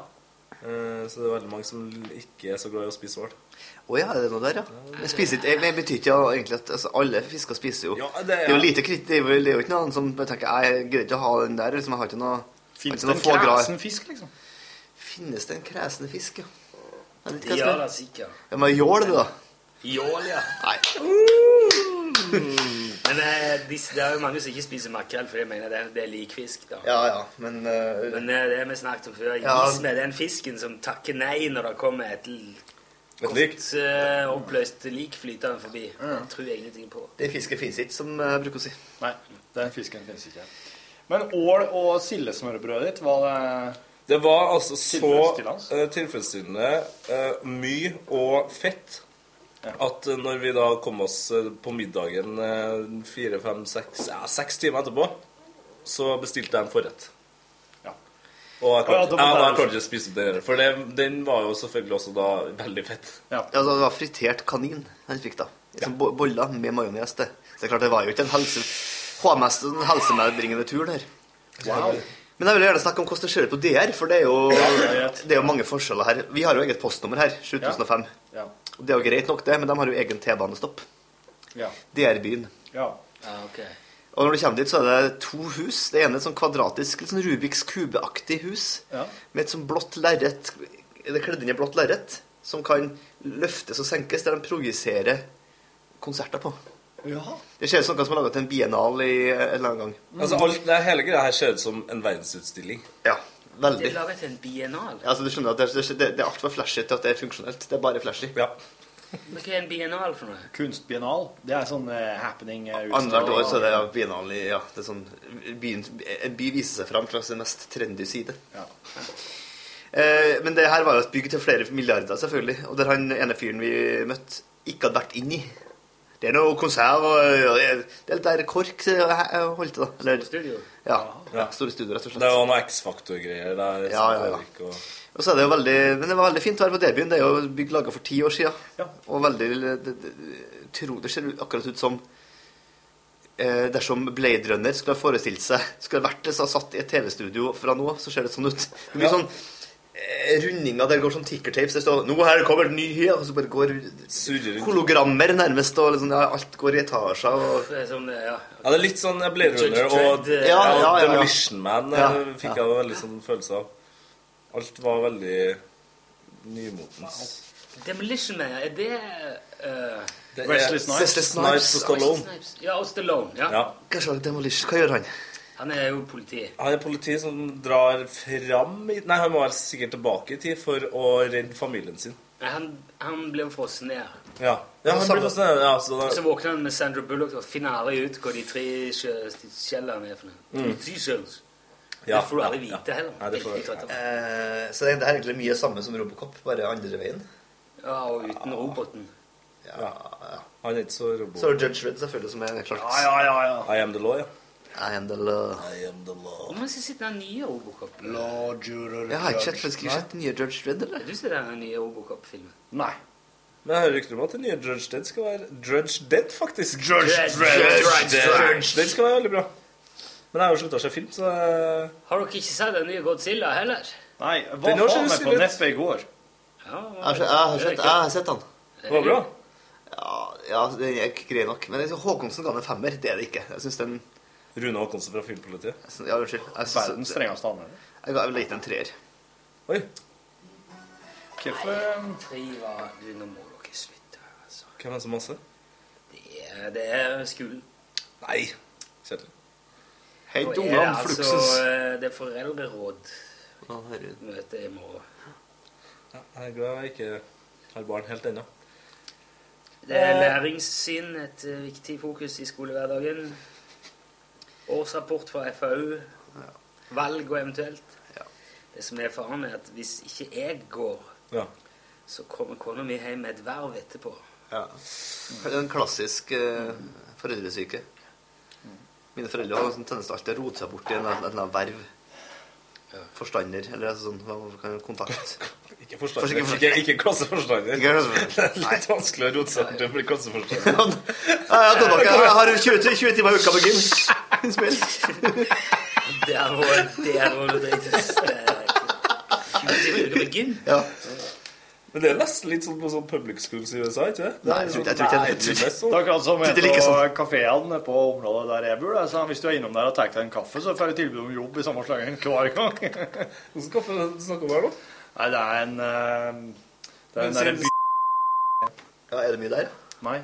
[SPEAKER 4] Så det er veldig mange som ikke er så glad i å spise ål.
[SPEAKER 9] Å ja, er det noe der, ja? Jeg spiser ikke, jeg, men jeg betyr ikke ja, egentlig at altså, alle fisker spiser jo.
[SPEAKER 4] det,
[SPEAKER 9] er jo lite kritt, det er jo- det er jo ikke noen som bare tenker jeg greier ikke å ha den der. Liksom, jeg har ikke noe
[SPEAKER 8] Finnes
[SPEAKER 9] har
[SPEAKER 8] det en
[SPEAKER 9] ikke noe få glad-
[SPEAKER 8] kresen fisk, liksom?
[SPEAKER 9] Finnes det en kresen fisk, ja? Jeg vet ikke hva jeg
[SPEAKER 2] Ja,
[SPEAKER 9] skal-
[SPEAKER 2] da, sikkert.
[SPEAKER 9] Ja, men jål, det, da.
[SPEAKER 2] Jål, ja. Mm. Men eh, de, det er jo mange som ikke spiser makrell, for de mener det, det er likfisk. da.
[SPEAKER 9] Ja, ja, men eh,
[SPEAKER 2] Men eh, det vi snakket om før,
[SPEAKER 9] Ja.
[SPEAKER 2] is med den fisken som takker nei når det kommer et l-
[SPEAKER 4] Et lik.
[SPEAKER 2] kort eh, oppløst lik flytende forbi. Det tror jeg ingenting på.
[SPEAKER 9] Den fisken finnes ikke, som eh, jeg bruker å si.
[SPEAKER 8] Nei, den fisken finnes ikke. Men ål og sildesmørbrødet ditt, var det
[SPEAKER 4] Det var altså så
[SPEAKER 8] Tilfredsstillende.
[SPEAKER 4] eh, tilfredsstillende eh, mye og fett
[SPEAKER 13] At eh, når vi da kom oss eh, på middagen eh, fire, fem, seks ja, seks timer etterpå, så bestilte jeg en forrett. Og jeg
[SPEAKER 9] Ja,
[SPEAKER 13] klarte
[SPEAKER 9] da må
[SPEAKER 13] ja,
[SPEAKER 9] det-
[SPEAKER 13] jeg klarte ikke å spise opp den, der, for det, den var jo selvfølgelig også da veldig fett.
[SPEAKER 9] Altså, det var fritert kanin han fikk, da. Som bo- boller med majones til. Så det er klart, det var jo ikke en helse... HMS, en helsemedbringende tur der.
[SPEAKER 13] Wow.
[SPEAKER 9] Men jeg vil gjerne snakke om hvordan det ser ut på DR, for det er jo, det er jo mange forskjeller her. Vi har jo eget postnummer her, 7005.
[SPEAKER 4] Ja.
[SPEAKER 9] Og Det er jo greit nok, det, men de har jo egen T-banestopp.
[SPEAKER 4] Ja.
[SPEAKER 9] DR-byen.
[SPEAKER 4] Ja.
[SPEAKER 9] Og når du kommer dit, så er det to hus. Det ene er et sånn kvadratisk, litt sånn Rubiks kube-aktig hus
[SPEAKER 4] Ja.
[SPEAKER 9] med et sånn blått lerret Er det kledd inn i blått lerret? Som kan løftes og senkes, der de projiserer konserter på.
[SPEAKER 4] Ja.
[SPEAKER 9] Det ser ut som noe som er laga til en biennal i eh, en eller annen gang.
[SPEAKER 13] Altså, alt, det Hele greia her ser ut som en verdensutstilling.
[SPEAKER 9] Ja, veldig.
[SPEAKER 2] Det lager til en biennal.
[SPEAKER 9] Altså, du skjønner at det, det, det er altfor flashy til at det er funksjonelt. Det er bare flashy.
[SPEAKER 13] Ja.
[SPEAKER 2] Men hva er en biennal for noe?
[SPEAKER 4] Kunstbiennal. Det er sånn eh, happening eh,
[SPEAKER 9] Annethvert år så er det ja, biennal i ja, det er sånn, byen, En by viser seg fram fra sin mest trendy side. Eh, men det her var jo et bygg til flere milliarder, selvfølgelig. Og der han ene fyren vi møtte, ikke hadde vært inn i. Det er noe konsert og og Det er- det er der KORK eh, holdt til, da. Eller,
[SPEAKER 13] studio.
[SPEAKER 9] Ja. Store studio, rett og slett.
[SPEAKER 13] Det var noe X-faktor-greier der.
[SPEAKER 9] Ja, ja, ja.
[SPEAKER 13] Erik, og...
[SPEAKER 9] Og så er det jo veldig, men det var veldig fint å være på Debyen. Det er jo bygg laga for ti år sia. Og veldig det, det, tro, det ser jo akkurat ut som eh, dersom Blade Runner skulle ha forestilt seg Skulle ha vært det, så ha satt i et TV-studio fra nå av, så ser det sånn ut. Det blir
[SPEAKER 4] Ja.
[SPEAKER 9] sånn eh, rundinger der det går sånn tickertapes. Det står 'Nå her kommer en ny her', og så bare går
[SPEAKER 13] rundt.
[SPEAKER 9] hologrammer nærmest, og liksom, ja, alt går i etasjer. Og,
[SPEAKER 2] Det er sånn, ja.
[SPEAKER 13] Ja, det er litt sånn Blade
[SPEAKER 9] Judge
[SPEAKER 13] Runner og
[SPEAKER 9] Dredd, eh, Ja, ja, ja, ja.
[SPEAKER 13] Demolition Man eh,
[SPEAKER 9] Ja,
[SPEAKER 13] fikk
[SPEAKER 9] ja.
[SPEAKER 13] jeg veldig sånn følelse av. Alt var veldig nymotens.
[SPEAKER 2] Demolition Man, er det eh,
[SPEAKER 13] Det er Wesley Snipes. Wesley Snipes og Stallone.
[SPEAKER 2] Wesley Snipes. Ja, og Stallone. ja.
[SPEAKER 9] Hva slags demolition? Hva gjør han?
[SPEAKER 2] Han er jo politi.
[SPEAKER 13] Han er politi som drar fram i Nei, han må være sikkert tilbake i tid for å redde familien sin.
[SPEAKER 2] Nei, han, han ble jo frosset ned.
[SPEAKER 13] Ja, ja han blir sånn ja, så da,
[SPEAKER 2] Og så våkner han med Sandra Bullock og finner aldri ut hva de tre skje- skjellene er for noe.
[SPEAKER 9] Mm.
[SPEAKER 2] De tre skjells.
[SPEAKER 9] Ja,
[SPEAKER 2] det får du aldri
[SPEAKER 9] ja, ja.
[SPEAKER 2] vite heller.
[SPEAKER 9] Nei, det får-
[SPEAKER 2] Virkelig trøtt av.
[SPEAKER 9] Eh, så det er det er egentlig mye samme som Robocop, bare andre veien.
[SPEAKER 2] Ja, og uten roboten.
[SPEAKER 9] Ja,
[SPEAKER 13] Han er ikke så robot.
[SPEAKER 9] Så er det Judge Redd, selvfølgelig, som er klart.
[SPEAKER 13] Ja, ja, ja, ja. I am the law, ja.
[SPEAKER 9] I am the law.
[SPEAKER 13] I am the law.
[SPEAKER 2] Om han skal sitte den nye Robocop?
[SPEAKER 4] Law, juror,
[SPEAKER 9] Jeg har ikke sett faktisk ikke sett den nye Judge Dredd, eller?
[SPEAKER 2] Du ser den nye Robocop-filmen.
[SPEAKER 4] Nei.
[SPEAKER 13] Men jeg hører rykter om at den nye Drudge Dead skal være Drudge Dead, faktisk.
[SPEAKER 2] Drudge Drudge Dead. Dead.
[SPEAKER 13] Drudge Dead.
[SPEAKER 2] Drudge.
[SPEAKER 13] Den skal være veldig bra. Men jeg har jo slutta å se film, så eh, jeg-
[SPEAKER 2] Har dere ikke sett den nye Godzilla heller?
[SPEAKER 4] Nei,
[SPEAKER 13] Den var har ikke faen meg på sett. neppet
[SPEAKER 4] i går.
[SPEAKER 2] Ja,
[SPEAKER 9] Jeg har sett- jeg har sett, jeg har sett han.
[SPEAKER 2] Det var bra.
[SPEAKER 9] Ja, ja den er grei nok. Men jeg synes Håkonsen ga den en femmer. Det er det ikke. Jeg synes den...
[SPEAKER 13] Rune Håkonsen fra Filmpolitiet?
[SPEAKER 9] Ja, unnskyld. Jeg synes-
[SPEAKER 4] Verdens strengeste anmelder.
[SPEAKER 9] Jeg ga vel gitt en treer.
[SPEAKER 13] Oi.
[SPEAKER 2] Hvorfor Triva, du, nå må dere slutte. Altså.
[SPEAKER 13] Hvem er det som maser?
[SPEAKER 2] Det er- Det er skolen.
[SPEAKER 13] Nei. Kjetil.
[SPEAKER 9] Hei,
[SPEAKER 2] Nå er
[SPEAKER 9] dumme
[SPEAKER 2] det
[SPEAKER 9] om fluksus.
[SPEAKER 2] Altså, eh, det er foreldreråd møte i morgen.
[SPEAKER 13] Ja, jeg er glad jeg ikke har barn helt ennå.
[SPEAKER 2] Det er læringssyn, et eh, viktig fokus i skolehverdagen. Årsrapport fra FAU. Valg og eventuelt. Det som er faren, er at hvis ikke jeg går,
[SPEAKER 13] Ja.
[SPEAKER 2] så kommer kona mi hjem med et verv etterpå.
[SPEAKER 9] Ja. Det er en klassisk eh, foreldresyke. Mine foreldre har sånn tendens til alltid å rote seg bort i en eller annen verv. Forstander, eller altså sånn hva kan jeg- kontakt.
[SPEAKER 13] Ikke forstander. Ikke, ikke klasseforstander.
[SPEAKER 9] Ikke klasseforstander.
[SPEAKER 13] Det er litt vanskelig å rote seg til å bli klasseforstander.
[SPEAKER 9] Ja, ja, tilbake. Jeg har 20, 20 timer i uka på gym. Spill.
[SPEAKER 2] Der må der må du drites. Ryggen?
[SPEAKER 9] Ja.
[SPEAKER 13] Men det er nesten litt sånn på sånn public schools i USA, ikke det? det? sånn
[SPEAKER 4] Nei, jeg tror ikke- jeg tror ikke- jeg tror ikke- Det er akkurat som en
[SPEAKER 9] sånn.
[SPEAKER 4] av kafeene på området der jeg bor. da. Så hvis du er innom der og tar deg en kaffe, så får du tilbud om jobb i samme slangen hver gang.
[SPEAKER 13] Hvilken kaffe snakker du om her, da?
[SPEAKER 4] Nei, det er en eh, Det er en
[SPEAKER 9] Men
[SPEAKER 4] derre
[SPEAKER 9] sier-
[SPEAKER 4] by...
[SPEAKER 9] Ja, er det mye der?
[SPEAKER 4] Nei.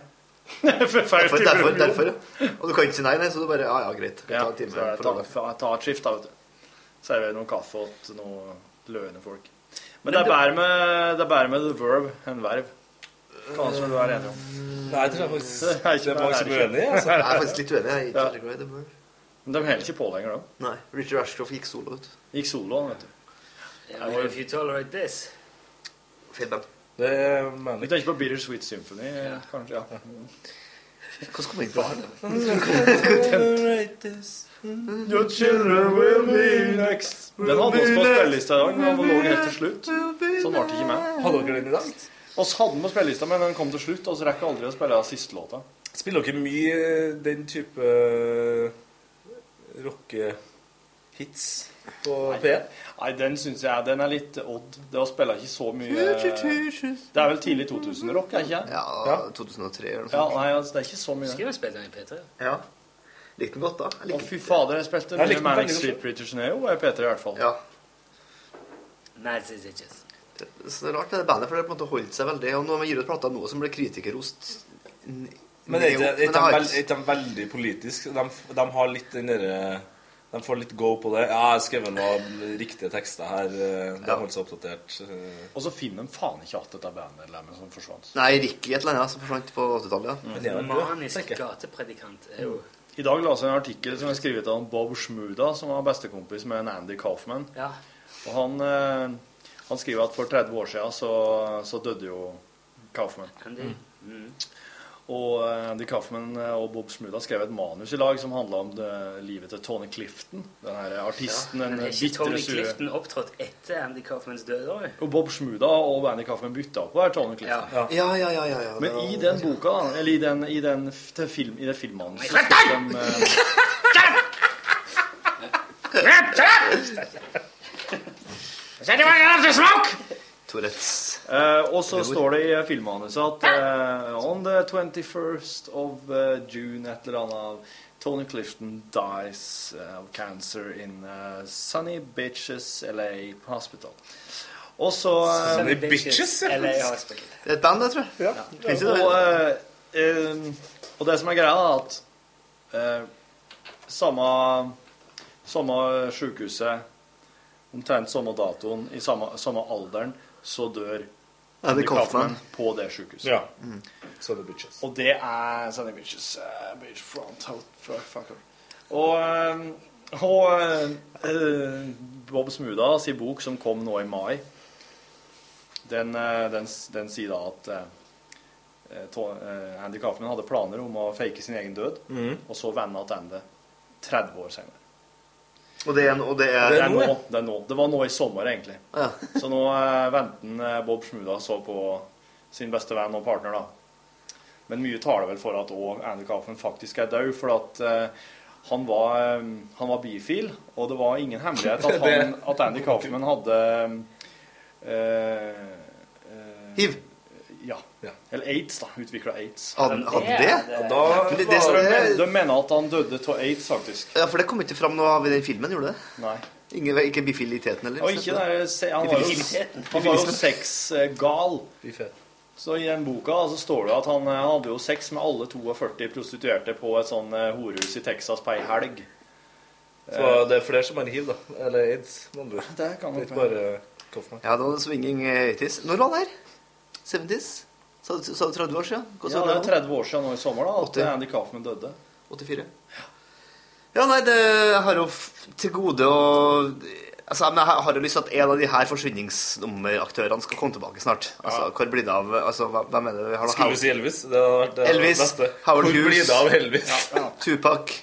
[SPEAKER 9] Derfor, derfor, derfor, ja. Og du kan ikke si nei, nei, så du bare Ja, ja, greit. Jeg
[SPEAKER 4] Ja,
[SPEAKER 9] kan ta en
[SPEAKER 4] så jeg
[SPEAKER 9] time
[SPEAKER 4] tar,
[SPEAKER 9] for alle.
[SPEAKER 4] jeg tar et skift, da, vet du. Serverer noen kaffe til noen løende folk. Men det er bare med, det er bare med the verb enn verv. Hva annet skal du være enig om?
[SPEAKER 13] Nei, jeg tror faktisk det er mange som er
[SPEAKER 4] ikke-
[SPEAKER 13] uenige, altså.
[SPEAKER 9] Jeg er faktisk litt uenig. Jeg er ikke
[SPEAKER 4] Ja.
[SPEAKER 9] veldig glad i det. men-
[SPEAKER 4] Men de holder ikke på lenger, de.
[SPEAKER 9] Nei. Richard Ashcroft gikk solo, vet du.
[SPEAKER 4] Gikk solo, han, vet du.
[SPEAKER 2] Yeah, well, if you tolerate this.
[SPEAKER 9] Feil band.
[SPEAKER 13] Det mener
[SPEAKER 4] Vi tenker på Bittersweet Symphony, kanskje. ja.
[SPEAKER 9] Hvordan kom vi inn på
[SPEAKER 4] Your children will be next. Den hadde oss på spillelista i dag, men den var lå helt til slutt. Så den ble ikke med.
[SPEAKER 13] Hadde dere den i dag?
[SPEAKER 4] Oss hadde den på spillelista, men den kom til slutt, og så rekker aldri å spille siste låta.
[SPEAKER 13] Spiller dere mye den type Eh, rockehits på P1?
[SPEAKER 4] Nei, den syns jeg den er litt odd. Det å spille ikke så mye Det er vel tidlig 2000-rock, er ikke det?
[SPEAKER 9] Ja, 2003 eller noe
[SPEAKER 4] Ja,
[SPEAKER 9] sånt.
[SPEAKER 4] nei, altså, det er ikke så mye.
[SPEAKER 9] Skulle
[SPEAKER 4] vi
[SPEAKER 15] spille den i P3?
[SPEAKER 9] Ja. Likte den godt, da. Jeg
[SPEAKER 4] Å,
[SPEAKER 9] likte
[SPEAKER 4] fy fader, jeg spilte
[SPEAKER 9] Jeg
[SPEAKER 4] mye
[SPEAKER 9] likte den
[SPEAKER 4] Manic
[SPEAKER 9] veldig godt.
[SPEAKER 4] Street Preachers Neo og P3 i hvert fall.
[SPEAKER 9] Ja.
[SPEAKER 15] Nei, det er ikke det.
[SPEAKER 9] Så det er rart med det bandet, for det har på en måte holdt seg veldig. Og når man gir ut plata nå som blir kritikerost n-
[SPEAKER 13] Men er ikke,
[SPEAKER 9] ned
[SPEAKER 13] er
[SPEAKER 9] opp,
[SPEAKER 13] ikke,
[SPEAKER 9] jeg har
[SPEAKER 13] de, veld, er ikke de veldig politiske? De, de har litt den derre De får litt go på det. Ja, jeg har skrevet noen riktige tekster her. eh, De holder seg oppdatert. eh.
[SPEAKER 4] Og så finner de faen ikke igjen dette bandmedlemmet som forsvant.
[SPEAKER 9] Nei, Ricky et eller annet som forsvant på 80-tallet.
[SPEAKER 4] Mm.
[SPEAKER 9] ja.
[SPEAKER 4] Det er vel det.
[SPEAKER 15] Manisk gatepredikant er jo
[SPEAKER 4] Mm. I dag la jeg en artikkel som er skrevet av Bob Schmuda, som var bestekompis med en Andy Kaufman.
[SPEAKER 15] Ja.
[SPEAKER 4] Og han, eh, han skriver at for 30 år siden så, så døde jo Kaufman.
[SPEAKER 15] Andy.
[SPEAKER 4] Og eh, Andy Kaufman eh, og Bob Smuda skrev et manus i lag som handla om det, livet til Tony Clifton. Den her artisten,
[SPEAKER 15] Men
[SPEAKER 4] den
[SPEAKER 15] er ikke
[SPEAKER 4] bitre,
[SPEAKER 15] Tommy
[SPEAKER 4] sure
[SPEAKER 15] Clifton opptrådt etter Andy Kaufmans død òg?
[SPEAKER 4] Og Bob Smuda og Andy Kaufman bytta på her Tony Clifton.
[SPEAKER 15] Ja. Ja, ja, ja, ja,
[SPEAKER 9] ja.
[SPEAKER 4] Men i den boka, da, eller i den, i den f- til film, i det filmmanuset
[SPEAKER 15] Nei,
[SPEAKER 4] så fikk de, eh,
[SPEAKER 9] Tourettes.
[SPEAKER 4] Eh, og så står det i filmmanuset at eh, On the 21st of eh, June et eller annet Tony Clifton dies eh, of cancer in eh, Sunny Bitches LA Hospital. Og så eh,
[SPEAKER 13] Sunny Bitches, ja. LA Hospital.
[SPEAKER 9] Det er et band, jeg tror. Ja. Finnes det,
[SPEAKER 4] og,
[SPEAKER 9] da?
[SPEAKER 4] eh, eh, og det som er greia, da, er at eh, samme, samme sjukehuset, omtrent samme datoen, i samme, samme alderen, så dør
[SPEAKER 9] Andy
[SPEAKER 4] Andy Kaufman
[SPEAKER 9] Kaufman. Mm.
[SPEAKER 4] på det sjukehuset.
[SPEAKER 13] Ja. Sunny Bitches.
[SPEAKER 4] Og det er Sunny Bitches. eh, bitch front, out, fuck, fuck, fuck. Og, eh, og eh, eh, Bob Smuda sin bok som kom nå i mai, den, eh, den, s- den sier da at eh, To- eh, Andy Kaufman hadde planer om å fake sin egen død,
[SPEAKER 9] Mhm.
[SPEAKER 4] og så vende tilbake 30 år senere.
[SPEAKER 9] Og det er, og det er,
[SPEAKER 4] Det er nå, det er nå. Det var nå i sommer, egentlig.
[SPEAKER 9] Ja.
[SPEAKER 4] Så nå eh, venter han, eh, Bob Smuda så på sin beste venn og partner, da. Men mye taler vel for at òg Andy Kaufman faktisk er død, for at eh, han var, eh, han var bifil, og det var ingen hemmelighet at, han,
[SPEAKER 13] Det-
[SPEAKER 4] at Andy Kaufman hadde Hiv? Ja. Eller aids, da. Utvikla aids.
[SPEAKER 9] Hadde- hadde det?
[SPEAKER 4] Ja,
[SPEAKER 9] Ja, men det- det som
[SPEAKER 4] de,
[SPEAKER 9] er-
[SPEAKER 4] mener- de mener at han døde av aids, faktisk.
[SPEAKER 9] ja, for det kom ikke fram noe av i den filmen, gjorde det?
[SPEAKER 4] Nei.
[SPEAKER 9] Ingen, ikke bifiliteten, eller?
[SPEAKER 4] Og ikke der, se, han var jo,
[SPEAKER 9] Bifilismen.
[SPEAKER 4] han var jo sexgal. Så i den boka så står det at han eh, hadde jo sex med alle 42 prostituerte på et sånn eh, horehus i Texas på ei helg. Eh.
[SPEAKER 13] Så det er flere som har hiv, da. Eller aids, med andre ord.
[SPEAKER 4] Det kan
[SPEAKER 13] er ikke bare Kaufmann.
[SPEAKER 9] Ja, det var swinging eh, 80s. Når var han her? 70s? Sa du sa du 30 år siden?
[SPEAKER 4] Ja, det er 30 år siden nå i sommer da, at
[SPEAKER 9] 80.
[SPEAKER 4] Andy Kaufman døde.
[SPEAKER 9] 84. Ja, nei, det Eh, jeg har jo f- til gode å Altså, men jeg har jo lyst til at en av de her forsvinningsnummeraktørene skal komme tilbake snart. Altså, Hvor blir det av altså, hva- Hvem er det vi har
[SPEAKER 13] Skulle du si Elvis? Det hadde vært det
[SPEAKER 9] Elvis,
[SPEAKER 13] beste.
[SPEAKER 9] Howard
[SPEAKER 13] Hvor blir
[SPEAKER 9] Hughes.
[SPEAKER 13] det av Elvis?
[SPEAKER 9] Tupac.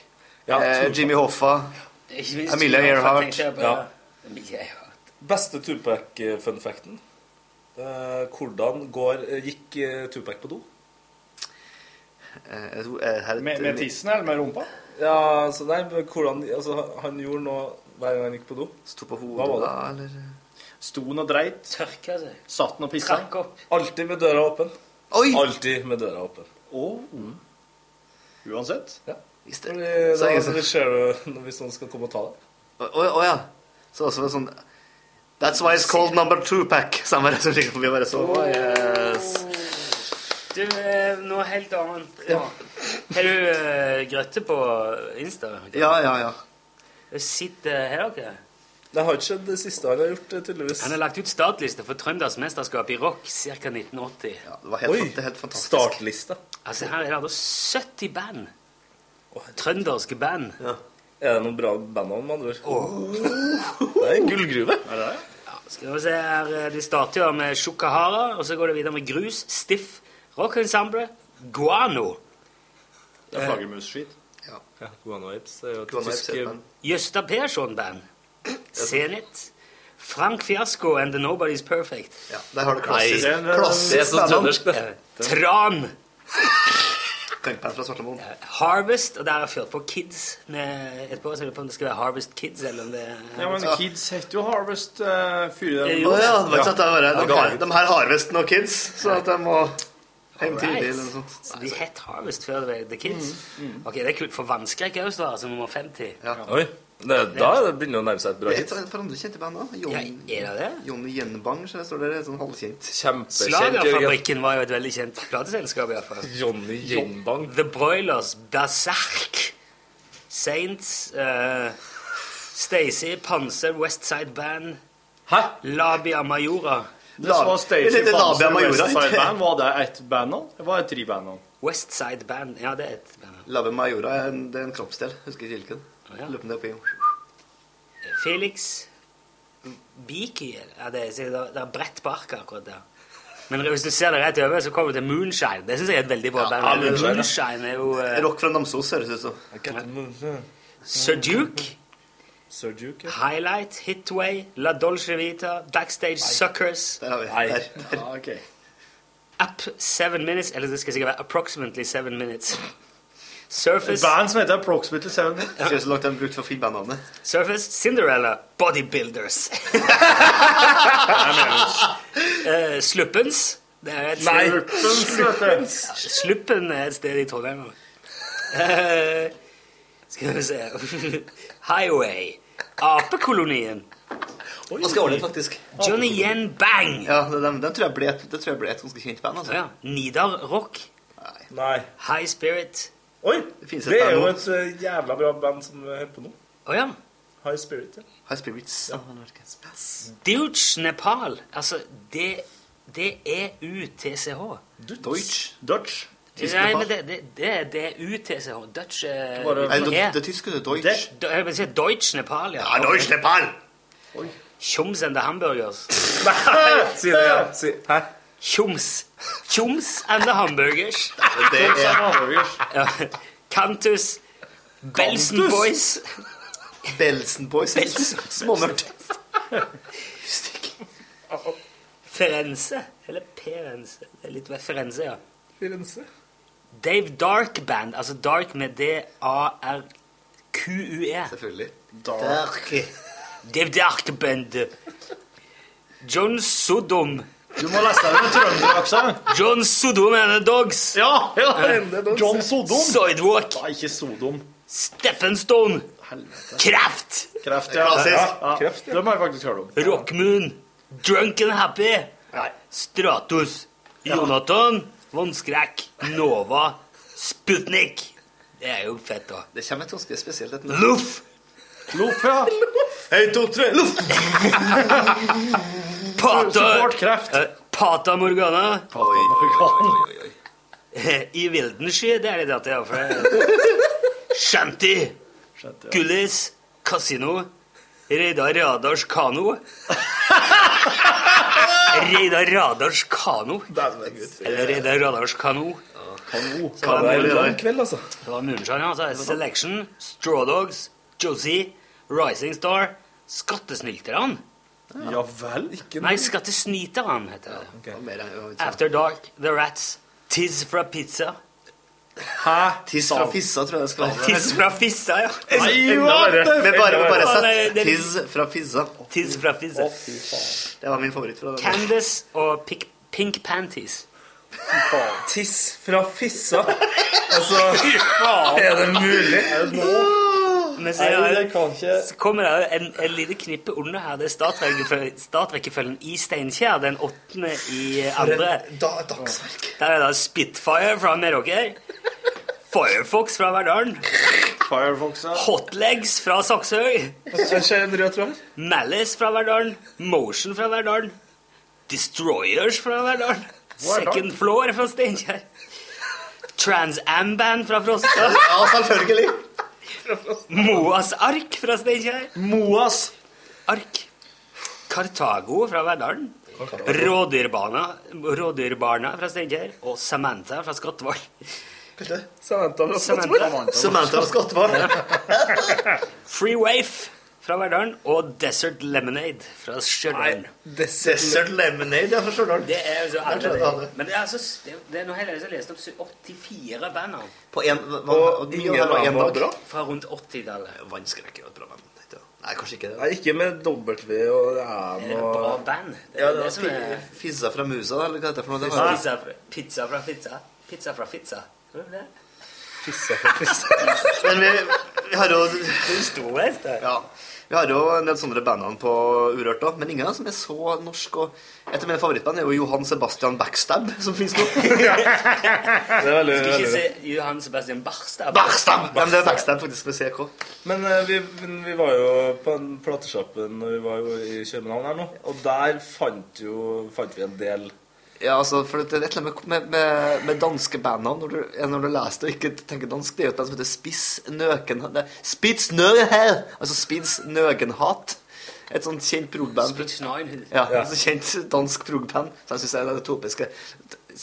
[SPEAKER 13] Ja,
[SPEAKER 9] eh,
[SPEAKER 13] Tupac.
[SPEAKER 9] Jimmy Hoffa.
[SPEAKER 15] Ikke minst
[SPEAKER 9] Amelia
[SPEAKER 15] Tupac,
[SPEAKER 9] Earhart.
[SPEAKER 15] tenkte jeg på.
[SPEAKER 13] Ja.
[SPEAKER 15] Amelia Earhart.
[SPEAKER 13] Beste Tupac-funfacten? Eh, hvordan går, gikk eh, Tupac på do?
[SPEAKER 9] uh,
[SPEAKER 4] Med, med tissen eller med rumpa?
[SPEAKER 13] Ja, altså, nei, men hvordan, altså, han gjorde noe hver gang han gikk på do.
[SPEAKER 9] Sto på
[SPEAKER 13] Hva var det?
[SPEAKER 9] eller?
[SPEAKER 4] Sto han og dreit?
[SPEAKER 15] Tørka seg.
[SPEAKER 4] Satt han og pissa?
[SPEAKER 15] Trakk opp.
[SPEAKER 13] Alltid med døra åpen.
[SPEAKER 9] Oi!
[SPEAKER 13] Alltid med døra åpen.
[SPEAKER 4] Uansett?
[SPEAKER 13] Ja.
[SPEAKER 9] Visst
[SPEAKER 13] Fordi,
[SPEAKER 9] Så
[SPEAKER 13] da,
[SPEAKER 9] jeg-
[SPEAKER 13] det skjer jo når- hvis noen skal komme og ta deg.
[SPEAKER 9] Å å, å, ja. oh, Så også sånn That's why it's called number two-pack. Samme det som ligger forbi bare så å, Oh, yes.
[SPEAKER 15] Du, eh, noe helt annet. Har du eh, Grøtte på Insta?
[SPEAKER 9] Ja, ja, ja.
[SPEAKER 15] Sitter her, dere?
[SPEAKER 13] Det har ikke skjedd det siste han har gjort, eh, tydeligvis.
[SPEAKER 15] Han har lagt ut startliste for Trøndersmesterskapet i rock ca. 1980. Ja,
[SPEAKER 9] det var
[SPEAKER 13] helt- Oi, det er helt fantastisk. startliste.
[SPEAKER 15] Altså, her er det da 70 band. Trønderske band.
[SPEAKER 13] Er det noen bra bandnavn, med andre ord? Det er en gullgruve.
[SPEAKER 4] Er det det?
[SPEAKER 2] Skal vi se her, eh, De starter jo med Shukahara, og så går det videre med Grus, Stiff, Rock Ensemble, Guano.
[SPEAKER 4] Det er
[SPEAKER 2] Eh,
[SPEAKER 4] flaggermusskit.
[SPEAKER 13] Ja, Guano Apes er jo et
[SPEAKER 4] Guano Apes
[SPEAKER 13] tysk
[SPEAKER 4] er et band.
[SPEAKER 2] Jøsta Persson-band. Zenit. Frank Fiasko and the Nobody's Perfect. Ja,
[SPEAKER 9] der har du klassisk- Nei, det er- klassisk det er så band. trøndersk, det.
[SPEAKER 2] eh, Tran.
[SPEAKER 9] Punkband fra Svartemoen.
[SPEAKER 2] Harvest, og der har jeg ført på Kids med etterpå. Så jeg lurer på om det skal være Harvest Kids, eller om det
[SPEAKER 4] Ja, men Kids heter jo Harvest uh, Fyre.
[SPEAKER 2] Eh,
[SPEAKER 9] Å ja, det var ikke sant. Det var, de, har, de her har visst noen kids, så at de må hjem tidlig eller noe sånt.
[SPEAKER 2] Så de het Harvest før det var The Kids.
[SPEAKER 4] Mm,
[SPEAKER 2] Ok, Det er kult for vannskrekk også, da, altså nummer 50.
[SPEAKER 13] Oi, det, da er det begynner det å nærme seg et bra
[SPEAKER 9] Det er
[SPEAKER 13] hit.
[SPEAKER 9] et par andre kjente band òg.
[SPEAKER 2] er det det?
[SPEAKER 9] Johnny Gjenbang, så der står det. Sånn halvkjent.
[SPEAKER 2] Slagerfabrikken var jo et veldig kjent plateselskap. i hvert fall.
[SPEAKER 13] Johnny
[SPEAKER 2] Gjenbang. The Broilers, Berserk, Saints, eh, Stacey, Panser, Westside Band
[SPEAKER 4] Hæ?
[SPEAKER 2] Labia Majora.
[SPEAKER 4] Det som var
[SPEAKER 2] Det er
[SPEAKER 4] Stacey
[SPEAKER 2] litt
[SPEAKER 4] Panser
[SPEAKER 2] Labia Majora,
[SPEAKER 4] Westside
[SPEAKER 2] ikke?
[SPEAKER 4] Band, var det ett band nå? Det var tre band nå.
[SPEAKER 2] Westside Band. Ja, det er et band.
[SPEAKER 9] Lave Majora er en, det er en kroppsdel. Husker ikke hvilken.
[SPEAKER 2] Ja.
[SPEAKER 9] Lurer på om det er oppi.
[SPEAKER 2] Felix Beaky ja, det, er- det er bredt på arket akkurat der. Men hvis du ser det rett over, så kommer du til Moonshine. Det syns jeg er et veldig bra band.
[SPEAKER 9] ja, Moonshine, ja.
[SPEAKER 2] Moonshine er jo eh,
[SPEAKER 9] Rock fra Namsos høres ut som.
[SPEAKER 2] Sir Duke. Highlight, Hitway, La Dolce Vita, Backstage Suckers.
[SPEAKER 4] Ja, ok.
[SPEAKER 2] Up Seven Minutes, eller det skal sikkert være Approximately Seven Minutes. Surface,
[SPEAKER 4] Et band som heter Approximately Seven
[SPEAKER 9] Jeg Ser ut som langt de har brukt for å finne bandnavnet.
[SPEAKER 2] Surface, Cinderella, Bodybuilders. Eh, Sluppens. Det er et sted-
[SPEAKER 4] Nei, Sluppens, vet du.
[SPEAKER 2] Ja, Sluppen er et sted i Trondheim. Eh, skal vi se Highway. Apekolonien.
[SPEAKER 9] Ganske ordentlig, faktisk.
[SPEAKER 2] Johnny Yen Bang.
[SPEAKER 9] Ja, det, dem- dem tror jeg ble et, det tror jeg ble et ganske kjent band. altså.
[SPEAKER 2] Ja, Nidar Rock.
[SPEAKER 13] Nei.
[SPEAKER 2] High Spirit.
[SPEAKER 13] Oi!
[SPEAKER 9] finnes et
[SPEAKER 13] Det er
[SPEAKER 9] band
[SPEAKER 13] jo
[SPEAKER 9] nå.
[SPEAKER 13] et eh, jævla bra band som eh, holder på nå.
[SPEAKER 2] Å ja.
[SPEAKER 13] High Spirit, ja.
[SPEAKER 9] High Spirits. Ja.
[SPEAKER 2] Deutsch Nepal. Altså, E det, det er UTCH.
[SPEAKER 9] Deutsch.
[SPEAKER 4] Dutch.
[SPEAKER 2] Nei, men det, det, det, det er UTCH. Dutch eh,
[SPEAKER 9] Bare- Nei, det-
[SPEAKER 2] er-
[SPEAKER 9] det tyske, det er Deutsch.
[SPEAKER 2] Det- Jeg vil si Deutsch Nepal, ja.
[SPEAKER 9] Ja, Deutsch Nepal.
[SPEAKER 2] Tjoms and the Hamburgers.
[SPEAKER 13] Si det, ja. Si. Hæ?
[SPEAKER 2] Tjoms. Tjoms and the Hamburgers.
[SPEAKER 9] Det er
[SPEAKER 2] Ja. Kantus. Belsen Boys.
[SPEAKER 9] Belsen Boys. Småmørkt.
[SPEAKER 2] Ferense. Eller Perense. Det er litt Ferense, ja.
[SPEAKER 13] Firenze.
[SPEAKER 2] Dave Dark Band, altså Dark med D-A-R-Q-U-E.
[SPEAKER 9] Selvfølgelig.
[SPEAKER 2] Dark. E. Dave Dark Band. John Sodom.
[SPEAKER 4] Du må lese det med trønderaksent.
[SPEAKER 2] John Sodom and the Dogs.
[SPEAKER 4] Ja, ja,
[SPEAKER 2] Eh,
[SPEAKER 4] det er dogs. John Sodom.
[SPEAKER 2] Sidewalk.
[SPEAKER 4] Nei, ikke Sodom.
[SPEAKER 2] Steppenstone. Kraft.
[SPEAKER 4] Kreft, ja.
[SPEAKER 2] Klassisk.
[SPEAKER 4] Ja, ja.
[SPEAKER 2] Kreft,
[SPEAKER 4] Det må jeg faktisk høre om.
[SPEAKER 2] Rockmoon. Drunk and Happy. Stratos. Jonathan. Vannskrekk. Nova. Sputnik. Det er jo fett, da.
[SPEAKER 9] Det kommer et ganske spesielt et
[SPEAKER 2] Loff.
[SPEAKER 4] Loff, ja. En, to, tre, loff!
[SPEAKER 2] Pata,
[SPEAKER 4] Support kreft. Oh
[SPEAKER 2] Eh, Pata Morgana.
[SPEAKER 4] Morgana.
[SPEAKER 2] Eh, I vilden sky, det er det at jeg har for Shanty. Gullis. Casino. Reidar Radars kano. Reidar Radars kano. Eller Reidar Radars kano.
[SPEAKER 4] Kano.
[SPEAKER 13] Kano er en lang kveld, altså.
[SPEAKER 2] Det var Moonshine, ja. Så er det Selection, Straw Dogs, Josie, Rising Star, Skattesnylterne.
[SPEAKER 4] Ja vel? Ikke
[SPEAKER 2] Nei, Skattesnyterne heter det.
[SPEAKER 9] Hæ?
[SPEAKER 2] After Dark, The Rats, Tiss fra Pizza.
[SPEAKER 9] Tiss fra Fissa, tror jeg det skal være.
[SPEAKER 2] Tiss fra Fissa, ja.
[SPEAKER 9] Nei, what the- Men bare, bare sett Tiss fra Fissa.
[SPEAKER 2] Tiss fra Fissa.
[SPEAKER 9] Det var min favoritt fra den.
[SPEAKER 2] Candace og Pink, Pink Panties.
[SPEAKER 13] Tiss fra fissa. Altså, er det mulig?
[SPEAKER 2] Men så,
[SPEAKER 4] Nei,
[SPEAKER 2] er
[SPEAKER 4] det
[SPEAKER 2] det-
[SPEAKER 4] kan ikke
[SPEAKER 2] så kommer det jo en, en lite knippe under her. Det er startrekkefølgen, startrekkefølgen i Steinkjer den åttende i andre. Der er da Spitfire fra Meråker. Firefox fra Verdalen.
[SPEAKER 4] Firefox, ja.
[SPEAKER 2] Hotlegs fra Saksøy. Malice fra Verdalen. Motion fra Verdalen. Destroyers fra Verdalen. Second Floor fra Steinkjer. Trans Am-band fra Frosta.
[SPEAKER 9] Ja, selvfølgelig.
[SPEAKER 2] Moas ark fra Steinkjer.
[SPEAKER 4] Moas.
[SPEAKER 2] Ark. Kartago fra Verdalen. Rådyrbarna, rådyrbarna fra Steinkjer. Og Samantha fra Skottvoll.
[SPEAKER 4] Samantha
[SPEAKER 2] fra
[SPEAKER 9] Skottvoll. Samantha fra Skottvoll.
[SPEAKER 2] Free Wave fra Verdalen og Desert Lemonade fra Stjørdal.
[SPEAKER 9] Desert, Lemonade ja, fra Stjørdal.
[SPEAKER 2] Det er jo så
[SPEAKER 9] Jeg trodde jeg hadde.
[SPEAKER 2] Men det er, altså, det er- det er noe heller jeg har lest om 84 band av.
[SPEAKER 9] På en, man, og mye av det var en dag.
[SPEAKER 2] Fra rundt 80-tallet.
[SPEAKER 9] Vannskrekken var et bra band. tenkte jeg. Nei, kanskje ikke det.
[SPEAKER 4] Nei, ikke med W og M
[SPEAKER 9] Det er
[SPEAKER 4] og
[SPEAKER 9] bra
[SPEAKER 2] Eh, band.
[SPEAKER 9] Ja, det
[SPEAKER 2] det som
[SPEAKER 9] var
[SPEAKER 2] er-
[SPEAKER 9] Fizza fra Musa, eller hva heter det for noe? Det var-
[SPEAKER 2] Pizza, fra- pizza fra pizza. Pizza fra pizza. Hører du det?
[SPEAKER 9] Men vi, vi har jo ja, Vi har jo en del sånne bandene på Urørt, da, men ingen av dem som er så norsk. Og et av mine favorittband er jo Johan Sebastian Backstab, som fins nå.
[SPEAKER 4] veldig-
[SPEAKER 2] Skal ikke
[SPEAKER 4] veldig-
[SPEAKER 2] si Johan Sebastian Barstad?
[SPEAKER 9] Backstab! Ja, men det er Backstab faktisk med CK.
[SPEAKER 4] Men eh, vi, men vi var jo på en platesjappe når vi var jo i København her nå, og der fant, jo, fant vi en del
[SPEAKER 9] Ja, altså, for det er et eller annet med, med, med danske bandene når du, ja, når du leser det og ikke tenker dansk. Det er jo et band som heter Spiss Nøkenhat det er Spitz Nøgenhel! Altså Spitz Nøgenhat. Et sånt kjent progband. Ja,
[SPEAKER 2] Ja.
[SPEAKER 9] et sånt kjent dansk progband. Så jeg syns det er det topiske.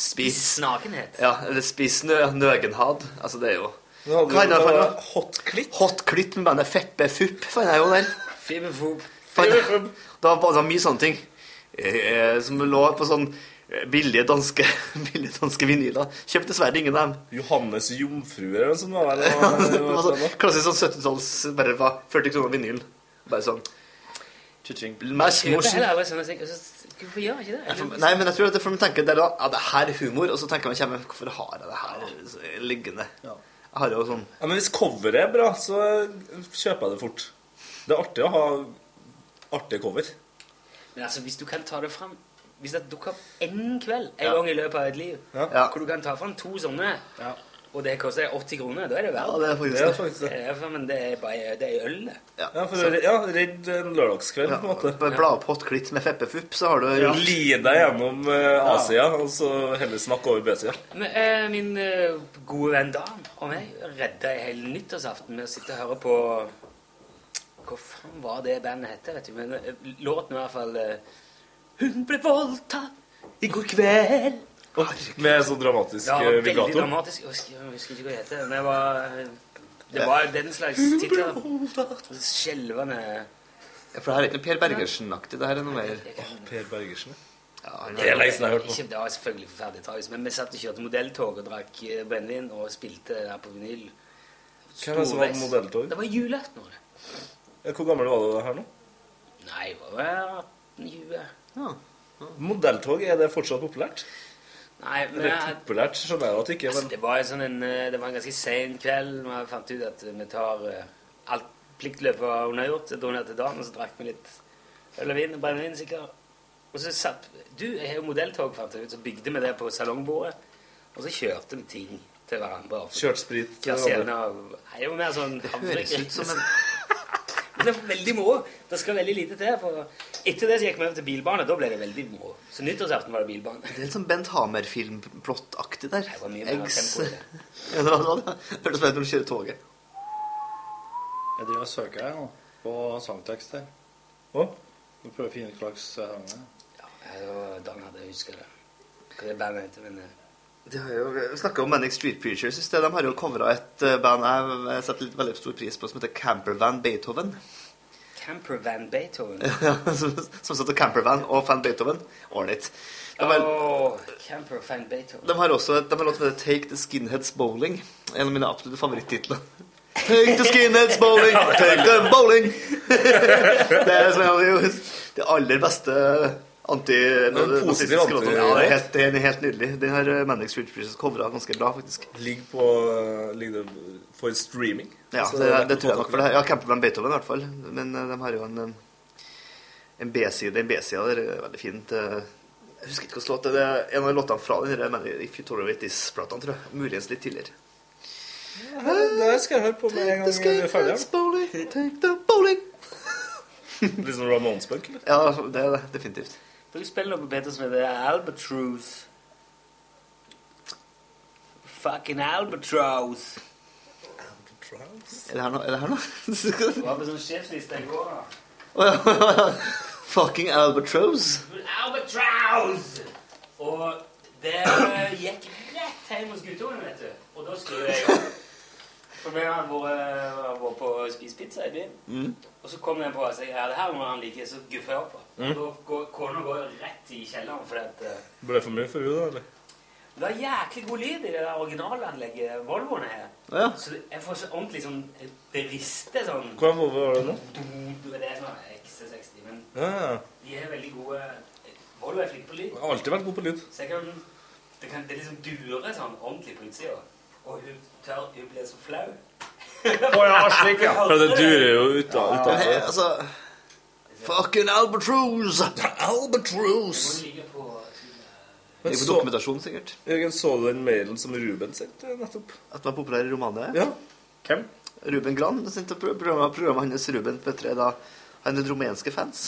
[SPEAKER 9] Spiss
[SPEAKER 2] Snakenhet.
[SPEAKER 9] Ja, eller Spiss nø, Nøgenhad. Altså, det er jo
[SPEAKER 4] Nå hadde
[SPEAKER 9] Hva er
[SPEAKER 4] vi-
[SPEAKER 9] det for
[SPEAKER 4] da
[SPEAKER 9] noe?
[SPEAKER 4] var Hot Klitt?
[SPEAKER 9] Hot Klitt med bandet Feppe Fupp, fant jeg jo der.
[SPEAKER 2] Fibefob.
[SPEAKER 9] Fant, det var bare mye sånne ting eh, som lå på sånn eh, billige danske, billige danske vinyler. Kjøpte dessverre ingen av dem.
[SPEAKER 4] Johannes Jomfruer eller noe sånt var det.
[SPEAKER 9] Ja, det var sånn, klassisk sånn 70-talls bare var 40 kroner vinyl. Bare sånn Mass
[SPEAKER 2] Kjøper
[SPEAKER 9] motion.
[SPEAKER 2] heller aldri sånne ting. Altså, Hvorfor gjør jeg ikke
[SPEAKER 9] Ja, for-
[SPEAKER 2] det?
[SPEAKER 9] Nei, men jeg tror at det er for de tenker der, da, ja, det her er humor, og så tenker man kjempe, hvorfor har jeg det her liggende? Jeg har jo sånn
[SPEAKER 4] Ja, men hvis coveret er bra, så eh, kjøper jeg det fort. Det er artig å ha artig cover.
[SPEAKER 2] Men altså, hvis du kan ta det fram Hvis det dukker opp én kveld en gang i løpet av et liv,
[SPEAKER 4] Ja.
[SPEAKER 2] hvor du kan ta fram to sånne Og det koster deg 80 kroner, da er det verdt
[SPEAKER 4] Ja, det er faktisk Det er det. faktisk det.
[SPEAKER 2] det. er for- men det er bare det er øl, det.
[SPEAKER 4] Ja, for å re- ja redd en lørdagskveld, på en måte.
[SPEAKER 9] Bare bla opp hot klitt med feppefupp, så har du
[SPEAKER 4] Ja. Li deg gjennom eh, A-sida, og så heller snakke over B-sida.
[SPEAKER 2] Men, eh, min eh, gode venn Dan og meg redda en hel nyttårsaften med å sitte og høre på Hva faen var det bandet hette? vet du? Men eh, låten var i hvert fall eh, Hun ble voldtatt i går kveld.
[SPEAKER 4] Med sånn dramatisk
[SPEAKER 2] Ja,
[SPEAKER 4] eh,
[SPEAKER 2] veldig
[SPEAKER 4] vibrato.
[SPEAKER 2] dramatisk. Jeg husker, jeg husker ikke hva det heter. Men det var, eh, det var den slags titler. Skjelvende
[SPEAKER 9] Ja, For det her er ikke noe Per Bergersen-aktig. Det her er noe mer
[SPEAKER 4] Per Bergersen,
[SPEAKER 9] ja.
[SPEAKER 2] Ikke, det var selvfølgelig forferdelig tragisk, men vi satt og kjørte modelltog og drakk eh, brennevin og spilte det her på vinyl.
[SPEAKER 4] Hvem er det som var
[SPEAKER 2] Storveis.
[SPEAKER 4] modelltog?
[SPEAKER 2] Det var julaften. var det.
[SPEAKER 4] Ja, Eh, Hvor gammel var du her nå?
[SPEAKER 2] Nei, det var vel 1820.
[SPEAKER 4] Modelltog, er det fortsatt populært?
[SPEAKER 2] Nei, men
[SPEAKER 4] Eller
[SPEAKER 2] jeg,
[SPEAKER 4] populært, skjønner jeg jo at det ikke er,
[SPEAKER 2] altså, det, var en sånn en, eh, det var en ganske sen kveld når jeg fant ut at vi tar eh, alt pliktløpet var unnagjort. Så dro jeg ned til dagen, og så drakk vi litt øl og vin og brennevin, sikkert. Og så satt Du, jeg har jo modelltog, fant jeg ut, så bygde vi det på salongbordet. Og så kjørte vi ting til hverandre.
[SPEAKER 4] men kjørt sprit til
[SPEAKER 2] Kassene
[SPEAKER 4] hverandre.
[SPEAKER 2] av Det er jo mer sånn
[SPEAKER 9] høres ut som en-
[SPEAKER 2] Men det er veldig moro. Det skal veldig lite til. For etter det så gikk vi over til bilbane. Da ble det veldig moro. Så nyttårsaften var det bilbane.
[SPEAKER 9] Det er litt sånn Bent Hamer-filmplottaktig der. Det var
[SPEAKER 2] mye mer tempo i det.
[SPEAKER 9] ja, det var det. var det. Hørtes ut som du kjører toget.
[SPEAKER 16] Jeg driver og søker her nå, på sangtekst her.
[SPEAKER 4] Hva?
[SPEAKER 16] Vi prøver å finne ut hva slags eh, sang det er.
[SPEAKER 2] Ja, det var Dan hadde jeg husker det. Hva det bandet heter, men eh,
[SPEAKER 9] De har jo, vi snakket om Manic Street Preachers i sted. De har jo covra et eh, band jeg setter litt, veldig stor pris på, som heter Campervan Beethoven.
[SPEAKER 2] Campervan Beethoven.
[SPEAKER 9] som som satt og campervan og fan Beethoven. Ålreit. De, har-
[SPEAKER 2] Åh, Campervan Beethoven.
[SPEAKER 9] de har også et- de har låt som heter Take the Skinheads Bowling. En av mine absolutte favorittitler. Take the skinheads bowling, take the bowling. det er som en av de, de aller beste
[SPEAKER 4] en positiv
[SPEAKER 9] anti-nazistiske
[SPEAKER 4] anti-
[SPEAKER 9] låtene. Ja, det er helt, det er helt nydelig. Den har eh, Manic Street Preachers covra ganske bra, faktisk.
[SPEAKER 4] Ligger på
[SPEAKER 1] eh,
[SPEAKER 4] ligger det for streaming?
[SPEAKER 9] Ja,
[SPEAKER 4] Altså,
[SPEAKER 9] det,
[SPEAKER 4] er
[SPEAKER 9] det,
[SPEAKER 4] på
[SPEAKER 9] tror jeg nok.
[SPEAKER 4] Spotify.
[SPEAKER 9] For det, ja, Camperman Beethoven i hvert fall. Men eh, de har jo en, en- en B-side. Den B-sida der er veldig fint. eh, Jeg husker ikke hvilken låt det er. Det er En av låtene fra den der, men If You Tolerate This-platene, tror jeg. Muligens litt tidligere.
[SPEAKER 4] Ja, Det skal jeg høre på med en gang vi er ferdige. Litt sånn Ramones-punk, eller?
[SPEAKER 9] Ja, det er det. Definitivt.
[SPEAKER 2] Dere spiller noe på Peter som heter Albatross. Fucking Albatross.
[SPEAKER 9] Er det her noe? Er det her noe?
[SPEAKER 2] Det var på sånn sjefsliste i går, da.
[SPEAKER 9] Å ja. Fucking albatross.
[SPEAKER 2] Albatrows! Og det eh, gikk rett hjem hos guttungen, vet du. Og da skrev jeg opp. For vi hadde vært, vært på å spise pizza i byen.
[SPEAKER 9] Mm.
[SPEAKER 2] Og så kom den på og sa ja, det her må han like, så guffa jeg opp. da.
[SPEAKER 1] Mm.
[SPEAKER 2] Og da går kona går jo rett i kjelleren fordi at eh,
[SPEAKER 1] Ble det for mye for henne, da? eller?
[SPEAKER 2] det var jæklig god lyd i det der originalanlegget Volvoen her.
[SPEAKER 1] Ja.
[SPEAKER 2] Så jeg får så ordentlig sånn Det rister sånn.
[SPEAKER 1] Hvordan Volvo var det nå?
[SPEAKER 2] Det er sånn XC60, men
[SPEAKER 1] Ja, ja.
[SPEAKER 2] de er veldig gode Volvo er flink på lyd.
[SPEAKER 1] Jeg har alltid vært god på lyd.
[SPEAKER 2] Så jeg kan, det kan det liksom dure sånn ordentlig på utsida. Og hun tør Hun blir så flau. Å
[SPEAKER 1] For det durer jo ut av ut av-
[SPEAKER 9] Nei, altså Fucking albatross! Albatross!
[SPEAKER 1] Men
[SPEAKER 9] Det er på
[SPEAKER 1] så-
[SPEAKER 9] dokumentasjon, sikkert.
[SPEAKER 1] Jørgen, så du den mailen som Ruben sendte nettopp?
[SPEAKER 9] At man er populær i Romania?
[SPEAKER 1] Ja. Hvem?
[SPEAKER 9] Ruben Gran. Det sendte pro- programmet, programmet hans Ruben Petre da han hadde rumenske fans.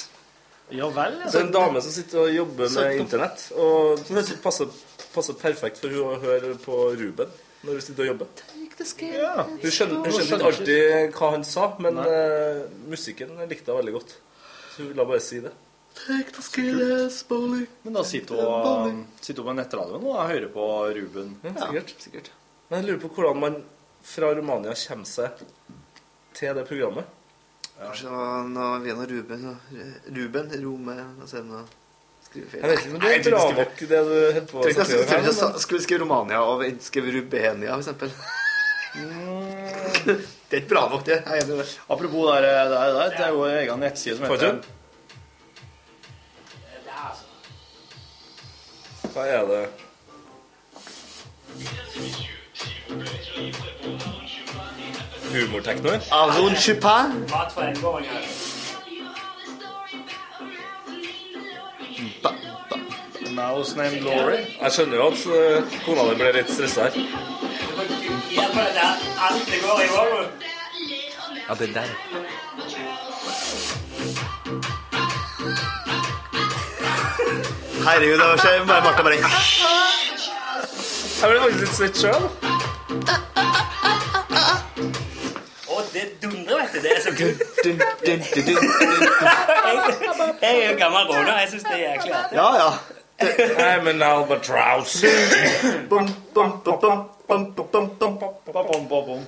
[SPEAKER 4] Ja vel,
[SPEAKER 1] Det er en dame som sitter og jobber
[SPEAKER 9] Så-
[SPEAKER 1] med internett, og det passer, passer perfekt for hun å høre på Ruben når hun sitter og jobber.
[SPEAKER 9] Ja.
[SPEAKER 1] Hun skjønner, hun skjønner ikke alltid hva han sa, men eh, musikken likte hun veldig godt. Så hun la bare si det.
[SPEAKER 4] Men da sitter
[SPEAKER 16] um,
[SPEAKER 4] hun, sitter hun på nettradioen og hører på Ruben.
[SPEAKER 1] Ja, sikkert. Men jeg lurer på hvordan man fra Romania kommer seg til det programmet.
[SPEAKER 9] Kanskje det var noe Vena Ruben og Ruben Rome altså, noe, Skrive feil.
[SPEAKER 1] Jeg vet ikke, men det er bra nok, det du holder på å
[SPEAKER 9] Trenger
[SPEAKER 1] skrive her,
[SPEAKER 9] ikke å
[SPEAKER 1] men-
[SPEAKER 9] sa- skulle skrive Romania og vent, skrive Rubenia, for eksempel.
[SPEAKER 1] Mm.
[SPEAKER 9] det er ikke bra nok, det. Jeg er enig i det.
[SPEAKER 4] Apropos der, eh, der, der, det er jo en egen nettside som heter
[SPEAKER 1] Hva er det? Humorteknoer?
[SPEAKER 9] Aron Chupin.
[SPEAKER 2] Mat for enganger.
[SPEAKER 4] Mouse Named Glory.
[SPEAKER 1] Jeg skjønner jo at eh, kona di ble litt stressa her.
[SPEAKER 2] Alt det går i Volvo.
[SPEAKER 1] Ja, den der.
[SPEAKER 9] Herregud, det var ikke bare Martha bare
[SPEAKER 1] Jeg ble faktisk litt svett sjøl.
[SPEAKER 2] Og det dundrer, vet du. Det er så kult.
[SPEAKER 9] Dun, dun, dun, dun, dun.
[SPEAKER 2] jeg, jeg er jo gammel råner. Jeg syns det er jæklig artig.
[SPEAKER 9] Ja, ja.
[SPEAKER 1] Nei, men albatross.
[SPEAKER 2] Satser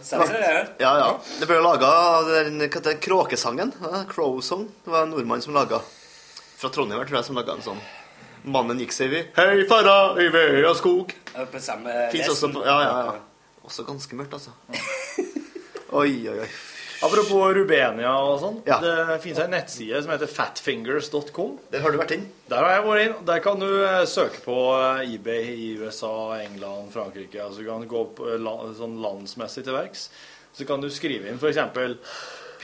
[SPEAKER 2] Sånn det,
[SPEAKER 9] Ja, ja. Det ble laga den hva heter det, kråkesangen. ja, Crow Song. Det var en nordmann som laga. Fra Trondheim, tror jeg, som laga en sånn. Mannen gikk seg vi. Hei, fara, i vei og skog.
[SPEAKER 2] Ja, På samme
[SPEAKER 9] Fins også
[SPEAKER 2] lesten.
[SPEAKER 9] på Ja, ja, ja. Også ganske mørkt, altså. Oi, oi, oi.
[SPEAKER 4] Apropos Rubenia og sånn.
[SPEAKER 9] Ja.
[SPEAKER 4] Det finnes ei nettside som heter fatfingers.com.
[SPEAKER 9] Der har du vært inn.
[SPEAKER 4] Der har jeg vært inn. Der kan du eh, søke på eh, eBay i USA, England, Frankrike. Altså, du kan gå på, eh, la- sånn landsmessig til verks. Så kan du skrive inn f.eks.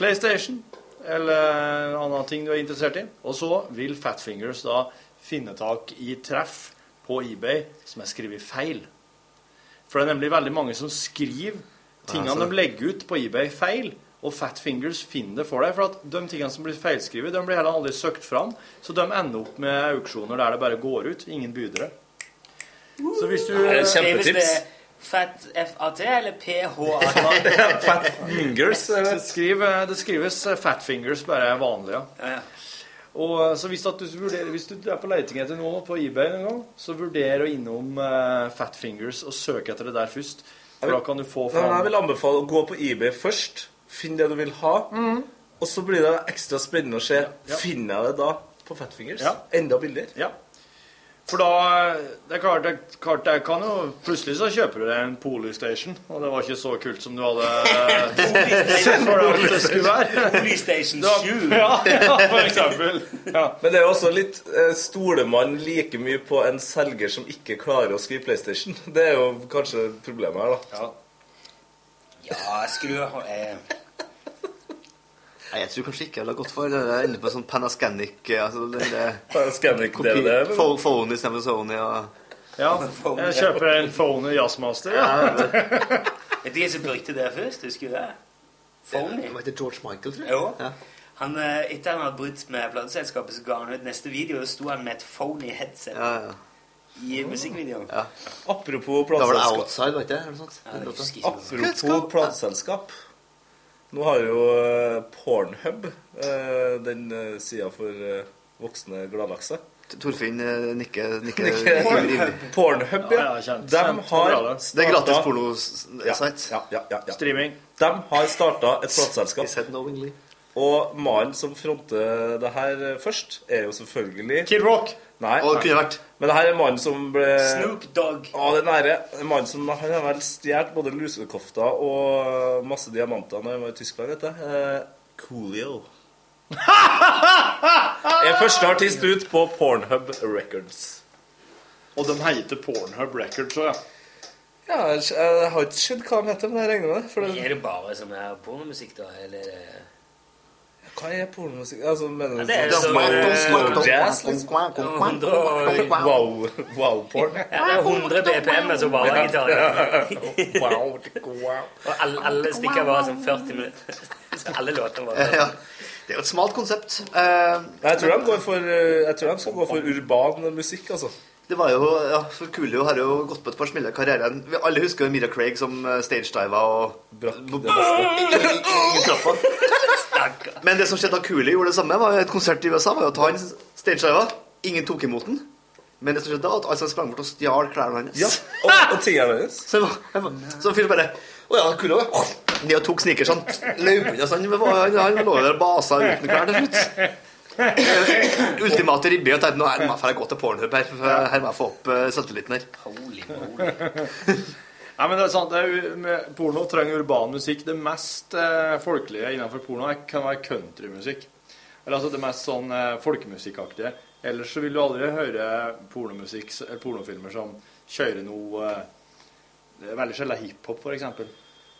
[SPEAKER 4] PlayStation eller andre ting du er interessert i. Og så vil Fatfingers da finne tak i treff på eBay som er skrevet feil. For det er nemlig veldig mange som skriver tingene
[SPEAKER 9] Altså.
[SPEAKER 4] de legger ut på eBay, feil. Og Fatfingers finner det for deg. For at de tingene som blir feilskrevet, de blir heller aldri søkt fram. Så de ender opp med auksjoner der det bare går ut. Ingen budere. Så Eh, hvis du
[SPEAKER 2] Skrives det Fat FAT eller PHAT?
[SPEAKER 4] Fatfingers. eh, Skriv, eh, det skrives eh, Fatfingers, bare vanlig.
[SPEAKER 2] Ja.
[SPEAKER 4] Og, eh, så hvis, at du, vurderer, hvis du er på leiting etter noe på eBay, en gang, så vurder å innom eh, Fatfingers og søk etter det der først. For da kan du få
[SPEAKER 1] Men jeg
[SPEAKER 4] fram
[SPEAKER 1] vil anbefale å gå på eBay først. Finn det du vil ha.
[SPEAKER 9] Mm.
[SPEAKER 1] Og så blir det ekstra spennende å se. Finner jeg det da på Fatfingers?
[SPEAKER 4] Ja.
[SPEAKER 1] Enda billigere?
[SPEAKER 4] Ja. For da eh, Det er klart, det, er klart det kan jo Plutselig så kjøper du deg en Polystation, og det var ikke så kult som du hadde sett for deg at det skulle være.
[SPEAKER 2] Polystation
[SPEAKER 4] Da-
[SPEAKER 2] 7.
[SPEAKER 4] Ja, ja, for eksempel.
[SPEAKER 1] Men det er jo også litt eh, Stoler man like mye på en selger som ikke klarer å skrive PlayStation? Det er jo kanskje problemet her, da.
[SPEAKER 2] Ja, skru av. eh,
[SPEAKER 9] Nei, jeg tror kanskje ikke jeg ville gått for det. Jeg ender på sånn Panascanic eh, altså den der-
[SPEAKER 1] Panascanic
[SPEAKER 9] kopi-
[SPEAKER 1] DVD, eller?
[SPEAKER 9] Fo- Phone istedenfor Sony og
[SPEAKER 4] Ja, jeg kjøper en Phone Jazzmaster.
[SPEAKER 9] Ja,
[SPEAKER 4] Ja.
[SPEAKER 2] Vet du hvem som brukte det først? Husker du det? Phony.
[SPEAKER 9] Hva heter George Michael, tror jeg?
[SPEAKER 2] Jo. Han, eh, etter han hadde brutt med plateselskapet, så ga han ut neste video, og sto han med et phony headset i musikkvideoen.
[SPEAKER 1] Apropos
[SPEAKER 9] Da var det
[SPEAKER 1] plateselskap.
[SPEAKER 9] Outside, var det ikke? Eller noe sånt.
[SPEAKER 2] Ja, det husker jeg ikke.
[SPEAKER 1] Apropos plateselskap. Nå har jo eh, Pornhub, eh, den sida for eh,
[SPEAKER 13] voksne gladlakser.
[SPEAKER 9] Torfinn eh, nikker nikker
[SPEAKER 13] Nikker.
[SPEAKER 9] ivrig, ivrig.
[SPEAKER 13] Pornhub, ja.
[SPEAKER 9] Ja, ja, kjent.
[SPEAKER 13] De
[SPEAKER 9] Kjent på
[SPEAKER 13] har
[SPEAKER 9] bra, det. Det er gratis
[SPEAKER 13] startet-
[SPEAKER 9] porno-site.
[SPEAKER 13] Ja, ja, ja, ja. Streaming. De har starta et plateselskap. Og mannen som fronter det her eh, først, er jo selvfølgelig Kid Rock. Nei,
[SPEAKER 9] Og det
[SPEAKER 13] nei.
[SPEAKER 9] kunne vært.
[SPEAKER 13] Men det her er mannen som ble
[SPEAKER 9] Snoop
[SPEAKER 13] Dogg. Ja, det er nære. En mann som han har vel stjålet både lusekofta og masse diamanter når han var i Tyskland, vet jeg. Eh, Coolio. er første artist ut på Pornhub Records.
[SPEAKER 4] Og de heter Pornhub Records òg, ja.
[SPEAKER 13] Ja, jeg jeg har ikke sett hva de heter, men jeg regner med det. For
[SPEAKER 15] Er
[SPEAKER 13] det
[SPEAKER 15] det bare som er pornomusikk, da? Eller eh, er det
[SPEAKER 13] hva er pornomusikk? Altså, mener
[SPEAKER 15] Ja,
[SPEAKER 13] du
[SPEAKER 15] det er
[SPEAKER 13] sånn-
[SPEAKER 15] sånn, eh,
[SPEAKER 13] jazz, liksom?
[SPEAKER 15] Hundre og-
[SPEAKER 13] Wow, wow-porn.
[SPEAKER 15] Ja, det er 100 BPM, altså bare gitar.
[SPEAKER 13] Wow,
[SPEAKER 15] Og alle, alle stikker bare sånn 40 minutter. Så alle låter bare
[SPEAKER 9] Ja, Det er jo et smalt konsept. Eh,
[SPEAKER 13] Nei, jeg tror, de går for, eh, jeg tror de skal gå for urban musikk, altså.
[SPEAKER 9] Det var jo, ja, for Coolio har jo gått på et par smeller i karrieren. Vi alle husker jo Mira Craig som eh, stagediva og
[SPEAKER 13] Brakk
[SPEAKER 9] det beste. Men det som skjedde da Coolio gjorde det samme, var jo et konsert i USA, var jo at han stagediva. Ingen tok imot den. Men det som skjedde da, var at alle sammen sprang bort og stjal klærne hans. Ja,
[SPEAKER 13] og, og tingene hans.
[SPEAKER 9] Så, det var- det var- så fyren bare Å ja, Coolio ja. Ned og tok sneakersene. Løp unna sånn. men hva- Han han lå der og basa uten klær til slutt. Eh, Ultimate ribbe. Og tenkte nå er- nå får jeg gå til Pornhub her. for Her må jeg få opp eh, selvtilliten her.
[SPEAKER 4] Nei, men det er sant, det er, jo- med- Porno trenger urban musikk. Det mest eh, folkelige innenfor porno er- kan være countrymusikk. Eller altså det mest sånn eh, folkemusikkaktige. Ellers så vil du aldri høre pornomusikk, s- eller pornofilmer som kjører noe eh, det er Veldig sjelden hiphop, f.eks. Eh,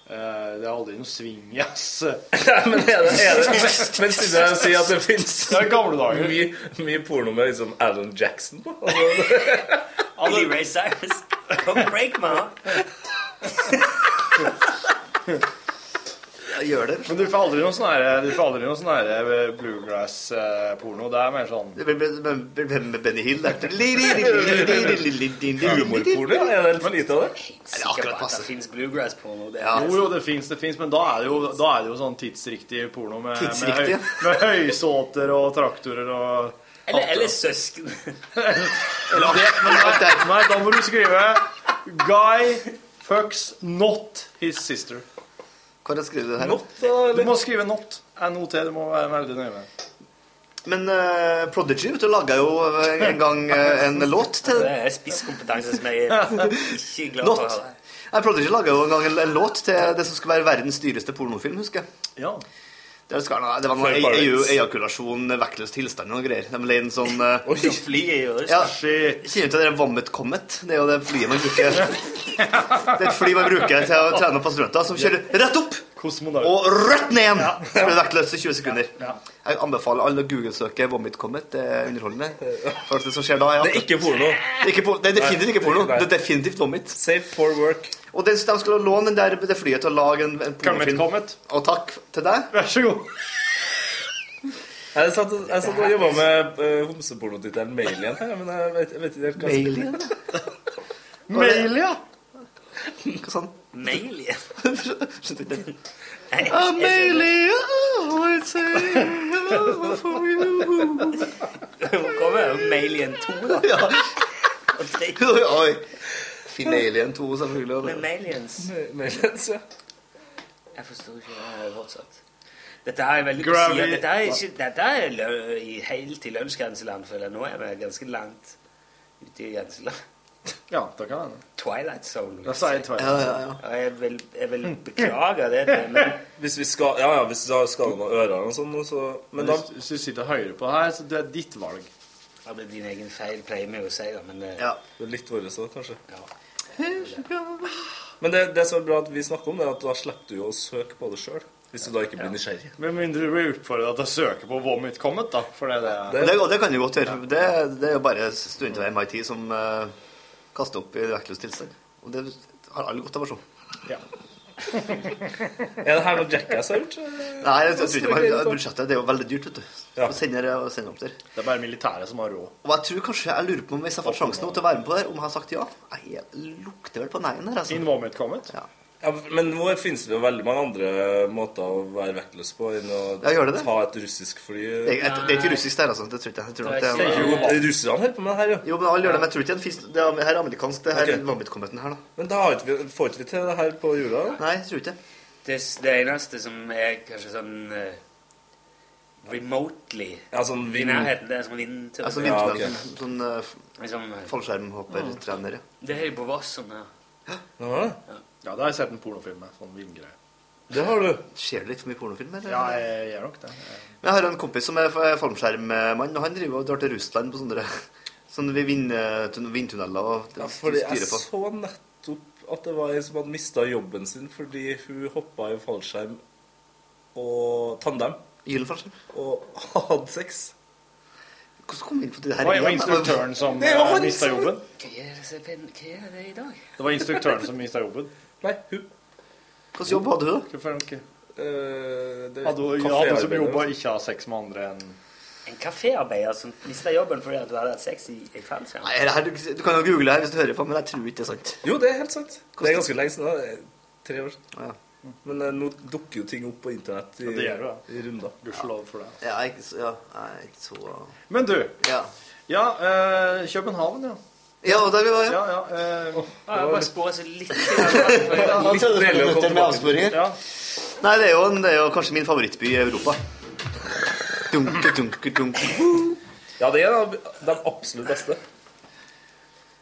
[SPEAKER 4] det er aldri noe swing, yes.
[SPEAKER 13] men er det, er det Men siden jeg sier at det fins mye, mye porno med liksom Alan Jackson på
[SPEAKER 15] Billy Ray Cyrus. Come break my heart.
[SPEAKER 4] Men du får aldri noe sånn her- du får aldri noe sånn her bluegrass-porno. Det er mer sånn
[SPEAKER 9] Det blir med Benny Hill, det.
[SPEAKER 4] Humorporno?
[SPEAKER 13] ja. Er det for lite av det?
[SPEAKER 9] Det er akkurat passe.
[SPEAKER 15] Fins bluegrass-porno? Det
[SPEAKER 4] Jo, jo,
[SPEAKER 9] Altså-
[SPEAKER 4] det fins, det fins, men da er det jo, da er det jo sånn tidsriktig porno med, med,
[SPEAKER 15] Tidsriktig, ja.
[SPEAKER 4] høy, med høysåter og traktorer og
[SPEAKER 15] Eller, eller søsken.
[SPEAKER 4] Eller det, men nei, nei, da må du skrive Guy fucks not his sister.
[SPEAKER 9] Hva er det skrevet her?
[SPEAKER 4] Not, du må skrive not. NOT. Du må være veldig nøye med det.
[SPEAKER 9] Men eh, Prodigy vet du, laga jo eh, en gang eh, en låt til
[SPEAKER 15] Det er spisskompetanse som jeg er ikke glad for. å
[SPEAKER 9] Not.
[SPEAKER 15] høre.
[SPEAKER 9] Nei, Prodigy laga jo en gang en, en låt til det som skulle være verdens dyreste pornofilm, husker jeg.
[SPEAKER 4] Ja.
[SPEAKER 9] Det, skal, nei, det var
[SPEAKER 4] Fair
[SPEAKER 9] noe
[SPEAKER 4] Pirates.
[SPEAKER 9] EU, ejakulasjon, vektløs tilstand og noe greier. De leide en sånn uh,
[SPEAKER 15] Oi, flyet i øret.
[SPEAKER 9] ja, Kjenner du til det Vomit Comet? Det er jo det flyet man bruker Det er et fly man bruker til å trene opp astronauter, som kjører rett opp og rett ned igjen! Så blir det vektløst i 20 sekunder. Jeg anbefaler alle å google-søke Vomit Comet. Det er underholdende. For det som skjer da, er
[SPEAKER 13] Det er ikke porno.
[SPEAKER 9] Det er, ikke por- det er definitivt ikke porno. Det er definitivt vomit.
[SPEAKER 13] Safe for work.
[SPEAKER 9] Og det, de skulle låne den der, det flyet til å lage en, en
[SPEAKER 13] Comet,
[SPEAKER 9] pornofilm. Og takk til deg.
[SPEAKER 4] Vær så god.
[SPEAKER 13] Jeg satt, jeg satt og jobba med eh, homsepornotittelen Mailien her, men jeg vet, jeg vet ikke helt hva
[SPEAKER 9] Mailien?
[SPEAKER 4] Mail, ja.
[SPEAKER 9] Hva sa han?
[SPEAKER 15] Mail, ja.
[SPEAKER 9] Skjønte ikke det.
[SPEAKER 15] Amelie,
[SPEAKER 9] I say hello for you.
[SPEAKER 15] Hun kommer jo med Alien 2, da. Og tre.
[SPEAKER 9] Oi, oi. Finn Alien 2, selvfølgelig. og det-
[SPEAKER 15] Med Malians.
[SPEAKER 13] Mailien, ja.
[SPEAKER 15] Jeg forstår ikke det her fortsatt. Dette her er veldig på
[SPEAKER 13] Gravy-
[SPEAKER 15] siden. Dette er, ikke, dette er lø i, helt i lønnsgrenseland, føler jeg. Nå er vi ganske langt ute i grenseland.
[SPEAKER 4] Ja, det kan hende.
[SPEAKER 15] Twilight Zone.
[SPEAKER 4] Da sier jeg Twilight
[SPEAKER 13] Ja, ja, ja.
[SPEAKER 15] Og jeg vil, jeg vil beklage det, men
[SPEAKER 13] Hvis vi skal, ja, ja, hvis vi har skada noen ører og sånn, så
[SPEAKER 4] Men
[SPEAKER 13] da
[SPEAKER 4] hvis, hvis du sitter høyere på det her, så det er ditt valg.
[SPEAKER 15] Ja, det er din egen feil, pleier vi å si, da. Men eh,
[SPEAKER 13] Det er litt vårt òg, kanskje.
[SPEAKER 9] Here she comes.
[SPEAKER 13] Men det, det som er bra at vi snakker om det, er at da slipper du jo å søke på det sjøl. Hvis du da ikke blir nysgjerrig.
[SPEAKER 4] Med mindre du blir oppfordra til å søke på Vomit Comet, da. For det er
[SPEAKER 9] Og det, og det kan du godt gjøre. Det, det er jo bare studenter ved MIT som eh, kaster opp i vektløs tilstand. Og det har alle godt av å se.
[SPEAKER 13] Er det her noe Jackass har gjort?
[SPEAKER 9] Nei, jeg, jeg, tror ikke man- budsjettet det er jo veldig dyrt, vet du. Å sende, å sende opp der.
[SPEAKER 4] Det er bare militære som har råd.
[SPEAKER 9] Og jeg tror kanskje jeg lurer på om hvis jeg får sjansen nå til å være med på det, her, om jeg har sagt ja. Jeg lukter vel på nei-en her, altså.
[SPEAKER 4] In Vomit Comet?
[SPEAKER 9] Ja.
[SPEAKER 13] Ja, men nå finnes det jo veldig mange andre måter å være vektløs på enn å
[SPEAKER 9] Ja, gjør det det?
[SPEAKER 13] ta et russisk fly.
[SPEAKER 9] Det er, det er ikke russisk der, altså. Det tror ikke jeg. jeg tror nok
[SPEAKER 13] Det er
[SPEAKER 9] det
[SPEAKER 13] ikke-
[SPEAKER 9] er-
[SPEAKER 13] Jo, russerne holder på med det her, jo.
[SPEAKER 9] Jo, men alle gjør det, men jeg tror ikke det er en fisk. Det er, det her er amerikansk, det her
[SPEAKER 13] Ok.
[SPEAKER 9] okay. vanvittigheten her, da.
[SPEAKER 13] Men da har ikke vi, får ikke vi til det her på jorda?
[SPEAKER 9] Nei, jeg tror ikke det.
[SPEAKER 15] Det, det eneste som er kanskje sånn eh, remotely
[SPEAKER 13] Ja, sånn
[SPEAKER 4] Mm.
[SPEAKER 15] i
[SPEAKER 13] vind-
[SPEAKER 15] nærheten, det er sånn vindturbin.
[SPEAKER 9] Altså vindtunnel. Sånn uh,
[SPEAKER 15] Liksom, eh,
[SPEAKER 9] fallskjermhoppertrener, ja.
[SPEAKER 15] Det er jo på Voss sånn her.
[SPEAKER 4] Ja, da har jeg sett en pornofilm med sånn vindgreie.
[SPEAKER 9] Det har du. Ser du litt for mye pornofilm, eller?
[SPEAKER 4] Ja, jeg jeg gjør nok det.
[SPEAKER 9] Men Jeg har en kompis som er f- fallskjermmann, og han driver og drar til Russland på sånne, sånne vi- vind, tun- vindtunneler og
[SPEAKER 13] Ja, fordi jeg
[SPEAKER 9] styrer på.
[SPEAKER 13] så nettopp at det var ei som hadde mista jobben sin fordi hun hoppa i fallskjerm og tandem.
[SPEAKER 9] Gyllenfallskjerm?
[SPEAKER 13] Og hadde sex.
[SPEAKER 9] Hvordan kom vi inn på det
[SPEAKER 4] her Oi, det var igjen? instruktøren som,
[SPEAKER 13] Det var
[SPEAKER 4] eh,
[SPEAKER 13] han
[SPEAKER 4] mistet
[SPEAKER 13] som-
[SPEAKER 4] jobben.
[SPEAKER 15] Hva er det, som- hva er det i dag?
[SPEAKER 4] Det var instruktøren som mista jobben.
[SPEAKER 13] Nei, hun.
[SPEAKER 9] Hvilken jobb hadde hun,
[SPEAKER 4] da? Hvorfor hun ikke?
[SPEAKER 13] Eh, det- altså.
[SPEAKER 4] Hadde hun hadde hun som jobba ikke ha sex med andre enn
[SPEAKER 15] En kaféarbeider som mista jobben fordi at du hadde hatt sex i i fallskjerm?
[SPEAKER 9] Nei, det her, du, du kan jo google det her hvis du hører på, men jeg tror ikke det er sant.
[SPEAKER 13] Jo, det er helt sant. Det er ganske lenge siden. da. Det er Tre år siden.
[SPEAKER 9] Ja.
[SPEAKER 13] Men eh, nå dukker jo ting opp på internett i,
[SPEAKER 4] Ja, det gjør det, da.
[SPEAKER 13] i runder.
[SPEAKER 4] Gudskjelov for det.
[SPEAKER 9] Ja, jeg, ja, jeg er ikke så
[SPEAKER 4] Men du.
[SPEAKER 9] Ja,
[SPEAKER 4] eh, København, ja.
[SPEAKER 9] Ja, og der vi var,
[SPEAKER 4] ja. ja, eh,
[SPEAKER 15] Ja, jeg bare sporet så litt
[SPEAKER 9] Ja,
[SPEAKER 4] Litt deilig å komme
[SPEAKER 9] minutter med
[SPEAKER 4] tilbake.
[SPEAKER 9] avsporinger.
[SPEAKER 4] Ja.
[SPEAKER 9] Nei, det er, jo, en- det er jo kanskje min favorittby i Europa. Dunke, dunke, dunke.
[SPEAKER 13] Ja, det er da de absolutt beste.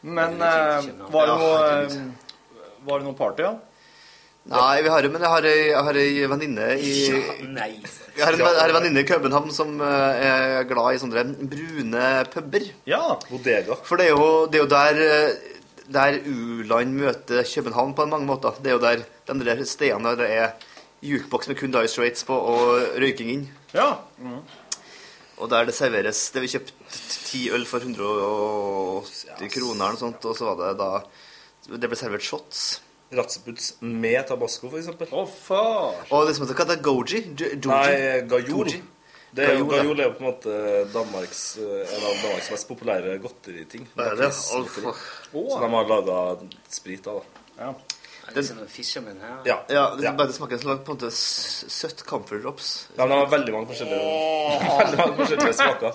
[SPEAKER 4] Men eh, var det
[SPEAKER 9] Ja,
[SPEAKER 4] noe
[SPEAKER 9] herregud.
[SPEAKER 4] eh, Var det noe party, ja?
[SPEAKER 9] Nei, vi har jo, men jeg har ei, jeg har ei venninne i
[SPEAKER 15] Ah, Nei.
[SPEAKER 9] Jeg har en, jeg har en venninne i København som eh, er glad i sånne brune puber.
[SPEAKER 4] Ja,
[SPEAKER 13] bodega.
[SPEAKER 9] For det er jo, det er jo der, eh, der U-land møter København på mange måter. Det er jo der de der stedene der det er jukeboks med kun Dire Straits på og røyking inn.
[SPEAKER 4] Ja.
[SPEAKER 9] Og der det serveres Det vi kjøpte ti øl for 180 kroner eller noe sånt, og så var det da Det ble servert shots.
[SPEAKER 13] Ratseputs med tabasco, for eksempel.
[SPEAKER 4] Å, far!
[SPEAKER 9] Og det som heter, hva heter det? Goji? Jo- Joji?
[SPEAKER 4] eh,
[SPEAKER 13] Nei, Gajol.
[SPEAKER 9] Goji.
[SPEAKER 13] Det er jo,
[SPEAKER 9] Gajol, ja.
[SPEAKER 13] Gajol er jo på en måte Danmarks, eh, en av Danmarks mest populære godteriting.
[SPEAKER 9] Ja, det er
[SPEAKER 4] altså.
[SPEAKER 9] alt for-
[SPEAKER 13] Så de har laga sprit av,
[SPEAKER 4] da.
[SPEAKER 15] Det er sånn fisherman her.
[SPEAKER 13] Ja.
[SPEAKER 9] Ja, det, Bare det smaker en slags på en måte s- søtt camphor drops.
[SPEAKER 13] Ja, men de har veldig mange forskjellige, veldig mange forskjellige smaker.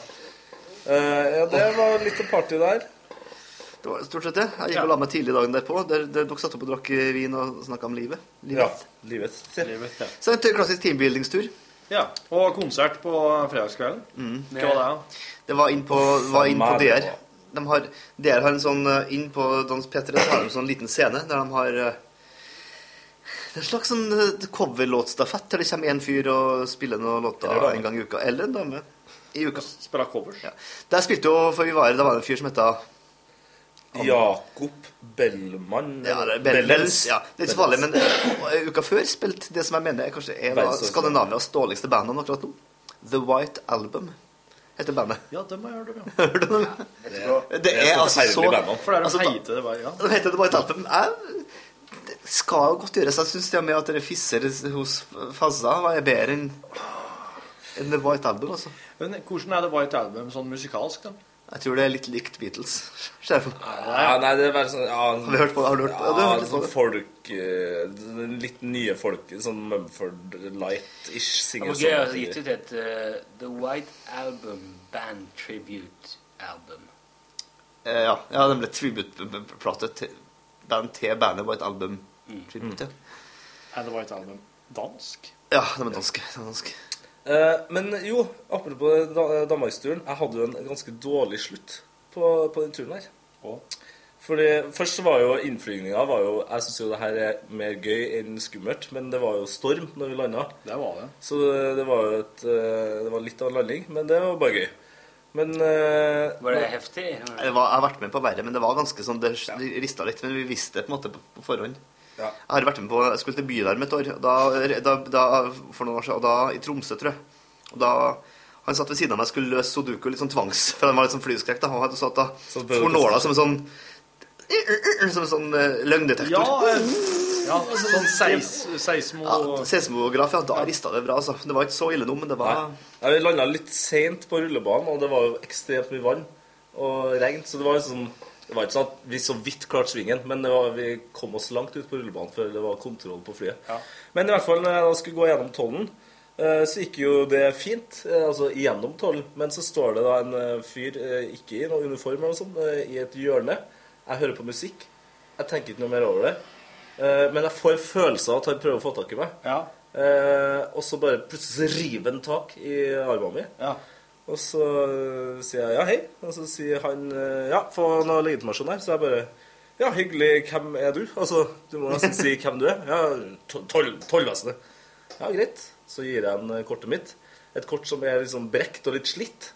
[SPEAKER 13] Eh, ja, det var litt av party der.
[SPEAKER 9] Det var stort sett det. Jeg gikk og la meg tidlig dagen derpå. Der, der dere satt opp og drakk eh, vin og snakka om livet.
[SPEAKER 13] Ja,
[SPEAKER 9] livet.
[SPEAKER 13] livet.
[SPEAKER 4] Livet, ja.
[SPEAKER 9] Så en t- klassisk teambuildingstur.
[SPEAKER 4] ja. Og konsert på fredagskvelden.
[SPEAKER 9] Mm.
[SPEAKER 4] Hva var det, da?
[SPEAKER 9] Det var inn på,
[SPEAKER 4] Å,
[SPEAKER 9] var inn på
[SPEAKER 4] faen meg,
[SPEAKER 9] DR.
[SPEAKER 4] det
[SPEAKER 9] De har, DR har en sånn eh, Inn på Dans P3 så har de en sånn liten scene der de har eh, det er en slags sånn eh, coverlåtstafett der det kommer én fyr og spiller noen låter
[SPEAKER 4] Eller dame.
[SPEAKER 9] en gang i uka. Eller en dame. I uka.
[SPEAKER 4] Spiller covers.
[SPEAKER 9] Ja. Der spilte jo For vi var her, det var en fyr som heta
[SPEAKER 13] Jakob Bellmann
[SPEAKER 9] Ja, det er Bell- Bells. Ja, det er ikke så farlig, men eh, uka før spilte det som jeg mener er kanskje en av
[SPEAKER 13] Verdensøster.
[SPEAKER 9] Skandinavias dårligste band akkurat nå. The White Album heter bandet.
[SPEAKER 4] Ja, det må jeg gjøre, det, ja.
[SPEAKER 9] Hører du det? Det er altså så
[SPEAKER 4] For det er
[SPEAKER 9] altså,
[SPEAKER 4] altså,
[SPEAKER 9] da-
[SPEAKER 4] heite, det var, ja.
[SPEAKER 9] De heter The White Album. Jeg, det skal jo godt gjøres. Jeg syns det med at dere fisser hos Fazza var jeg bedre enn enn The White Album, altså.
[SPEAKER 4] Men hvordan er det White Album sånn musikalsk, da?
[SPEAKER 9] Jeg tror det er litt likt Beatles. Skjerf.
[SPEAKER 13] Ja, nei, det er bare sånn ja,
[SPEAKER 9] Har du hørt på- har du hørt på- ja, du har
[SPEAKER 13] ja,
[SPEAKER 9] hørt litt på
[SPEAKER 13] sånn
[SPEAKER 9] det.
[SPEAKER 13] folk eh, Litt nye folk. Sånn Mumford Light-ish sånn
[SPEAKER 15] Det
[SPEAKER 13] singer
[SPEAKER 15] var gøy å ha gitt ut et eh, The White Album Band Tribute Album.
[SPEAKER 9] Eh, ja. ja, den ble tribute-plate til band til bandet White Album. Tribute.
[SPEAKER 4] Er Mm. det White Album dansk?
[SPEAKER 9] Ja, de er danske. De er danske.
[SPEAKER 13] Eh, men jo, apropos da- Danmarksturen. Jeg hadde jo en ganske dårlig slutt på, på den turen her. Fordi Først så var jo innflygninga var jo, Jeg syns jo det her er mer gøy enn skummelt, men det var jo storm når vi landa.
[SPEAKER 4] Det var det.
[SPEAKER 13] Så det, det var jo et, eh, det var litt av en landing, men det var bare gøy. Men eh,
[SPEAKER 15] Var det
[SPEAKER 13] men-
[SPEAKER 15] heftig?
[SPEAKER 9] Det var, jeg har vært med på verre, men det var ganske sånn, det rista litt. Men vi visste det på en måte på, på forhånd.
[SPEAKER 13] Ja.
[SPEAKER 9] Jeg har vært med på, jeg skulle til Bylarm et år, og da, da, da, for noen år siden, og da i Tromsø, tror jeg. Og da, han satt ved siden av meg og skulle løse Sudoku litt sånn tvangs, for han var litt sånn flyskrekk. da, og han satt da,
[SPEAKER 13] bød-
[SPEAKER 9] for nåla som en sånn, som en sånn eh, løgndetektor.
[SPEAKER 4] Ja, eh, ja sånn seis, seismo...
[SPEAKER 9] Ja, Seismograf, ja. Da rista det bra, altså. Det var ikke så ille nå, men det var
[SPEAKER 13] Ja, vi landa litt seint på rullebanen, og det var jo ekstremt mye vann og regn. Så det var liksom
[SPEAKER 9] Det var ikke sånn at vi så vidt klarte svingen, men det var, vi kom oss langt ut på rullebanen før det var kontroll på flyet. Men i hvert fall, når jeg da skulle gå gjennom tollen, eh, så gikk jo det fint, eh, altså gjennom tollen. Men så står det da en eh, fyr, eh, ikke i noen uniform eller noe
[SPEAKER 1] sånn,
[SPEAKER 9] sånt, eh, i et hjørne. Jeg hører på musikk. Jeg tenker ikke noe mer over det. Eh, Men jeg får følelsen av at han prøver å få tak i meg. Eh, og så bare plutselig så river han tak i armen min. Og så eh, sier jeg ja, hei. Og så sier han eh, ja, få noe legitimasjon her. Så jeg bare ja, hyggelig, hvem er du? Altså, du må nesten si hvem du er. Ja, to- toll- tollvesenet. Ja, greit. Så gir jeg han eh, kortet mitt. Et kort som er liksom brekt og litt slitt.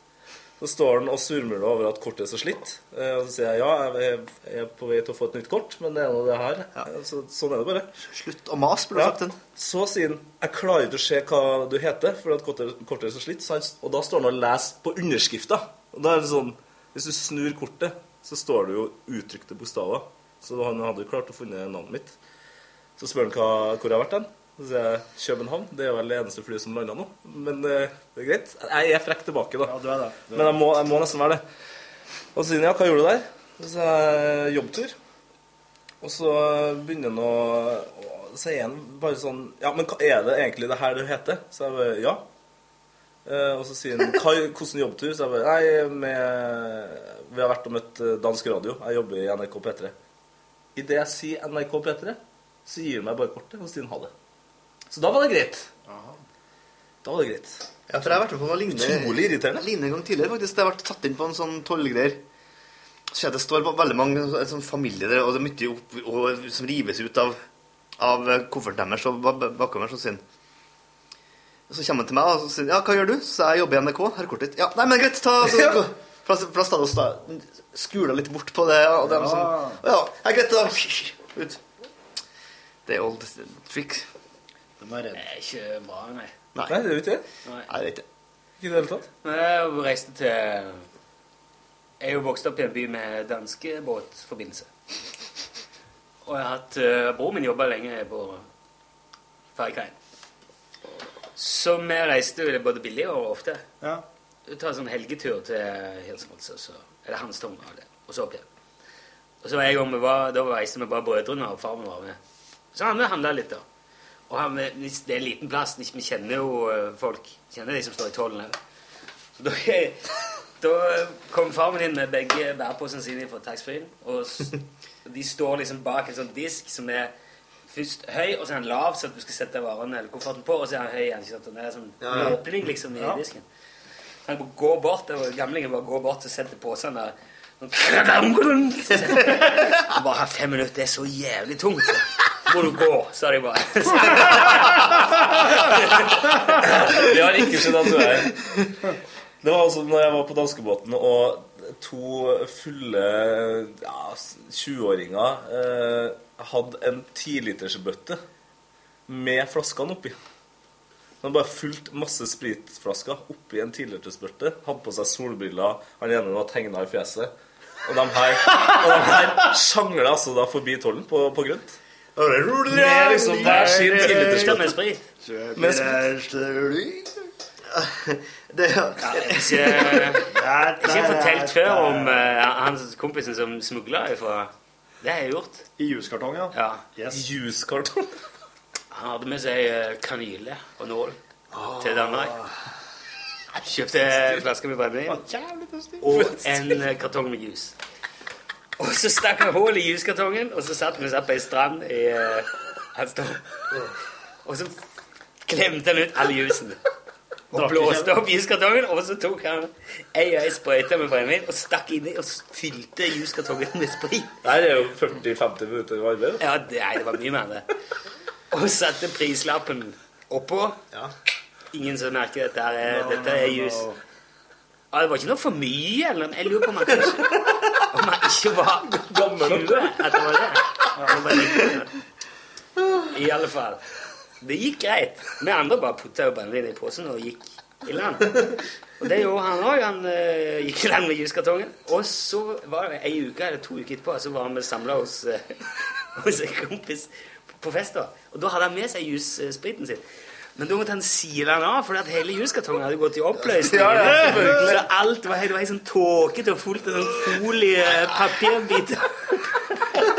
[SPEAKER 9] Så står han og surmuler over at kortet er så slitt. Eh, Og så sier jeg ja, jeg er- jeg er på vei til å få et nytt kort, men det er nå det her. Eh, Så, sånn er det bare. Slutt å mase,
[SPEAKER 4] burde du sagt
[SPEAKER 9] Så sier han jeg klarer ikke å se hva du heter, for at kortet, kortet er så slitt. Så han, og da står han og leser på underskrifta. Og da er det sånn Hvis du snur kortet, så står det jo uttrykte bokstaver. Så han hadde jo klart å finne navnet mitt. Så spør han hva, hvor jeg har vært hen. Så sier jeg København. Det er vel det eneste flyet som lander nå. Men eh, det er greit. Jeg er frekk tilbake, da. Men jeg må, jeg må nesten være det. Og så sier han ja, hva gjorde du der? Så sier jeg jobbtur. Og så begynner han å å- Så sier han bare sånn Ja, men hva er det egentlig det her du heter? Så jeg bare ja. Eh, og så sier han hva, hvordan jobbtur? Så jeg bare nei, med, vi har vært og møtt eh, dansk radio. Jeg jobber i NRK P3. Idet jeg sier NRK P3, så gir han meg bare kortet og sier han ha det. Så da var det greit. Da var det greit.
[SPEAKER 4] Ja, for jeg har vært med på noe lignende
[SPEAKER 9] Utrolig irriterende.
[SPEAKER 4] lignende en gang tidligere, faktisk. Da Jeg ble tatt inn på en sånn tollgreier. Så ser jeg at det står ba- veldig mange så- sånn familier der, og det er mye opp, og, som rives ut av, av eh, kofferten deres og ba- ba- bakover og sin. Så kommer han til meg og så sier han, ja, hva gjør du? Så jeg jobber i NRK, her er kortet ditt. Ja, nei, men greit, ta så, gå. For da- for da stod jeg og sta- skula litt bort på det, og det er
[SPEAKER 9] Ah.
[SPEAKER 4] sånn, «Å ja, ja, greit, da. Ut. Det er old trick.
[SPEAKER 2] De er redde. Det er ikke bra, nei.
[SPEAKER 4] Nei.
[SPEAKER 9] det er jo ikke det.
[SPEAKER 2] Nei.
[SPEAKER 4] Nei, det er ikke det.
[SPEAKER 9] Ikke i det hele tatt.
[SPEAKER 2] Men Jeg reiste til Jeg er jo vokst opp i en by med danske båtforbindelse. Og jeg har hatt eh, Broren min jobba lenge på ferjekaien. Så vi reiste jo både billig og ofte.
[SPEAKER 17] Ja.
[SPEAKER 2] Du tar sånn helgetur til Hilsmons, og så er det hans tomt av det. Og så opp igjen. Og så en gang vi var, da reiste vi bare brødrene og faren var med. Så han handla litt, da. Og han, hvis det er en liten plass. Vi kjenner jo eh, folk. Kjenner de som står i tollen òg. Så da, da kom far min inn med begge bærposene sine fra taxfree-en. Og s- de står liksom bak en sånn disk som er først høy, og så er den lav, så at du skal sette varene eller kofferten på, og så er den høy igjen. ikke sant? Og Det er sånn
[SPEAKER 9] Ja, ja.
[SPEAKER 2] åpning liksom i
[SPEAKER 9] Ja.
[SPEAKER 2] disken. Så jeg bare går bort, og gamlingen bare går bort og setter posene der. Sånn, Og bare her fem minutter, det er så jævlig tungt. Så. Må du gå, sa de bare.
[SPEAKER 9] Vi har ikke
[SPEAKER 2] sånn
[SPEAKER 9] skjønt at du er Det var altså når jeg var på danskebåten, og to fulle ja, 20-åringer eh, hadde en 10-litersbøtte med flaskene oppi. De hadde bare fulgt masse spritflasker oppi en 10-litersbøtte. Hadde på seg solbriller. Han ene var tegna i fjeset. Og de her, og de her sjangla altså da forbi tollen på, på grønt. Med liksom hver sin 10-litersbøtte.
[SPEAKER 2] Med sprit.
[SPEAKER 9] Med
[SPEAKER 4] Det
[SPEAKER 2] Ja, ikke, ikke fortalt før om eh, han kompisen som smugla ifra Det har jeg gjort.
[SPEAKER 17] I juskartong, ja.
[SPEAKER 2] Ja.
[SPEAKER 9] Juskartong?
[SPEAKER 2] Han hadde med seg eh, kanyle og nål til Danmark. Kjøpte en flaske med brennevin og en eh, kartong med jus. Og så stakk han hull i juskartongen, og så satt vi satt på ei strand i eh, hans dom. Og så klemte han ut all jusen. Og
[SPEAKER 9] Drakk
[SPEAKER 2] blåste
[SPEAKER 9] ikke.
[SPEAKER 2] opp juskartongen, og så tok han ei og ei sprøyte med brennevin og stakk inni og s- fylte juskartongen med sprit.
[SPEAKER 9] Nei, det er jo 40-50 minutter arbeid.
[SPEAKER 2] Ja, det, nei, det var mye mer enn det. Og satte prislappen oppå. Ingen som merker dette her. er-
[SPEAKER 9] No,
[SPEAKER 2] dette er
[SPEAKER 9] no, no.
[SPEAKER 2] jus. Ja, det var ikke noe for mye, eller Jeg lurer på om han kanskje Om han ikke var gammel nok. At det var det. Det var det. I alle fall. Det gikk greit. Vi andre bare putta jo brennevin i posen og gikk i land. Og det gjorde han òg. Han eh, gikk i land med juskartongen. Og så var det ei uke eller to uker etterpå, så var vi samla hos, eh, hos en kompis på fest. da. Og da hadde han med seg jusspriten sin. Men da måtte han sile den av, for at hele juskartongen hadde gått i oppløsning.
[SPEAKER 4] Ja, ja, selvfølgelig.
[SPEAKER 2] så alt var helt, det var helt sånn tåkete og fullt av sånn foliepapirbiter.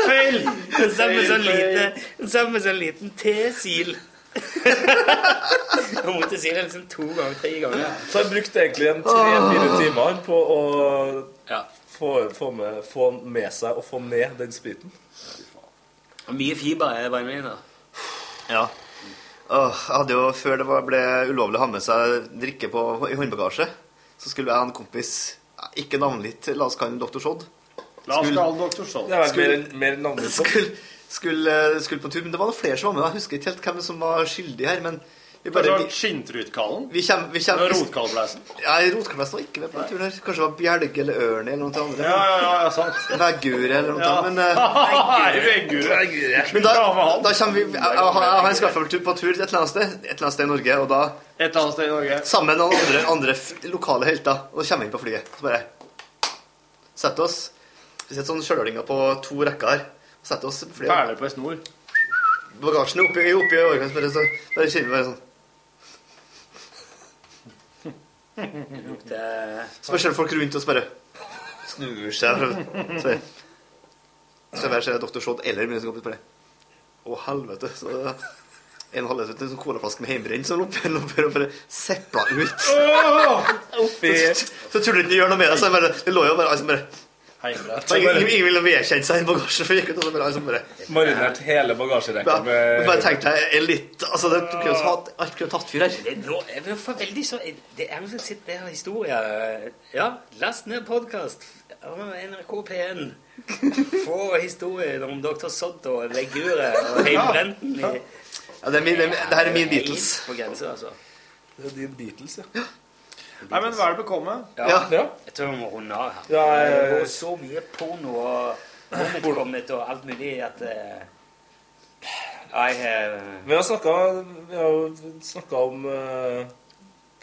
[SPEAKER 2] Følg! Sammen med sånn lite, sammen med sånn liten tesil. Jeg måtte si det liksom to ganger, tre ganger.
[SPEAKER 4] Så jeg brukte egentlig en tre-fire timer på å få, få, med, få med seg og få ned den spriten.
[SPEAKER 2] Og Mye fiber er brennevin, da.
[SPEAKER 9] Ja. Åh, jeg hadde jo Før det var, ble ulovlig å ha med seg drikke på, i håndbagasje, så skulle jeg ha en kompis eh, Ikke navngitt. La oss kalle ham Dr. Shod.
[SPEAKER 1] La oss
[SPEAKER 9] Skulle-
[SPEAKER 1] kalle han Dr. Scholl.
[SPEAKER 9] Skulle-
[SPEAKER 4] mer navnet
[SPEAKER 1] på.
[SPEAKER 9] skulle, skulle, skulle på tur, men det var noen flere som var med. Jeg husker ikke helt hvem som var skyldig her, men vi bare...
[SPEAKER 1] Kanskje det var
[SPEAKER 9] Skinntrutkallen? Vi kjem, vi kjem,
[SPEAKER 1] Det var Rotkallblæsen?
[SPEAKER 9] Ja, Rotkallblæsen var ikke med på den turen her. Kanskje det var Bjelge eller Ørni eller noe til andre.
[SPEAKER 1] Ja, ja, ja, sant.
[SPEAKER 9] Veggure eller noe
[SPEAKER 1] Ja.
[SPEAKER 9] til, men... eh,
[SPEAKER 1] Nei, Veggure.
[SPEAKER 9] Men da, da kommer vi... Jeg, jeg, har- jeg har en skaffeltur på tur til et eller annet sted, et eller annet sted i Norge, og da...
[SPEAKER 1] Et eller annet sted i Norge.
[SPEAKER 9] Sammen med noen andre, andre f- lokale helter, og da kommer vi inn på flyet. Så bare... Sett oss. Vi setter sånn kjølølinger på to rekker her. Sett oss flere...
[SPEAKER 1] Perler på en snor.
[SPEAKER 9] bagasjen er oppi, oppi i organet, bare så bare kjenner vi bare sånn. Så bare ser folk rundt oss bare snur seg. Så bare- så bare ser jeg Dr. Shod eller min kompis bare Å, helvete. Så det er en halvliter til en sånn colaflaske med hjemmebrent som lå oppi og bare, bare seppa ut. Så, så tuller du ikke gjør noe med det. Så jeg bare, det lå jo bare, altså bare
[SPEAKER 4] Heimbrett.
[SPEAKER 9] Så Ingen ingen ville vedkjenne seg i bagasjen, for jeg gikk ut og så bare, altså bare
[SPEAKER 4] Marinert hele bagasjerekka
[SPEAKER 9] Ja,
[SPEAKER 4] med
[SPEAKER 9] men bare tenk deg en litt Altså, det kunne jo tatt, alt kunne tatt fyr her.
[SPEAKER 2] Det, nå er vi for veldig så Det er jo sitt bedre historie. Ja, last ned podkast. NRK P1. Få historier om Dr. Sodd og Veggure og Heimbrenten i
[SPEAKER 9] Ja, det, er min, det, er- det her er min Beatles.
[SPEAKER 2] Helt På grensa, altså.
[SPEAKER 4] Det er din Beatles, ja.
[SPEAKER 1] Nei, men vel bekomme.
[SPEAKER 2] Ja. Jeg tror vi må runde av her.
[SPEAKER 1] Ja, ja, ja.
[SPEAKER 2] Det går så mye porno og bortkommet og alt mulig at eh, Jeg eh,
[SPEAKER 4] Vi har snakka, vi har jo snakket om eh,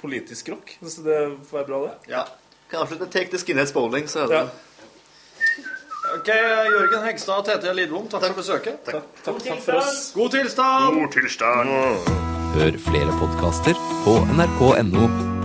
[SPEAKER 4] politisk rock, så det får være bra, det.
[SPEAKER 9] Ja. Kan jeg avslutte Take the Skinheads Bowling, så er det
[SPEAKER 1] Ok, Jørgen Hegstad og Tete Lidbom, takk, for besøket.
[SPEAKER 4] Takk, takk for oss.
[SPEAKER 1] God tilstand!
[SPEAKER 18] God tilstand.
[SPEAKER 19] Hør flere podkaster på nrk.no